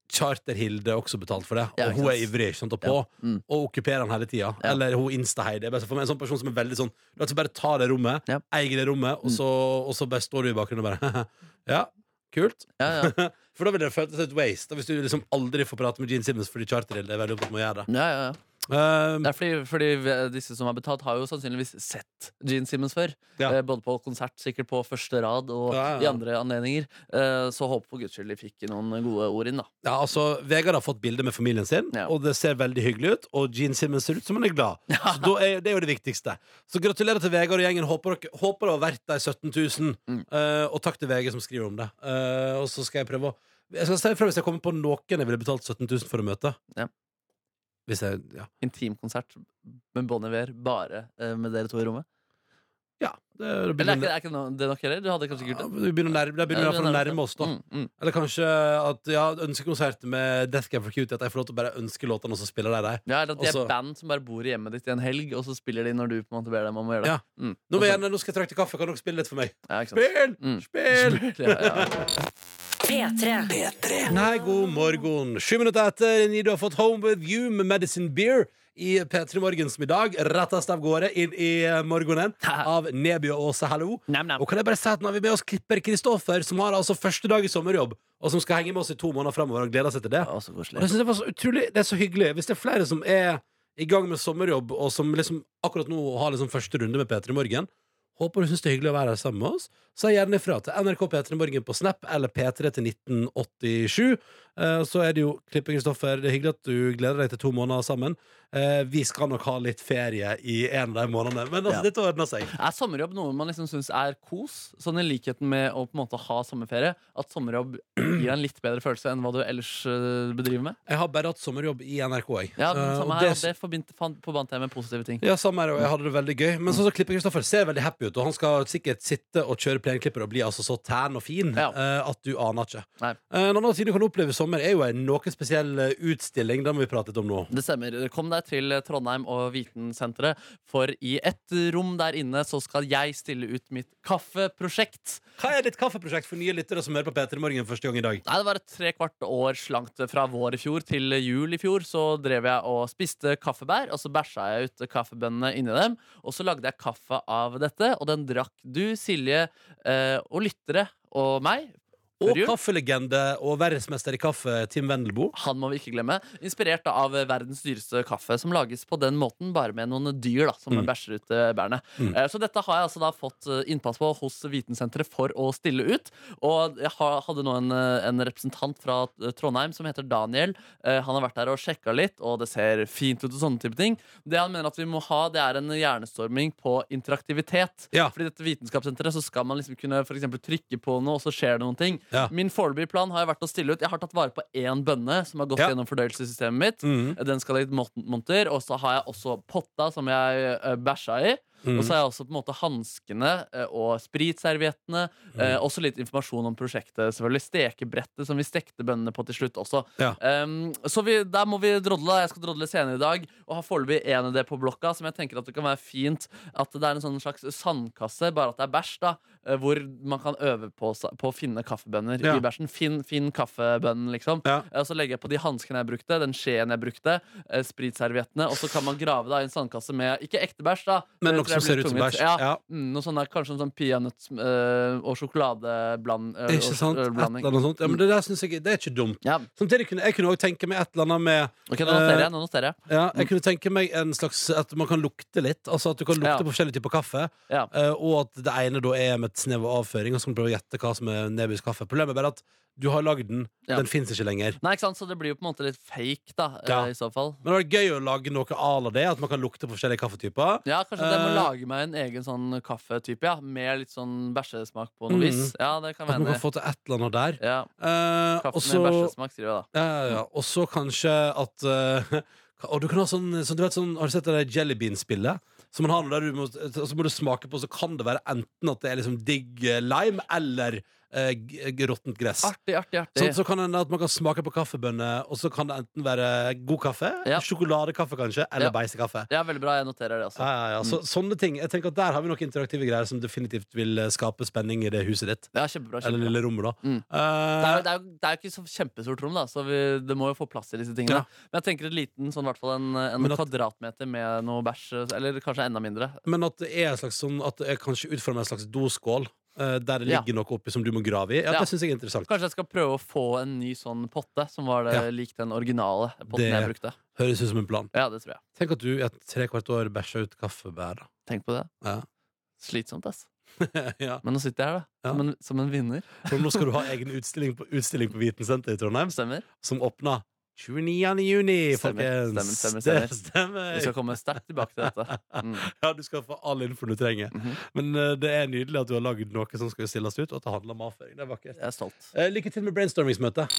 [SPEAKER 2] Charter-Hilde er også betalt for det, og
[SPEAKER 6] Ja, ikke
[SPEAKER 2] hun er
[SPEAKER 6] sant.
[SPEAKER 2] ivrig ikke sant, og på
[SPEAKER 6] Mm.
[SPEAKER 2] og okkuperer han hele tida.
[SPEAKER 6] Ja.
[SPEAKER 2] Eller hun Insta-Heidi. Jeg er bare- For meg er en sånn person som er veldig sånn Du vet, så bare tar det rommet,
[SPEAKER 6] Ja. Mm.
[SPEAKER 2] eier det rommet, og så, og så bare står du i bakgrunnen og bare Ja, kult.
[SPEAKER 6] Ja, ja.
[SPEAKER 2] For da ville det føltes et waste da, hvis du liksom aldri får prate med Gene Simmons fordi Charter-Hilde er veldig opptatt med å gjøre det.
[SPEAKER 6] ja, ja, ja.
[SPEAKER 2] Um,
[SPEAKER 6] Det er fordi, fordi vi- disse som har betalt, har jo sannsynligvis sett Gene Simmons før.
[SPEAKER 2] Ja.
[SPEAKER 6] Eh, Både på konsert, sikkert på første rad, og
[SPEAKER 2] Ja, ja,
[SPEAKER 6] i
[SPEAKER 2] ja.
[SPEAKER 6] andre anledninger. Eh, Så håper for guds skyld de fikk noen gode ord inn, da.
[SPEAKER 2] Ja, altså, Vegard har fått bilde med familien sin,
[SPEAKER 6] Ja.
[SPEAKER 2] og det ser veldig hyggelig ut. Og Gene Simmons ser ut som han er glad. Så da er, det er jo det viktigste. Så gratulerer til Vegard og gjengen. Håper, dere- håper det har vært de 17 000.
[SPEAKER 6] Mm.
[SPEAKER 2] Eh, og takk til VG som skriver om det. Eh, og så skal jeg prøve å Jeg skal si ifra hvis jeg kommer på noen jeg ville betalt 17 000 for å møte.
[SPEAKER 6] Ja.
[SPEAKER 2] Hvis jeg Ja.
[SPEAKER 6] Intimkonsert med Bon Iver, bare eh, med dere to i rommet.
[SPEAKER 2] ja det, det
[SPEAKER 6] Eller
[SPEAKER 2] begynner,
[SPEAKER 6] er ikke, er ikke no- det nok heller? Du hadde kanskje ikke gjort det?
[SPEAKER 2] Ja, vi begynner, å nærme, det begynner i hvert fall å nærme oss, da.
[SPEAKER 6] Mm, mm.
[SPEAKER 2] Eller kanskje at ja, ønskekonsert med Death Cab for Cutie. At jeg får lov til å bare ønske låtene, og så spiller de dem.
[SPEAKER 6] Ja, eller at de
[SPEAKER 2] Også-
[SPEAKER 6] er band som bare bor i hjemmet ditt i en helg, og så spiller de når du på en måte ber dem om å gjøre det.
[SPEAKER 2] Ja.
[SPEAKER 6] Mm.
[SPEAKER 2] Nå, vil jeg
[SPEAKER 6] Også-
[SPEAKER 2] gjerne- nå skal jeg trakte kaffe. Kan dere spille litt for meg?
[SPEAKER 6] ja, ikke sant?
[SPEAKER 2] Spill!
[SPEAKER 6] Mm.
[SPEAKER 2] Spill!
[SPEAKER 6] Ja, ja.
[SPEAKER 4] P3.
[SPEAKER 2] Nei, god morgen. Sju minutter etter ni du har fått Home With You med Medicine Beer i P3 Morgens middag. Rettest av gårde inn i eh, morgenen av Neby og Åse Hallo.
[SPEAKER 3] Nam, nam.
[SPEAKER 2] Og kan jeg bare si at nå har vi med oss klipper Kristoffer, som har altså første dag i sommerjobb, og som skal henge med oss i to måneder framover og gleder seg til det.
[SPEAKER 6] Ja, så koselig.
[SPEAKER 2] Og det synes jeg var så utrolig Det er så hyggelig. Hvis det er flere som er i gang med sommerjobb, og som liksom akkurat nå har liksom første runde med P3 Morgen, håper du syns det er hyggelig å være her sammen med oss, så gjerne ifra til NRK P3 Morgen på Snap eller P3 til 1987. Eh, Så er det jo Klippe Kristoffer, det er hyggelig at du gleder deg til to måneder sammen. Eh, Vi skal nok ha litt ferie i en av de månedene, men altså,
[SPEAKER 6] Ja.
[SPEAKER 2] dette ordner seg.
[SPEAKER 6] Er sommerjobb noe man liksom syns er kos? Sånn i likheten med å på en måte ha sommerferie. At sommerjobb gir en litt bedre følelse enn hva du ellers øh, bedriver med.
[SPEAKER 2] Jeg har bare hatt sommerjobb i NRK, jeg.
[SPEAKER 6] Ja,
[SPEAKER 2] Eh,
[SPEAKER 6] men
[SPEAKER 2] og
[SPEAKER 6] samme
[SPEAKER 2] det-
[SPEAKER 6] her, og det forbind- fan- forbandt jeg med positive ting.
[SPEAKER 2] Ja, samme her, og jeg hadde det veldig gøy. Men sånn som Klipper Kristoffer ser veldig happy ut, og han skal sikkert sitte og kjøre plenklipper og bli altså så tern og fin
[SPEAKER 6] Ja.
[SPEAKER 2] eh, at du aner ikke.
[SPEAKER 6] Nei.
[SPEAKER 2] Eh, En annen ting du kan oppleve i sommer, er jo en noe spesiell eh, utstilling. Den må vi prate litt om nå.
[SPEAKER 6] Det stemmer. Kom deg til Trondheim og Vitensenteret, for i ett rom der inne så skal jeg stille ut mitt kaffeprosjekt.
[SPEAKER 2] Hva er ditt kaffeprosjekt for nye lyttere som hører på P3 Morgen første gang i dag?
[SPEAKER 6] Nei, Det var et tre kvart års langt fra vår i fjor til jul i fjor. Så drev jeg og spiste kaffebær, og så bæsja jeg ut kaffebønnene inni dem. Og så lagde jeg kaffe av dette, og den drakk du, Silje, eh, og lyttere og meg. før
[SPEAKER 2] Og
[SPEAKER 6] jul.
[SPEAKER 2] kaffelegende og verdensmester i kaffe, Tim Wendelbo.
[SPEAKER 6] Han må vi ikke glemme. Inspirert da av verdens dyreste kaffe, som lages på den måten, bare med noen dyr da, som bæsjer ut eh, bærene.
[SPEAKER 2] Mm.
[SPEAKER 6] Eh, Så dette har jeg altså da fått eh, innpass på hos Vitensenteret for å stille ut. Og jeg har- hadde nå en, eh, en representant fra eh, Trondheim som heter Daniel. Eh, Han har vært der og sjekka litt, og det ser fint ut og sånne type ting. Det han mener at vi må ha, det er en hjernestorming på interaktivitet.
[SPEAKER 2] Ja.
[SPEAKER 6] Fordi dette vitenskapssenteret så skal man liksom kunne for eksempel trykke på noe, og så skjer det noen ting.
[SPEAKER 2] Ja.
[SPEAKER 6] Min foreløpige plan har jo vært å stille ut. Jeg har tatt vare på én bønne som har gått
[SPEAKER 2] Ja. Mm.
[SPEAKER 6] gjennom fordøyelsessystemet mitt. Den skal i et mont- monter. Og så har jeg også potta som jeg eh, bæsja i.
[SPEAKER 2] mm.
[SPEAKER 6] Og så har jeg også på en måte hanskene eh, og spritserviettene. eh,
[SPEAKER 2] Mm.
[SPEAKER 6] også litt informasjon om prosjektet. selvfølgelig Stekebrettet som vi stekte bønnene på til slutt også.
[SPEAKER 2] Ja.
[SPEAKER 6] Um, så vi, der må vi drodle. Jeg skal drodle senere i dag. Og har foreløpig en idé på blokka som jeg tenker at det kan være fint at det er en sånn slags sandkasse, bare at det er bæsj, da. eh, Hvor man kan øve på, sa- på å finne kaffebønner
[SPEAKER 2] Ja.
[SPEAKER 6] i bæsjen. Finn, finn kaffebønnen, liksom.
[SPEAKER 2] Ja.
[SPEAKER 6] Eh, Og så legger jeg på de hanskene jeg brukte, den skjeen jeg brukte, eh, spritserviettene, og så kan man grave da i en sandkasse med ikke ekte bæsj, da.
[SPEAKER 2] Men
[SPEAKER 6] det
[SPEAKER 2] noe
[SPEAKER 6] tror
[SPEAKER 2] som
[SPEAKER 6] jeg
[SPEAKER 2] ser
[SPEAKER 6] blir
[SPEAKER 2] ut som
[SPEAKER 6] tungvint.
[SPEAKER 2] bæsj,
[SPEAKER 6] Ja.
[SPEAKER 2] ja.
[SPEAKER 6] Mm, noe sånn der, kanskje en sånn peanøtt eh, og sjokoladebland... eh,
[SPEAKER 2] Ikke
[SPEAKER 6] og
[SPEAKER 2] sant? Et eller
[SPEAKER 6] sjokoladeblanding.
[SPEAKER 2] annet sånt. Ja, men det der synes jeg det er ikke dumt.
[SPEAKER 6] Ja,
[SPEAKER 2] Samtidig kunne jeg kunne også tenke meg et eller annet med
[SPEAKER 6] ok, nå
[SPEAKER 2] Eh,
[SPEAKER 6] noterer jeg. Nå noterer jeg.
[SPEAKER 2] Ja, jeg kunne tenke meg en slags at man kan lukte litt. Altså At du kan lukte
[SPEAKER 6] Ja.
[SPEAKER 2] på forskjellige typer kaffe.
[SPEAKER 6] Ja.
[SPEAKER 2] eh, og at det ene da er med et snev av avføring, og så kan du prøve å gjette hva som er Nebys kaffe. Problemet er bare at du har lagd den.
[SPEAKER 6] Ja.
[SPEAKER 2] Den fins ikke lenger.
[SPEAKER 6] Nei, ikke sant, så det blir jo på en måte litt fake, da, eh,
[SPEAKER 2] Ja.
[SPEAKER 6] i så fall.
[SPEAKER 2] Men det hadde vært gøy å lage noe à la det, at man kan lukte på forskjellige kaffetyper.
[SPEAKER 6] Ja, kanskje jeg må
[SPEAKER 2] Eh.
[SPEAKER 6] lage meg en egen sånn kaffetype, ja. Med litt sånn bæsjesmak på noe
[SPEAKER 2] Mm.
[SPEAKER 6] vis. Ja, det kan
[SPEAKER 2] At man
[SPEAKER 6] være
[SPEAKER 2] kan få til et eller annet der.
[SPEAKER 6] Ja,
[SPEAKER 2] Eh, og
[SPEAKER 6] Kaffe
[SPEAKER 2] så
[SPEAKER 6] med bæsjesmak, skriver jeg da.
[SPEAKER 2] ja, ja, ja. Og så kanskje at eh, og du kan ha sånn, så du vet, sånn Har du sett det der jellybean-spillet? Som man har der du må, så må du smake på, så kan det være enten at det er liksom digg eh, lime eller eh, g- g- råttent gress.
[SPEAKER 6] Artig, artig, artig.
[SPEAKER 2] Sånn, så kan en, at man kan smake på kaffebønner, og så kan det enten være god kaffe,
[SPEAKER 6] Ja.
[SPEAKER 2] sjokoladekaffe kanskje, eller
[SPEAKER 6] Ja.
[SPEAKER 2] beisekaffe.
[SPEAKER 6] Det er veldig bra. Jeg noterer
[SPEAKER 2] Ja,
[SPEAKER 6] det. altså
[SPEAKER 2] ja, ja. Så, sånne ting. Jeg tenker at Der har vi noen interaktive greier som definitivt vil eh, skape spenning i det huset ditt.
[SPEAKER 6] Ja, kjempebra,
[SPEAKER 2] Eller
[SPEAKER 6] kjempebra.
[SPEAKER 2] lille rommet, da.
[SPEAKER 6] Mm.
[SPEAKER 2] Eh,
[SPEAKER 6] Det er, jo- det, er, jo- det er jo ikke så kjempestort rom, da, så vi, det må jo få plass til disse
[SPEAKER 2] Ja.
[SPEAKER 6] tingene. Men jeg tenker et liten, sånn, i hvert fall en, en
[SPEAKER 2] Men at-
[SPEAKER 6] kvadratmeter med noe bæsj, eller kanskje enda mindre.
[SPEAKER 2] Men at det er, en slags sånn, at det er kanskje utformet en slags doskål, eh, der det
[SPEAKER 6] Ja.
[SPEAKER 2] ligger noe oppi som du må grave i, ja,
[SPEAKER 6] Ja.
[SPEAKER 2] det syns jeg er interessant.
[SPEAKER 6] Kanskje jeg skal prøve å få en ny sånn potte, som var det,
[SPEAKER 2] Ja.
[SPEAKER 6] lik den originale potten
[SPEAKER 2] Det-
[SPEAKER 6] jeg brukte.
[SPEAKER 2] Høres ut som en plan.
[SPEAKER 6] Ja, det tror jeg.
[SPEAKER 2] Tenk at du i et tre kvart år bæsja ut kaffebær, da.
[SPEAKER 6] Tenk på det.
[SPEAKER 2] Ja.
[SPEAKER 6] Slitsomt, ass.
[SPEAKER 2] ja.
[SPEAKER 6] Men nå sitter jeg her, da.
[SPEAKER 2] Ja.
[SPEAKER 6] Som, en, som en vinner.
[SPEAKER 2] For nå skal du ha egen utstilling på, utstilling på Vitensenteret i Trondheim,
[SPEAKER 6] Stemmer.
[SPEAKER 2] som åpner 29. juni,
[SPEAKER 6] Stemmer,
[SPEAKER 2] folkens.
[SPEAKER 6] stemmer, stemmer,
[SPEAKER 2] Det stemmer.
[SPEAKER 6] Vi skal komme sterkt tilbake til dette. Mm.
[SPEAKER 2] Ja, du skal få all infoen du trenger.
[SPEAKER 6] Mhm.
[SPEAKER 2] Men eh, det er nydelig at du har lagd noe som skal stilles ut, og at det handler om avføring. Det er vakkert.
[SPEAKER 6] Jeg er stolt.
[SPEAKER 2] Eh, lykke til med brainstormingsmøtet.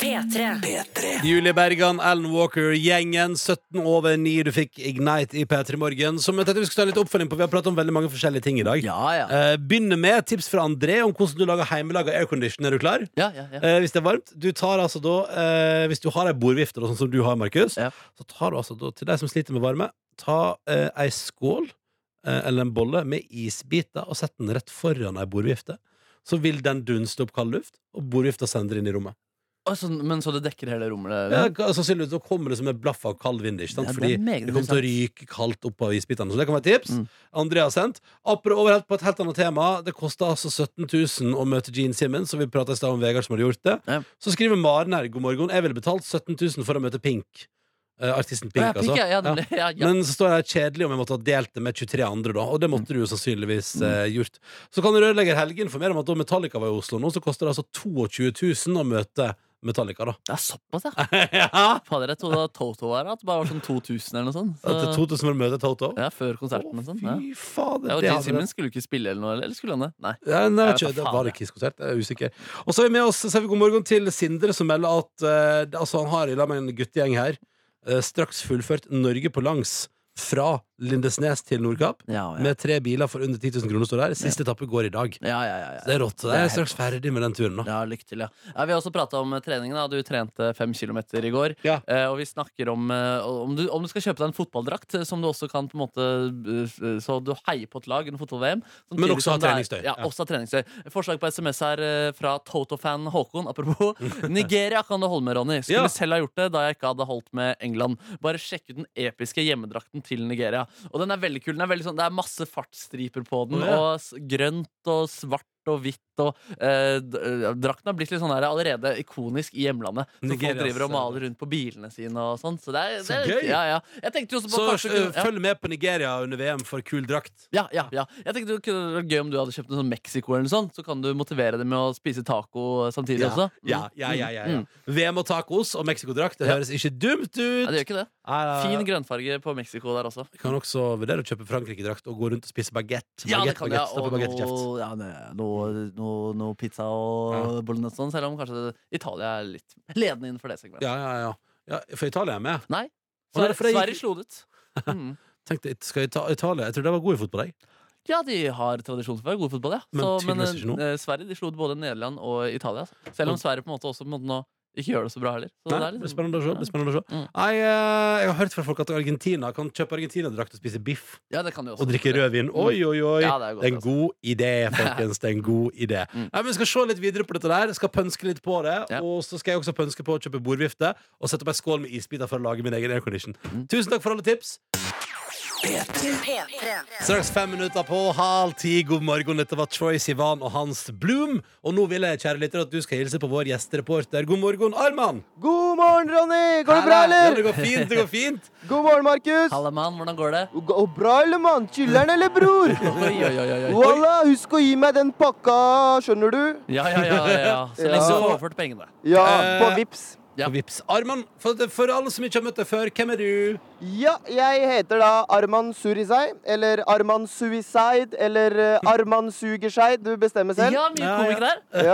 [SPEAKER 4] P3.
[SPEAKER 2] Julie Bergan, Alan Walker, gjengen 17 over 9. Du fikk Ignite i P3 Morgen. Som jeg tenkte vi skulle ta litt oppfølging på. Vi har pratet om veldig mange forskjellige ting i dag.
[SPEAKER 6] Ja, ja.
[SPEAKER 2] Eh, Begynner med tips fra André om hvordan du lager hjemmelaga aircondition. Er du klar?
[SPEAKER 6] Ja, ja, ja.
[SPEAKER 2] Eh, hvis det er varmt Du tar altså da eh, Hvis du har ei bordvifte, da, sånn som du har, Markus,
[SPEAKER 6] Ja.
[SPEAKER 2] så tar du altså da til deg som sliter med varme, ta eh, ei skål eh, eller en bolle med isbiter og sett den rett foran ei bordvifte. Så vil den dunste opp kald luft, og bordvifta sender inn i rommet.
[SPEAKER 6] Å, sånn- men så det dekker hele rommet? det-
[SPEAKER 2] Ja, ga- sannsynligvis så kommer det som et blaff av kald vind. Ikke sant?
[SPEAKER 6] Ja, det er
[SPEAKER 2] Fordi
[SPEAKER 6] meget
[SPEAKER 2] det kommer til å ryke kaldt opp av isbitene. Så det kan være et tips.
[SPEAKER 6] Mm.
[SPEAKER 2] Andrea har sendt. Apropos overhelt på et helt annet tema. Det kosta altså 17 000 å møte Gene Simmons, og vi prata i stad om Vegard som hadde gjort det.
[SPEAKER 6] Ja.
[SPEAKER 2] Så skriver Maren her god morgen. Jeg ville betalt 17 000 for å møte Pink. Eh, artisten Pink,
[SPEAKER 6] Å, ja,
[SPEAKER 2] altså.
[SPEAKER 6] ja, ja,
[SPEAKER 2] Ja.
[SPEAKER 6] nemlig. ja, ja.
[SPEAKER 2] Men så står det her kjedelig om jeg måtte ha delt det med 23 andre, da. Og det måtte du jo sannsynligvis
[SPEAKER 6] Mm.
[SPEAKER 2] eh, gjort. Så kan Rørlegger Helgen informere om at da Metallica var i Oslo nå, så koster det altså 22 000 å møte Metallica, da.
[SPEAKER 6] Det er såpass, ja.
[SPEAKER 2] ja.
[SPEAKER 6] Fader, jeg trodde at Toto var her, at det bare var sånn 2000 eller noe sånt.
[SPEAKER 2] At det er
[SPEAKER 6] Så,
[SPEAKER 2] 2000 for å møte Toto?
[SPEAKER 6] ja, før konserten og
[SPEAKER 2] Å,
[SPEAKER 6] sånn. Ja.
[SPEAKER 2] fy fader!
[SPEAKER 6] Ja, og
[SPEAKER 2] det
[SPEAKER 6] Gene
[SPEAKER 2] hadde vært-
[SPEAKER 6] Simmons skulle jo ikke spille eller noe, eller skulle han det? Nei.
[SPEAKER 2] Ja, nei, jeg vet
[SPEAKER 6] Jeg vet
[SPEAKER 2] ikke,
[SPEAKER 6] da
[SPEAKER 2] det
[SPEAKER 6] faen,
[SPEAKER 2] var det
[SPEAKER 6] jeg.
[SPEAKER 2] Kiss-konsert? Jeg er usikker. Og så har vi med oss så har vi god morgen til Sindre, som melder at eh, det- altså, han har i lag med en guttegjeng her eh, straks fullført Norge på langs fra Lindesnes til Nordkapp.
[SPEAKER 6] Ja, ja.
[SPEAKER 2] Med tre biler for under 10 000 kroner står der. Siste etappe går i dag.
[SPEAKER 6] Ja, ja, ja,
[SPEAKER 2] Så
[SPEAKER 6] ja.
[SPEAKER 2] det er rått.
[SPEAKER 6] Det
[SPEAKER 2] Jeg
[SPEAKER 6] er
[SPEAKER 2] er straks ferdig med den turen nå.
[SPEAKER 6] ja, lykke til, ja. ja vi har også prata om eh, treningen. da Du trente fem kilometer i går.
[SPEAKER 2] Ja.
[SPEAKER 6] Eh, og vi snakker om eh, om, du, om du skal kjøpe deg en fotballdrakt eh, som du også kan på en måte eh, Så du heier på et lag under fotball-VM.
[SPEAKER 2] Men
[SPEAKER 6] samtidig
[SPEAKER 2] også
[SPEAKER 6] som
[SPEAKER 2] ha
[SPEAKER 6] det er-
[SPEAKER 2] treningstøy.
[SPEAKER 6] Ja,
[SPEAKER 2] Ja.
[SPEAKER 6] også ha treningstøy. Forslag på SMS her eh, fra Toto-fan Håkon. Apropos Nigeria kan du holde med, Ronny. Skulle
[SPEAKER 2] Ja.
[SPEAKER 6] selv ha gjort det da jeg ikke hadde holdt med England. Bare sjekk ut den episke hjemmedrakten til Nigeria. Og den er veldig kul. Den er veldig sånn, det er masse fartsstriper på den,
[SPEAKER 2] Å, ja.
[SPEAKER 6] og s- grønt og svart. Og hvitt og eh, d- eh, Drakten har blitt litt sånn her allerede ikonisk i hjemlandet. Så folk
[SPEAKER 2] Nigerias,
[SPEAKER 6] driver og
[SPEAKER 2] eh,
[SPEAKER 6] maler rundt på bilene sine og sånn. Så det er,
[SPEAKER 2] Så
[SPEAKER 6] det er
[SPEAKER 2] gøy!
[SPEAKER 6] Ja, ja. Jeg tenkte jo også på
[SPEAKER 2] Så
[SPEAKER 6] kanskje
[SPEAKER 2] eh,
[SPEAKER 6] kunne- ja.
[SPEAKER 2] følg med på Nigeria under VM for kul drakt.
[SPEAKER 6] Ja, ja, ja. Jeg tenkte det kunne vært gøy om du hadde kjøpt en sånn Mexico eller noe sånt. Så kan du motivere dem med å spise taco samtidig også. Mm.
[SPEAKER 2] Ja, ja, ja, ja, ja.
[SPEAKER 6] Mm.
[SPEAKER 2] VM og tacos og Mexico-drakt. Det
[SPEAKER 6] Ja.
[SPEAKER 2] høres ikke dumt ut!
[SPEAKER 6] Nei, det gjør ikke det.
[SPEAKER 2] Nei, nei, nei.
[SPEAKER 6] Fin grønnfarge på Mexico der også.
[SPEAKER 2] Vi kan også vurdere å kjøpe Frankrike-drakt og gå rundt og spise baguette.
[SPEAKER 6] Ja, det
[SPEAKER 2] Baguette,
[SPEAKER 6] kan jeg.
[SPEAKER 2] baguette,
[SPEAKER 6] Og
[SPEAKER 2] stappe baguette i kjeft.
[SPEAKER 6] noe, ja, nei, noe, noe, noe pizza og bolognese og sånn, selv om kanskje Italia er litt ledende innenfor det segmentet.
[SPEAKER 2] Ja, ja, ja. ja for Italia er med.
[SPEAKER 6] Nei.
[SPEAKER 2] Å, nei,
[SPEAKER 6] Sverige,
[SPEAKER 2] for det gikk-
[SPEAKER 6] Sverige slo det ut. Mm.
[SPEAKER 2] Tenkte, skal Ita Italia Jeg tror de var gode i fotball, jeg.
[SPEAKER 6] Ja, de har tradisjon for å være gode i fotball, ja.
[SPEAKER 2] Men
[SPEAKER 6] Så, men
[SPEAKER 2] tydeligvis ikke nå.
[SPEAKER 6] eh, Sverige de slo ut både Nederland og Italia. altså. Selv om Sverige på en måte også på en måte nå ikke gjør det så bra heller. Så
[SPEAKER 2] Nei,
[SPEAKER 6] det
[SPEAKER 2] det
[SPEAKER 6] er liksom-
[SPEAKER 2] blir spennende å se. det blir spennende å se.
[SPEAKER 6] Mm.
[SPEAKER 2] Nei, eh, jeg har hørt fra folk at Argentina kan kjøpe Argentina-drakt og spise biff
[SPEAKER 6] Ja, det kan de også.
[SPEAKER 2] og drikke rødvin. Oi, oi, oi!
[SPEAKER 6] Ja, det er godt, altså.
[SPEAKER 2] det er en god idé, folkens. Det er en god idé.
[SPEAKER 6] Mm.
[SPEAKER 2] Nei, men Vi skal se litt videre på dette der. Skal pønske litt på det.
[SPEAKER 6] Ja.
[SPEAKER 2] Og så skal jeg også pønske på å kjøpe bordvifte og sette opp ei skål med isbiter for å lage min egen aircondition.
[SPEAKER 6] Mm.
[SPEAKER 2] Tusen takk for alle tips.
[SPEAKER 4] P3.
[SPEAKER 2] Straks fem minutter på halv ti. God morgen. Dette var Troy Sivan og Hans Bloom. Og nå vil jeg, kjære lytter, at du skal hilse på vår gjestereporter. God morgen, Arman.
[SPEAKER 13] God morgen, Ronny! Går det bra,
[SPEAKER 2] Ja, det
[SPEAKER 13] eller?
[SPEAKER 2] går fint. det går fint
[SPEAKER 13] God morgen, Markus!
[SPEAKER 6] Halla, mann. Hvordan går det?
[SPEAKER 13] Gå- Går bra, eller, mann? Chiller'n, eller, bror?
[SPEAKER 6] Oi, oi, oi, oi, oi.
[SPEAKER 13] Walla, husk å gi meg den pakka, skjønner du?
[SPEAKER 6] Ja, ja, ja, ja, ja. Så lenge du
[SPEAKER 13] Ja.
[SPEAKER 6] får overført pengene.
[SPEAKER 13] Ja,
[SPEAKER 2] Eh.
[SPEAKER 13] på Vips.
[SPEAKER 6] Ja.
[SPEAKER 2] Og vips. Arman, for, for alle som ikke har møtt deg før, hvem er du?
[SPEAKER 13] Ja, jeg heter da Arman Surisai, eller Arman Suicide, eller eh, Arman Sugersei. Du bestemmer selv.
[SPEAKER 6] Ja, mye
[SPEAKER 2] Ja, ja.
[SPEAKER 6] komikk der.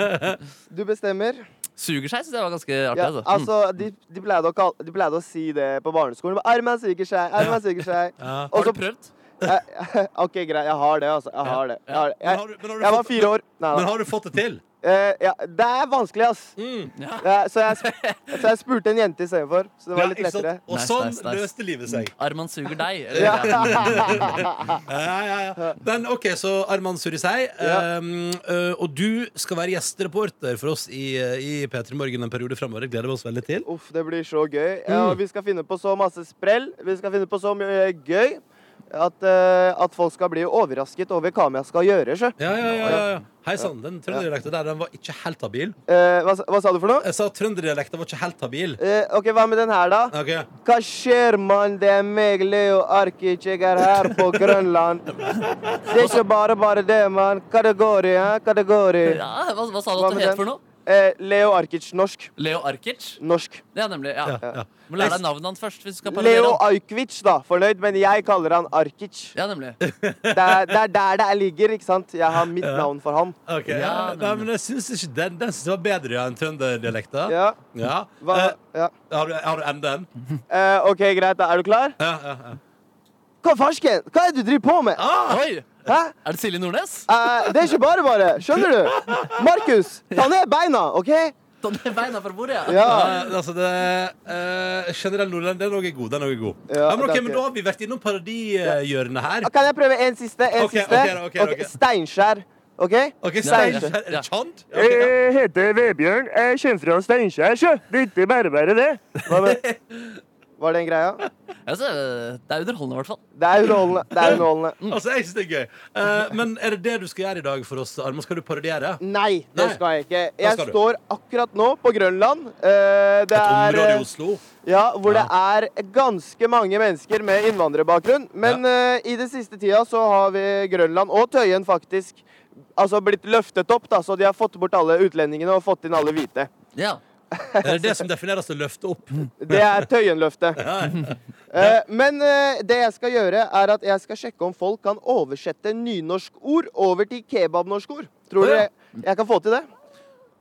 [SPEAKER 13] Ja. Du bestemmer.
[SPEAKER 6] Suger seg, syns jeg var ganske artig.
[SPEAKER 13] Ja,
[SPEAKER 6] altså. Mm.
[SPEAKER 13] altså, de, de, pleide å kalle, de pleide å si det på barneskolen. Arman Sugersei, Arman Sugersei.
[SPEAKER 2] Ja.
[SPEAKER 6] Mm.
[SPEAKER 13] Og
[SPEAKER 6] Har
[SPEAKER 13] så
[SPEAKER 6] du prøvd?
[SPEAKER 13] Jeg- OK, greit. Jeg har det, altså. Jeg har det. Jeg, har det.
[SPEAKER 2] Men har du- men har
[SPEAKER 13] jeg,
[SPEAKER 2] du
[SPEAKER 13] jeg var
[SPEAKER 2] fått-
[SPEAKER 13] fire år. Nei,
[SPEAKER 2] Men
[SPEAKER 13] da.
[SPEAKER 2] har du fått det til?
[SPEAKER 13] Eh, ja, det er vanskelig, ass.
[SPEAKER 2] Mm.
[SPEAKER 13] Ja, så, jeg, sp- så jeg spurte en jente istedenfor. Så det var litt
[SPEAKER 2] ikke sant?
[SPEAKER 13] lettere.
[SPEAKER 2] Og
[SPEAKER 6] Nice,
[SPEAKER 2] sånn
[SPEAKER 6] nice, nice.
[SPEAKER 2] løste livet seg.
[SPEAKER 6] Arman suger deg. Eller,
[SPEAKER 13] Ja.
[SPEAKER 6] Mm.
[SPEAKER 2] Ja, ja, ja. Men OK, så Arman Surisei.
[SPEAKER 13] Ja.
[SPEAKER 2] Um, uh, og du skal være gjestereporter for oss i, eh, i P3 Morgen en periode framover. Gleder vi oss veldig til.
[SPEAKER 13] Uff, det blir så gøy. Ja,
[SPEAKER 2] Mm.
[SPEAKER 13] og vi skal finne på så masse sprell. Vi skal finne på så mye eh, gøy at, eh, at folk skal bli overrasket over hva jeg skal gjøre. sjø.
[SPEAKER 2] Ja, ja, ja, ja, ja. Hei sann, den trønderdialekta der den var ikke helt habil.
[SPEAKER 13] Eh, hva, hva sa du for noe?
[SPEAKER 2] Jeg sa trønderdialekta var ikke helt habil.
[SPEAKER 13] Eh, OK, hva med den her, da?
[SPEAKER 2] Ok,
[SPEAKER 13] Hva skjer, mann? Det er meg, Leo Arkic. Jeg er her på Grønland. Det er ikke bare bare det, mann. Kategori, hæ? Kategori.
[SPEAKER 6] Ja, hva, hva sa du
[SPEAKER 13] Hva
[SPEAKER 6] at
[SPEAKER 13] med
[SPEAKER 6] du het
[SPEAKER 13] den?
[SPEAKER 6] for noe?
[SPEAKER 13] Eh, Leo Arkic, norsk.
[SPEAKER 6] Leo Arkic?
[SPEAKER 13] Norsk.
[SPEAKER 6] Ja, nemlig. ja,
[SPEAKER 2] ja.
[SPEAKER 6] Må lære deg navnet hans først. hvis du skal parodiere
[SPEAKER 13] Leo
[SPEAKER 6] han.
[SPEAKER 13] Ajkic, da. Fornøyd, men jeg kaller han Arkic.
[SPEAKER 6] Ja, nemlig.
[SPEAKER 13] Det er, det er der det ligger, ikke sant? Jeg har mitt navn for ham.
[SPEAKER 2] ok, ja.
[SPEAKER 6] Ja,
[SPEAKER 2] Nei, men jeg syns ikke den, den synes jeg var bedre ja, enn trønderdialekta.
[SPEAKER 13] Ja.
[SPEAKER 2] Ja.
[SPEAKER 13] Hva?
[SPEAKER 2] Eh,
[SPEAKER 13] Ja.
[SPEAKER 2] har, du- har du enda en?
[SPEAKER 13] Eh, OK, greit. da. Er du klar?
[SPEAKER 2] Ja, ja, ja.
[SPEAKER 13] Hva farsken? Hva er det du driver på med?
[SPEAKER 2] Ah!
[SPEAKER 6] Oi!
[SPEAKER 13] Hæ?
[SPEAKER 6] Er det Silje Nordnes?
[SPEAKER 13] Eh, det er ikke bare bare. Skjønner du? Markus, ta ned beina, OK?
[SPEAKER 6] Da Sånn, er beina fra bordet, ja.
[SPEAKER 13] Ja.
[SPEAKER 2] Eh, altså det, eh, generell nordlend, den òg er god. Den også er god. Ja,
[SPEAKER 13] Ja,
[SPEAKER 2] men, ok,
[SPEAKER 13] det er
[SPEAKER 2] men
[SPEAKER 13] ok.
[SPEAKER 2] da har vi vært innom parodihjørnet her.
[SPEAKER 13] Kan jeg prøve en siste? En
[SPEAKER 2] Ok,
[SPEAKER 13] siste?
[SPEAKER 2] ok da, ok da,
[SPEAKER 13] Ok,
[SPEAKER 2] ok.
[SPEAKER 13] Steinskjær. OK?
[SPEAKER 2] Ok,
[SPEAKER 6] ja,
[SPEAKER 2] Stein,
[SPEAKER 6] ja.
[SPEAKER 2] er det Chand? Ok, ja.
[SPEAKER 13] Jeg heter Vebjørn. Jeg kommer fra Steinkjer, sjø. Det er ikke bare bare, det. Hva med? Var det en greia?
[SPEAKER 6] Altså, det er underholdende, i hvert fall.
[SPEAKER 13] Det er underholdende. Det er underholdende.
[SPEAKER 2] Altså, jeg synes det er gøy. Eh, men er det det du skal gjøre i dag for oss, Arman? Skal du parodiere?
[SPEAKER 13] Nei, det
[SPEAKER 2] Nei.
[SPEAKER 13] skal jeg ikke.
[SPEAKER 2] Hva
[SPEAKER 13] Jeg
[SPEAKER 2] skal du?
[SPEAKER 13] står akkurat nå på Grønland. Eh,
[SPEAKER 2] Et
[SPEAKER 13] Det er
[SPEAKER 2] område i
[SPEAKER 13] eh,
[SPEAKER 2] Oslo?
[SPEAKER 13] Ja, hvor
[SPEAKER 2] Ja.
[SPEAKER 13] det er ganske mange mennesker med innvandrerbakgrunn. Men eh, i den siste tida så har vi Grønland og Tøyen faktisk altså blitt løftet opp, da, så de har fått bort alle utlendingene og fått inn alle hvite.
[SPEAKER 6] Ja.
[SPEAKER 2] Er det det som defineres å løfte opp?
[SPEAKER 13] Det er Tøyenløftet. Eh, men eh, det jeg skal gjøre, er at jeg skal sjekke om folk kan oversette nynorskord over til kebabnorskord.
[SPEAKER 2] Å,
[SPEAKER 13] Tror
[SPEAKER 2] ja.
[SPEAKER 13] dere jeg kan få til det?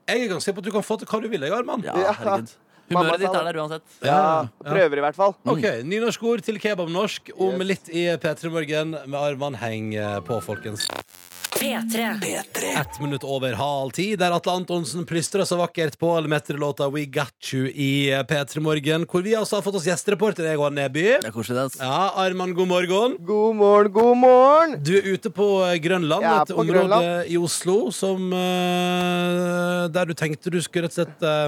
[SPEAKER 2] Jeg er ganske sikker på at du kan få til hva du vil, jeg, Arman.
[SPEAKER 6] ja,
[SPEAKER 13] Ja.
[SPEAKER 6] herregud.
[SPEAKER 13] Mamma
[SPEAKER 6] Humøret
[SPEAKER 13] sa
[SPEAKER 6] ditt er
[SPEAKER 13] det.
[SPEAKER 6] der uansett.
[SPEAKER 2] Ja, ja.
[SPEAKER 13] Prøver i hvert fall.
[SPEAKER 2] OK. Nynorskord til kebabnorsk om
[SPEAKER 13] Yes.
[SPEAKER 2] litt i P3 Morgen med Arman. Heng eh, på, folkens.
[SPEAKER 4] P3.
[SPEAKER 2] Ett minutt over halv ti, der Atle Antonsen plystrer så vakkert på Lemetri-låta We Got You i eh, P3 Morgen, hvor vi altså har fått oss gjestereporter, jeg og Neby.
[SPEAKER 6] Det er koselig, det. altså.
[SPEAKER 2] Ja, Arman, god morgen.
[SPEAKER 13] God morgen, god morgen!
[SPEAKER 2] Du er ute på eh, Grønland,
[SPEAKER 13] Jeg er
[SPEAKER 2] et
[SPEAKER 13] på
[SPEAKER 2] område
[SPEAKER 13] Grønland.
[SPEAKER 2] i Oslo som eh, Der du tenkte du skulle rett og slett eh,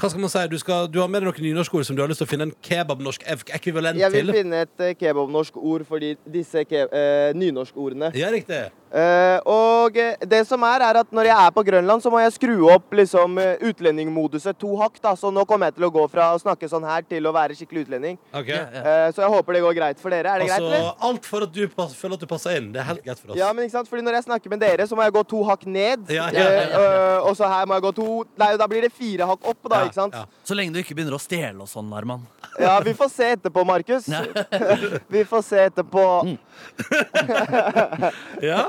[SPEAKER 2] Hva skal man si? Du, skal, du har med deg noen nynorskord som du har lyst til å finne en kebabnorsk ek- ekvivalent
[SPEAKER 13] Jeg vil
[SPEAKER 2] til.
[SPEAKER 13] finne et eh, kebabnorsk ord for de- disse ke eh, nynorskordene.
[SPEAKER 2] Ja, riktig.
[SPEAKER 13] Eh, og eh, det som er, er at når jeg er på Grønland, så må jeg skru opp liksom, eh, utlendingmoduset to hakk. da, Så nå kommer jeg til å gå fra å snakke sånn her til å være skikkelig utlending.
[SPEAKER 2] Ok.
[SPEAKER 6] Ja, ja.
[SPEAKER 13] Eh, så jeg håper det går greit for dere. Er det greit,
[SPEAKER 2] Altså,
[SPEAKER 13] eller?
[SPEAKER 2] alt for at du pass, føler at du passer inn. Det er helt greit for oss.
[SPEAKER 13] Ja, men ikke sant? Fordi når jeg snakker med dere, så må jeg gå to hakk ned.
[SPEAKER 2] Ja, ja, ja,
[SPEAKER 13] Eh,
[SPEAKER 6] ja.
[SPEAKER 13] eh, og så her må jeg gå to Nei, da blir det fire hakk opp, da.
[SPEAKER 2] Ja,
[SPEAKER 13] ikke sant?
[SPEAKER 2] ja.
[SPEAKER 6] Så lenge du ikke begynner å stjele og sånn, Arman.
[SPEAKER 13] Ja, vi får se etterpå, Markus. vi får se etterpå.
[SPEAKER 2] Ja?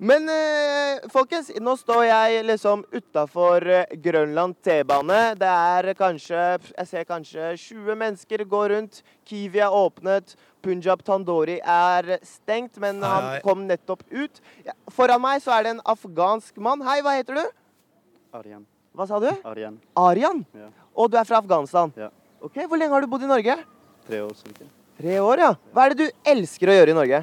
[SPEAKER 13] Men eh, folkens, nå står jeg liksom utafor Grønland T-bane. Det er kanskje Jeg ser kanskje 20 mennesker gå rundt. Kiwi er åpnet. Punjab Tandori er stengt, men han
[SPEAKER 2] Hei, hei.
[SPEAKER 13] kom nettopp ut. Ja, foran meg så er det en afghansk mann. Hei, hva heter du?
[SPEAKER 5] Arjen.
[SPEAKER 13] Hva sa du?
[SPEAKER 5] Arjen.
[SPEAKER 13] Arian.
[SPEAKER 5] Ja.
[SPEAKER 13] Og du er fra Afghanistan?
[SPEAKER 5] Ja.
[SPEAKER 13] Ok, Hvor lenge har du bodd i Norge?
[SPEAKER 5] Tre år siden.
[SPEAKER 13] Tre år, ja. Hva er det du elsker å gjøre i Norge?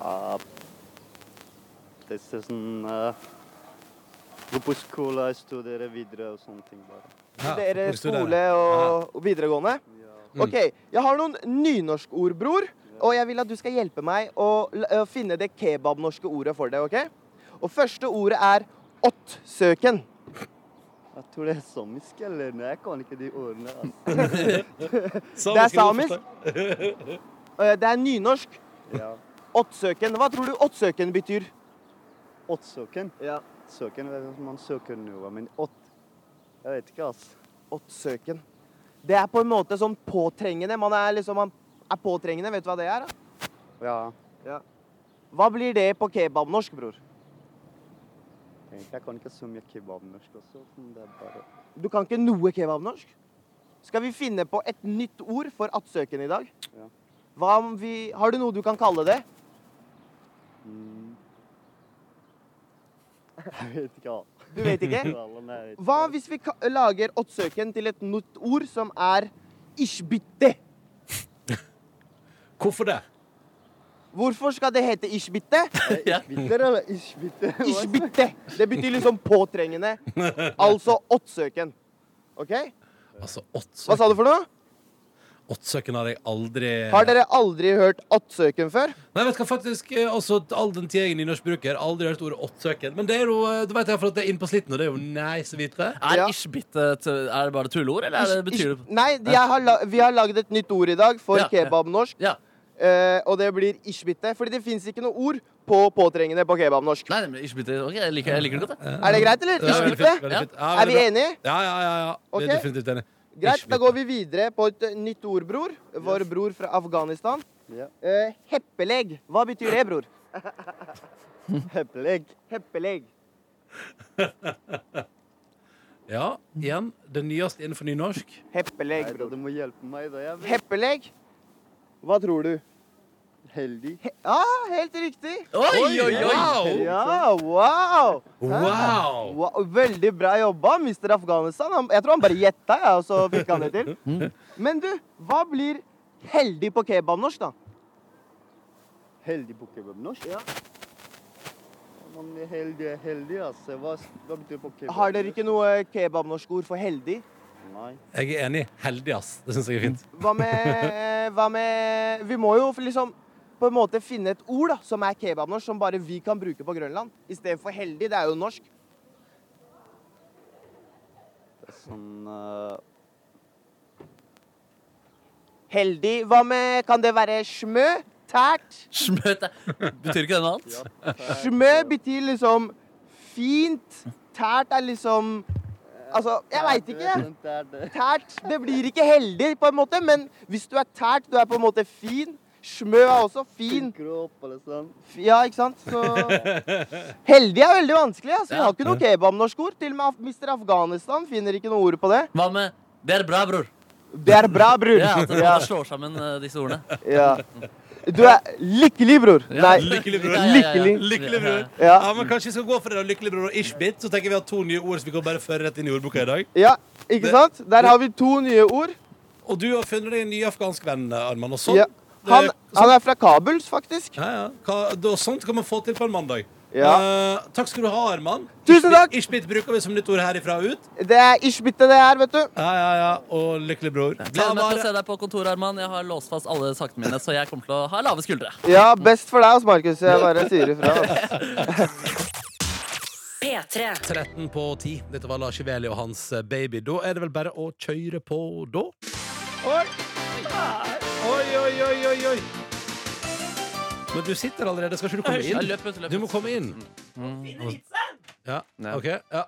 [SPEAKER 5] Ah, det er sånn eh, Gå på skole, studere videre og sånne ting bare.
[SPEAKER 2] Ja,
[SPEAKER 13] Dere
[SPEAKER 2] hvor står det?
[SPEAKER 13] skole og og videregående? OK. Jeg har noen nynorskord, bror. Og jeg vil at du skal hjelpe meg å, l- å finne det kebabnorske ordet for det. ok? Og første ordet er åttsøken.
[SPEAKER 5] Jeg tror det er samisk, eller? Nei, jeg kan ikke de ordene. Altså.
[SPEAKER 13] Det er samisk. Eh, Det er nynorsk.
[SPEAKER 5] Ja.
[SPEAKER 13] Åttsøken. Hva tror du åttsøken betyr?
[SPEAKER 5] Åttsøken.
[SPEAKER 13] Ja.
[SPEAKER 5] Søken er det man søker noe, men ått Jeg vet ikke, altså.
[SPEAKER 13] Åttsøken. Det er på en måte sånn påtrengende. Man er liksom man er påtrengende. Vet du hva det er? da?
[SPEAKER 5] Ja.
[SPEAKER 13] Hva blir det på kebabnorsk, bror?
[SPEAKER 5] Egentlig, jeg kan ikke så mye kebabnorsk også. men Det er bare
[SPEAKER 13] Du kan ikke noe kebabnorsk. Skal vi finne på et nytt ord for attsøken i dag?
[SPEAKER 5] Ja.
[SPEAKER 13] Hva om vi Har du noe du kan kalle det?
[SPEAKER 5] Jeg vet ikke. alt.
[SPEAKER 13] Du vet ikke?
[SPEAKER 5] Alle er ikke-
[SPEAKER 13] Hva hvis vi ka lager åttsøken til et nytt ord som er ishbitte?
[SPEAKER 2] Hvorfor det?
[SPEAKER 13] Hvorfor skal det hete ishbitte?
[SPEAKER 5] Bitter, ikke bitter.
[SPEAKER 13] Ishbitte. Det betyr liksom påtrengende. Altså åttsøken. OK?
[SPEAKER 2] Altså,
[SPEAKER 13] Hva
[SPEAKER 2] åttsøken
[SPEAKER 13] sa du for noe?
[SPEAKER 2] åttsøken har jeg aldri
[SPEAKER 13] Har dere aldri hørt åttsøken før?
[SPEAKER 2] Nei, vet du hva, faktisk, eh, også all den tida jeg er nynorskbruker, aldri hørt ordet åttsøken. Men det er jo, eh, da vet jeg for at det er inn på slitten, og det er jo nice å vite.
[SPEAKER 6] Er
[SPEAKER 13] Ja.
[SPEAKER 6] ishbitte et- Er det bare et tulleord, eller
[SPEAKER 2] Eh,
[SPEAKER 6] er det, betyr det
[SPEAKER 13] Nei, de- jeg har la vi har lagd et nytt ord i dag for
[SPEAKER 6] Ja, ja.
[SPEAKER 13] kebabnorsk.
[SPEAKER 6] Ja.
[SPEAKER 13] eh, og det blir ishbitte. Fordi det fins ikke noe ord på påtrengende på kebabnorsk.
[SPEAKER 6] Nei, men ishbitte Ok, jeg liker, jeg liker det godt, jeg.
[SPEAKER 13] Er det greit, eller?
[SPEAKER 2] Ja, veldig fint,
[SPEAKER 13] Ishbitte?
[SPEAKER 2] veldig fint. Ja,
[SPEAKER 13] Er vi
[SPEAKER 2] veldig bra.
[SPEAKER 13] enige?
[SPEAKER 2] Ja, ja, ja. ja. Vi
[SPEAKER 13] Ok.
[SPEAKER 2] er definitivt enige.
[SPEAKER 13] Greit, da
[SPEAKER 2] Ishbitte.
[SPEAKER 13] går vi videre på et eh, nytt ord, bror. Vår bror fra Afghanistan.
[SPEAKER 5] Ja.
[SPEAKER 13] Eh, heppelegg. Hva betyr det, bror?
[SPEAKER 5] Heppelegg.
[SPEAKER 13] Heppelegg.
[SPEAKER 2] Ja, igjen. Det nyeste innenfor nynorsk.
[SPEAKER 13] Heppelegg,
[SPEAKER 5] Nei, da,
[SPEAKER 13] bror.
[SPEAKER 5] du må hjelpe meg, da. Jeg blir
[SPEAKER 13] Heppelegg. Hva tror du?
[SPEAKER 5] heldig.
[SPEAKER 13] He ah, helt riktig.
[SPEAKER 6] Oi, oi, oi!
[SPEAKER 2] Wow!
[SPEAKER 13] Ja, wow.
[SPEAKER 2] Wow!
[SPEAKER 13] wow. Veldig bra jobba, mister Afghanistan. Han, jeg tror han bare gjetta, ja, og så fikk han det til.
[SPEAKER 6] Mm.
[SPEAKER 13] Men du, hva blir heldig på kebabnorsk, da?
[SPEAKER 5] Heldig på kebabnorsk?
[SPEAKER 13] Ja.
[SPEAKER 5] Man er heldig er heldig, altså. Hva, hva betyr det på kebabnorsk?
[SPEAKER 13] Har dere ikke noe kebabnorskord for heldig?
[SPEAKER 5] Nei.
[SPEAKER 2] Jeg er enig. Heldig, ass. Det syns jeg er fint.
[SPEAKER 13] Hva med, hva med Vi må jo liksom på en måte finne et ord da, som er kebabnorsk, som bare vi kan bruke på Grønland. Istedenfor heldig. Det er jo norsk.
[SPEAKER 5] Sånn eh,
[SPEAKER 13] Heldig. Hva med Kan det være smø? Tært?
[SPEAKER 6] Smøt Betyr ikke det noe annet?
[SPEAKER 13] Smø betyr liksom fint. Tært er liksom Altså, jeg veit ikke. jeg.
[SPEAKER 5] sånt er det.
[SPEAKER 13] Tært. Det blir ikke heldig, på en måte, men hvis du er tært, du er på en måte fin. Smø er også fin.
[SPEAKER 5] Kropp eller sånn.
[SPEAKER 13] Ja, ikke sant? Så Heldig er veldig vanskelig. altså. Vi har ikke noe kebabnorskord. Til og med Af- Mr. Afghanistan finner ikke noe ord på det.
[SPEAKER 6] Hva med Det er bra, bror.
[SPEAKER 13] Det er bra, bror.
[SPEAKER 6] Ja, at man
[SPEAKER 13] Ja,
[SPEAKER 6] slår sammen eh, disse ordene.
[SPEAKER 13] ja. Du er lykkelig, bror.
[SPEAKER 6] Ja.
[SPEAKER 13] Nei.
[SPEAKER 2] Lykkelig, bror.
[SPEAKER 6] Ja, ja, ja, ja.
[SPEAKER 13] Lykkelig.
[SPEAKER 2] Lykkelig, bror.
[SPEAKER 13] Ja.
[SPEAKER 2] Ja, men Kanskje vi skal gå for det da, lykkelig bror og ishbit. Så tenker vi at to nye ord som vi kan bare føre rett inn i ordboka i dag.
[SPEAKER 13] Ja, ikke sant? Der har vi to nye ord.
[SPEAKER 2] Og du har funnet deg en ny afghansk venn, Arman. Og sånn,
[SPEAKER 13] Ja.
[SPEAKER 2] det-
[SPEAKER 13] Han,
[SPEAKER 2] sånn,
[SPEAKER 13] han er fra Kabul, faktisk.
[SPEAKER 2] ja, ja. Hva, da, sånt kan man få til på en mandag.
[SPEAKER 13] Ja.
[SPEAKER 2] Eh, takk skal du ha, Arman.
[SPEAKER 13] Tusen takk.
[SPEAKER 2] Ishbit bruker vi som nytt ord herifra og ut.
[SPEAKER 13] Det er ishbitte, det her, vet du.
[SPEAKER 2] Ja, ja, ja. Og lykkelig bror.
[SPEAKER 6] Gleder meg til å
[SPEAKER 2] Blamar.
[SPEAKER 6] se deg på kontoret, Arman. Jeg har låst fast alle sakene mine, så jeg kommer til å ha lave skuldre.
[SPEAKER 13] Ja, best for deg, ass, Markus. Jeg bare sier ifra. altså. ass.
[SPEAKER 4] P3.
[SPEAKER 2] 13 på 10. Dette var Lars Iveli og hans eh, baby. Da er det vel bare å kjøre på, da. Oi! Oi, oi, oi, oi, oi. Men du sitter allerede. Skal ikke du komme
[SPEAKER 6] Ja,
[SPEAKER 2] inn?
[SPEAKER 6] løp, vet
[SPEAKER 2] Du må komme inn. Ja,
[SPEAKER 6] Ja.
[SPEAKER 2] ok. Ja.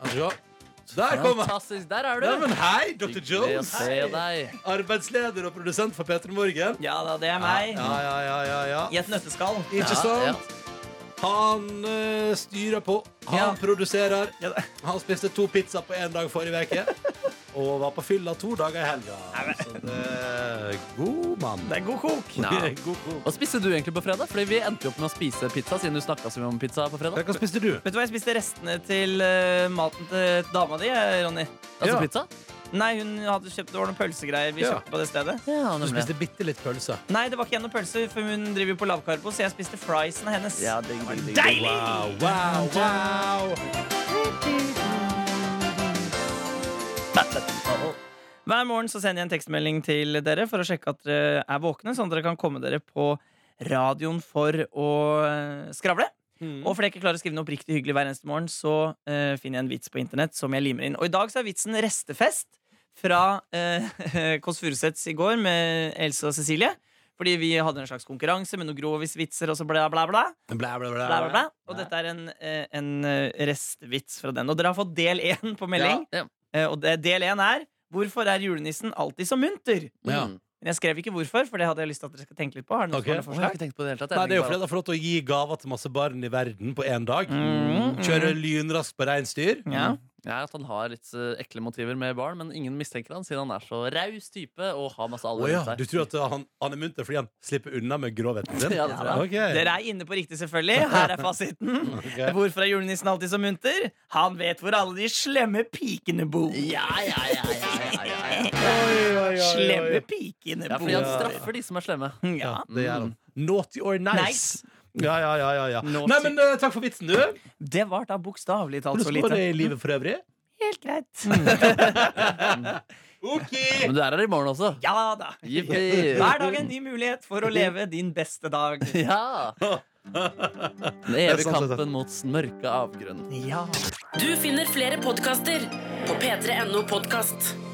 [SPEAKER 2] Vær så god. Der kom han!
[SPEAKER 6] Fantastisk. Der er
[SPEAKER 2] Nei,
[SPEAKER 6] du.
[SPEAKER 2] men hei, Dr.
[SPEAKER 6] Hyggelig å
[SPEAKER 2] Jones!
[SPEAKER 6] se deg.
[SPEAKER 2] Arbeidsleder og produsent for P3 Morgen.
[SPEAKER 3] Ja da, det er meg.
[SPEAKER 2] Ja, ja, ja, ja,
[SPEAKER 3] I
[SPEAKER 2] ja.
[SPEAKER 3] et nøtteskall.
[SPEAKER 2] Ikke
[SPEAKER 6] Ja, ja.
[SPEAKER 2] sant? Han eh, styrer på, han
[SPEAKER 3] Ja.
[SPEAKER 2] produserer.
[SPEAKER 3] Ja, det-
[SPEAKER 2] Han spiste to pizza på én dag forrige uke. Og var på fylla to dager i helga. Så det er god mann.
[SPEAKER 3] Det er god kok.
[SPEAKER 6] Ja.
[SPEAKER 2] God kok.
[SPEAKER 6] Hva spiste du egentlig på fredag? Fordi vi endte jo opp med å spise pizza, siden du snakket så mye om pizza på fredag.
[SPEAKER 2] Hva spiste du?
[SPEAKER 3] Vet du hva, jeg spiste restene til eh, maten til dama di, eh, Ronny.
[SPEAKER 6] Altså
[SPEAKER 2] Ja.
[SPEAKER 6] pizza?
[SPEAKER 3] Nei, hun hadde kjøpt det var noen pølsegreier vi
[SPEAKER 2] Ja.
[SPEAKER 3] kjøpte på det stedet.
[SPEAKER 6] Ja,
[SPEAKER 2] Du
[SPEAKER 6] nemlig.
[SPEAKER 2] spiste bitte litt pølse.
[SPEAKER 3] Nei, det var ikke gjennom pølse, for hun driver jo på lavkarbo, så jeg spiste friesene hennes.
[SPEAKER 6] Ja, digg, digg, digg, digg.
[SPEAKER 3] Deilig!
[SPEAKER 2] Wow, wow, wow.
[SPEAKER 3] Hver morgen så sender jeg en tekstmelding til dere for å sjekke at dere er våkne, sånn at dere kan komme dere på radioen for å eh, skravle. Og fordi jeg ikke klarer å skrive noe oppriktig hyggelig hver eneste morgen, så eh, finner jeg en vits på internett som jeg limer inn. Og i dag så er vitsen restefest fra uh, Kåss Furuseths i går med Else og Cecilie. Fordi vi hadde en slags konkurranse med noen grovisvitser og så bla, bla, bla.
[SPEAKER 2] Bla, bla, bla.
[SPEAKER 3] bla, bla, bla. Og dette er en, eh, en eh, restvits fra den. Og dere har fått del én på melding.
[SPEAKER 6] Ja.
[SPEAKER 3] Eh, Og det, del én er 'Hvorfor er julenissen alltid så munter?'
[SPEAKER 2] Ja.
[SPEAKER 6] Mm.
[SPEAKER 3] Men jeg skrev ikke hvorfor, for det hadde jeg lyst til at dere skal tenke litt på. Har dere noen
[SPEAKER 2] Ok.
[SPEAKER 3] som har noen
[SPEAKER 6] Å, Jeg har
[SPEAKER 3] forslag?
[SPEAKER 6] ikke tenkt på det i det hele tatt.
[SPEAKER 2] Nei, det er jo fordi
[SPEAKER 6] Jeg
[SPEAKER 2] de får lov til å gi gaver til masse barn i verden på én dag.
[SPEAKER 3] Mm, mm.
[SPEAKER 2] Kjøre lynraskt på reinsdyr.
[SPEAKER 3] Ja.
[SPEAKER 6] Ja, at han har litt eh, ekle motiver med barn, men ingen mistenker han siden han er så raus type og har masse
[SPEAKER 2] Å
[SPEAKER 6] alvor
[SPEAKER 2] ja,
[SPEAKER 6] rundt seg.
[SPEAKER 2] du tror at uh, han, han er munter fordi han slipper unna med gråveten sin?
[SPEAKER 6] Ja, det tror jeg.
[SPEAKER 2] Ok.
[SPEAKER 3] Dere er inne på riktig, selvfølgelig. Her er fasiten.
[SPEAKER 2] Ok.
[SPEAKER 3] Hvorfor er julenissen alltid så munter? Han vet hvor alle de slemme pikene bor.
[SPEAKER 6] Ja, ja, ja, ja, ja, ja, ja.
[SPEAKER 3] Slemme pikene
[SPEAKER 6] ja,
[SPEAKER 3] bor.
[SPEAKER 6] fordi han straffer de som er slemme.
[SPEAKER 3] Ja.
[SPEAKER 2] Det gjør han. Naughty or nice.
[SPEAKER 3] Nice.
[SPEAKER 2] Ja, ja, ja, ja, ja.
[SPEAKER 6] Naughty.
[SPEAKER 2] Nei, men uh, takk for vitsen, du. Hvordan
[SPEAKER 3] Det var da bokstavelig talt så
[SPEAKER 2] går det
[SPEAKER 3] lite.
[SPEAKER 2] i livet for øvrig?
[SPEAKER 3] Helt greit.
[SPEAKER 2] Ok
[SPEAKER 6] Men du er her i morgen også.
[SPEAKER 3] Ja da.
[SPEAKER 6] Jippi.
[SPEAKER 3] Hver dag en ny mulighet for å leve din beste dag.
[SPEAKER 6] Ja! Den
[SPEAKER 2] Det er sånn sant,
[SPEAKER 6] evige
[SPEAKER 2] det er sant.
[SPEAKER 6] kampen mot den mørke avgrunnen.
[SPEAKER 3] Ja.
[SPEAKER 4] Du finner flere podkaster på p3.no podkast.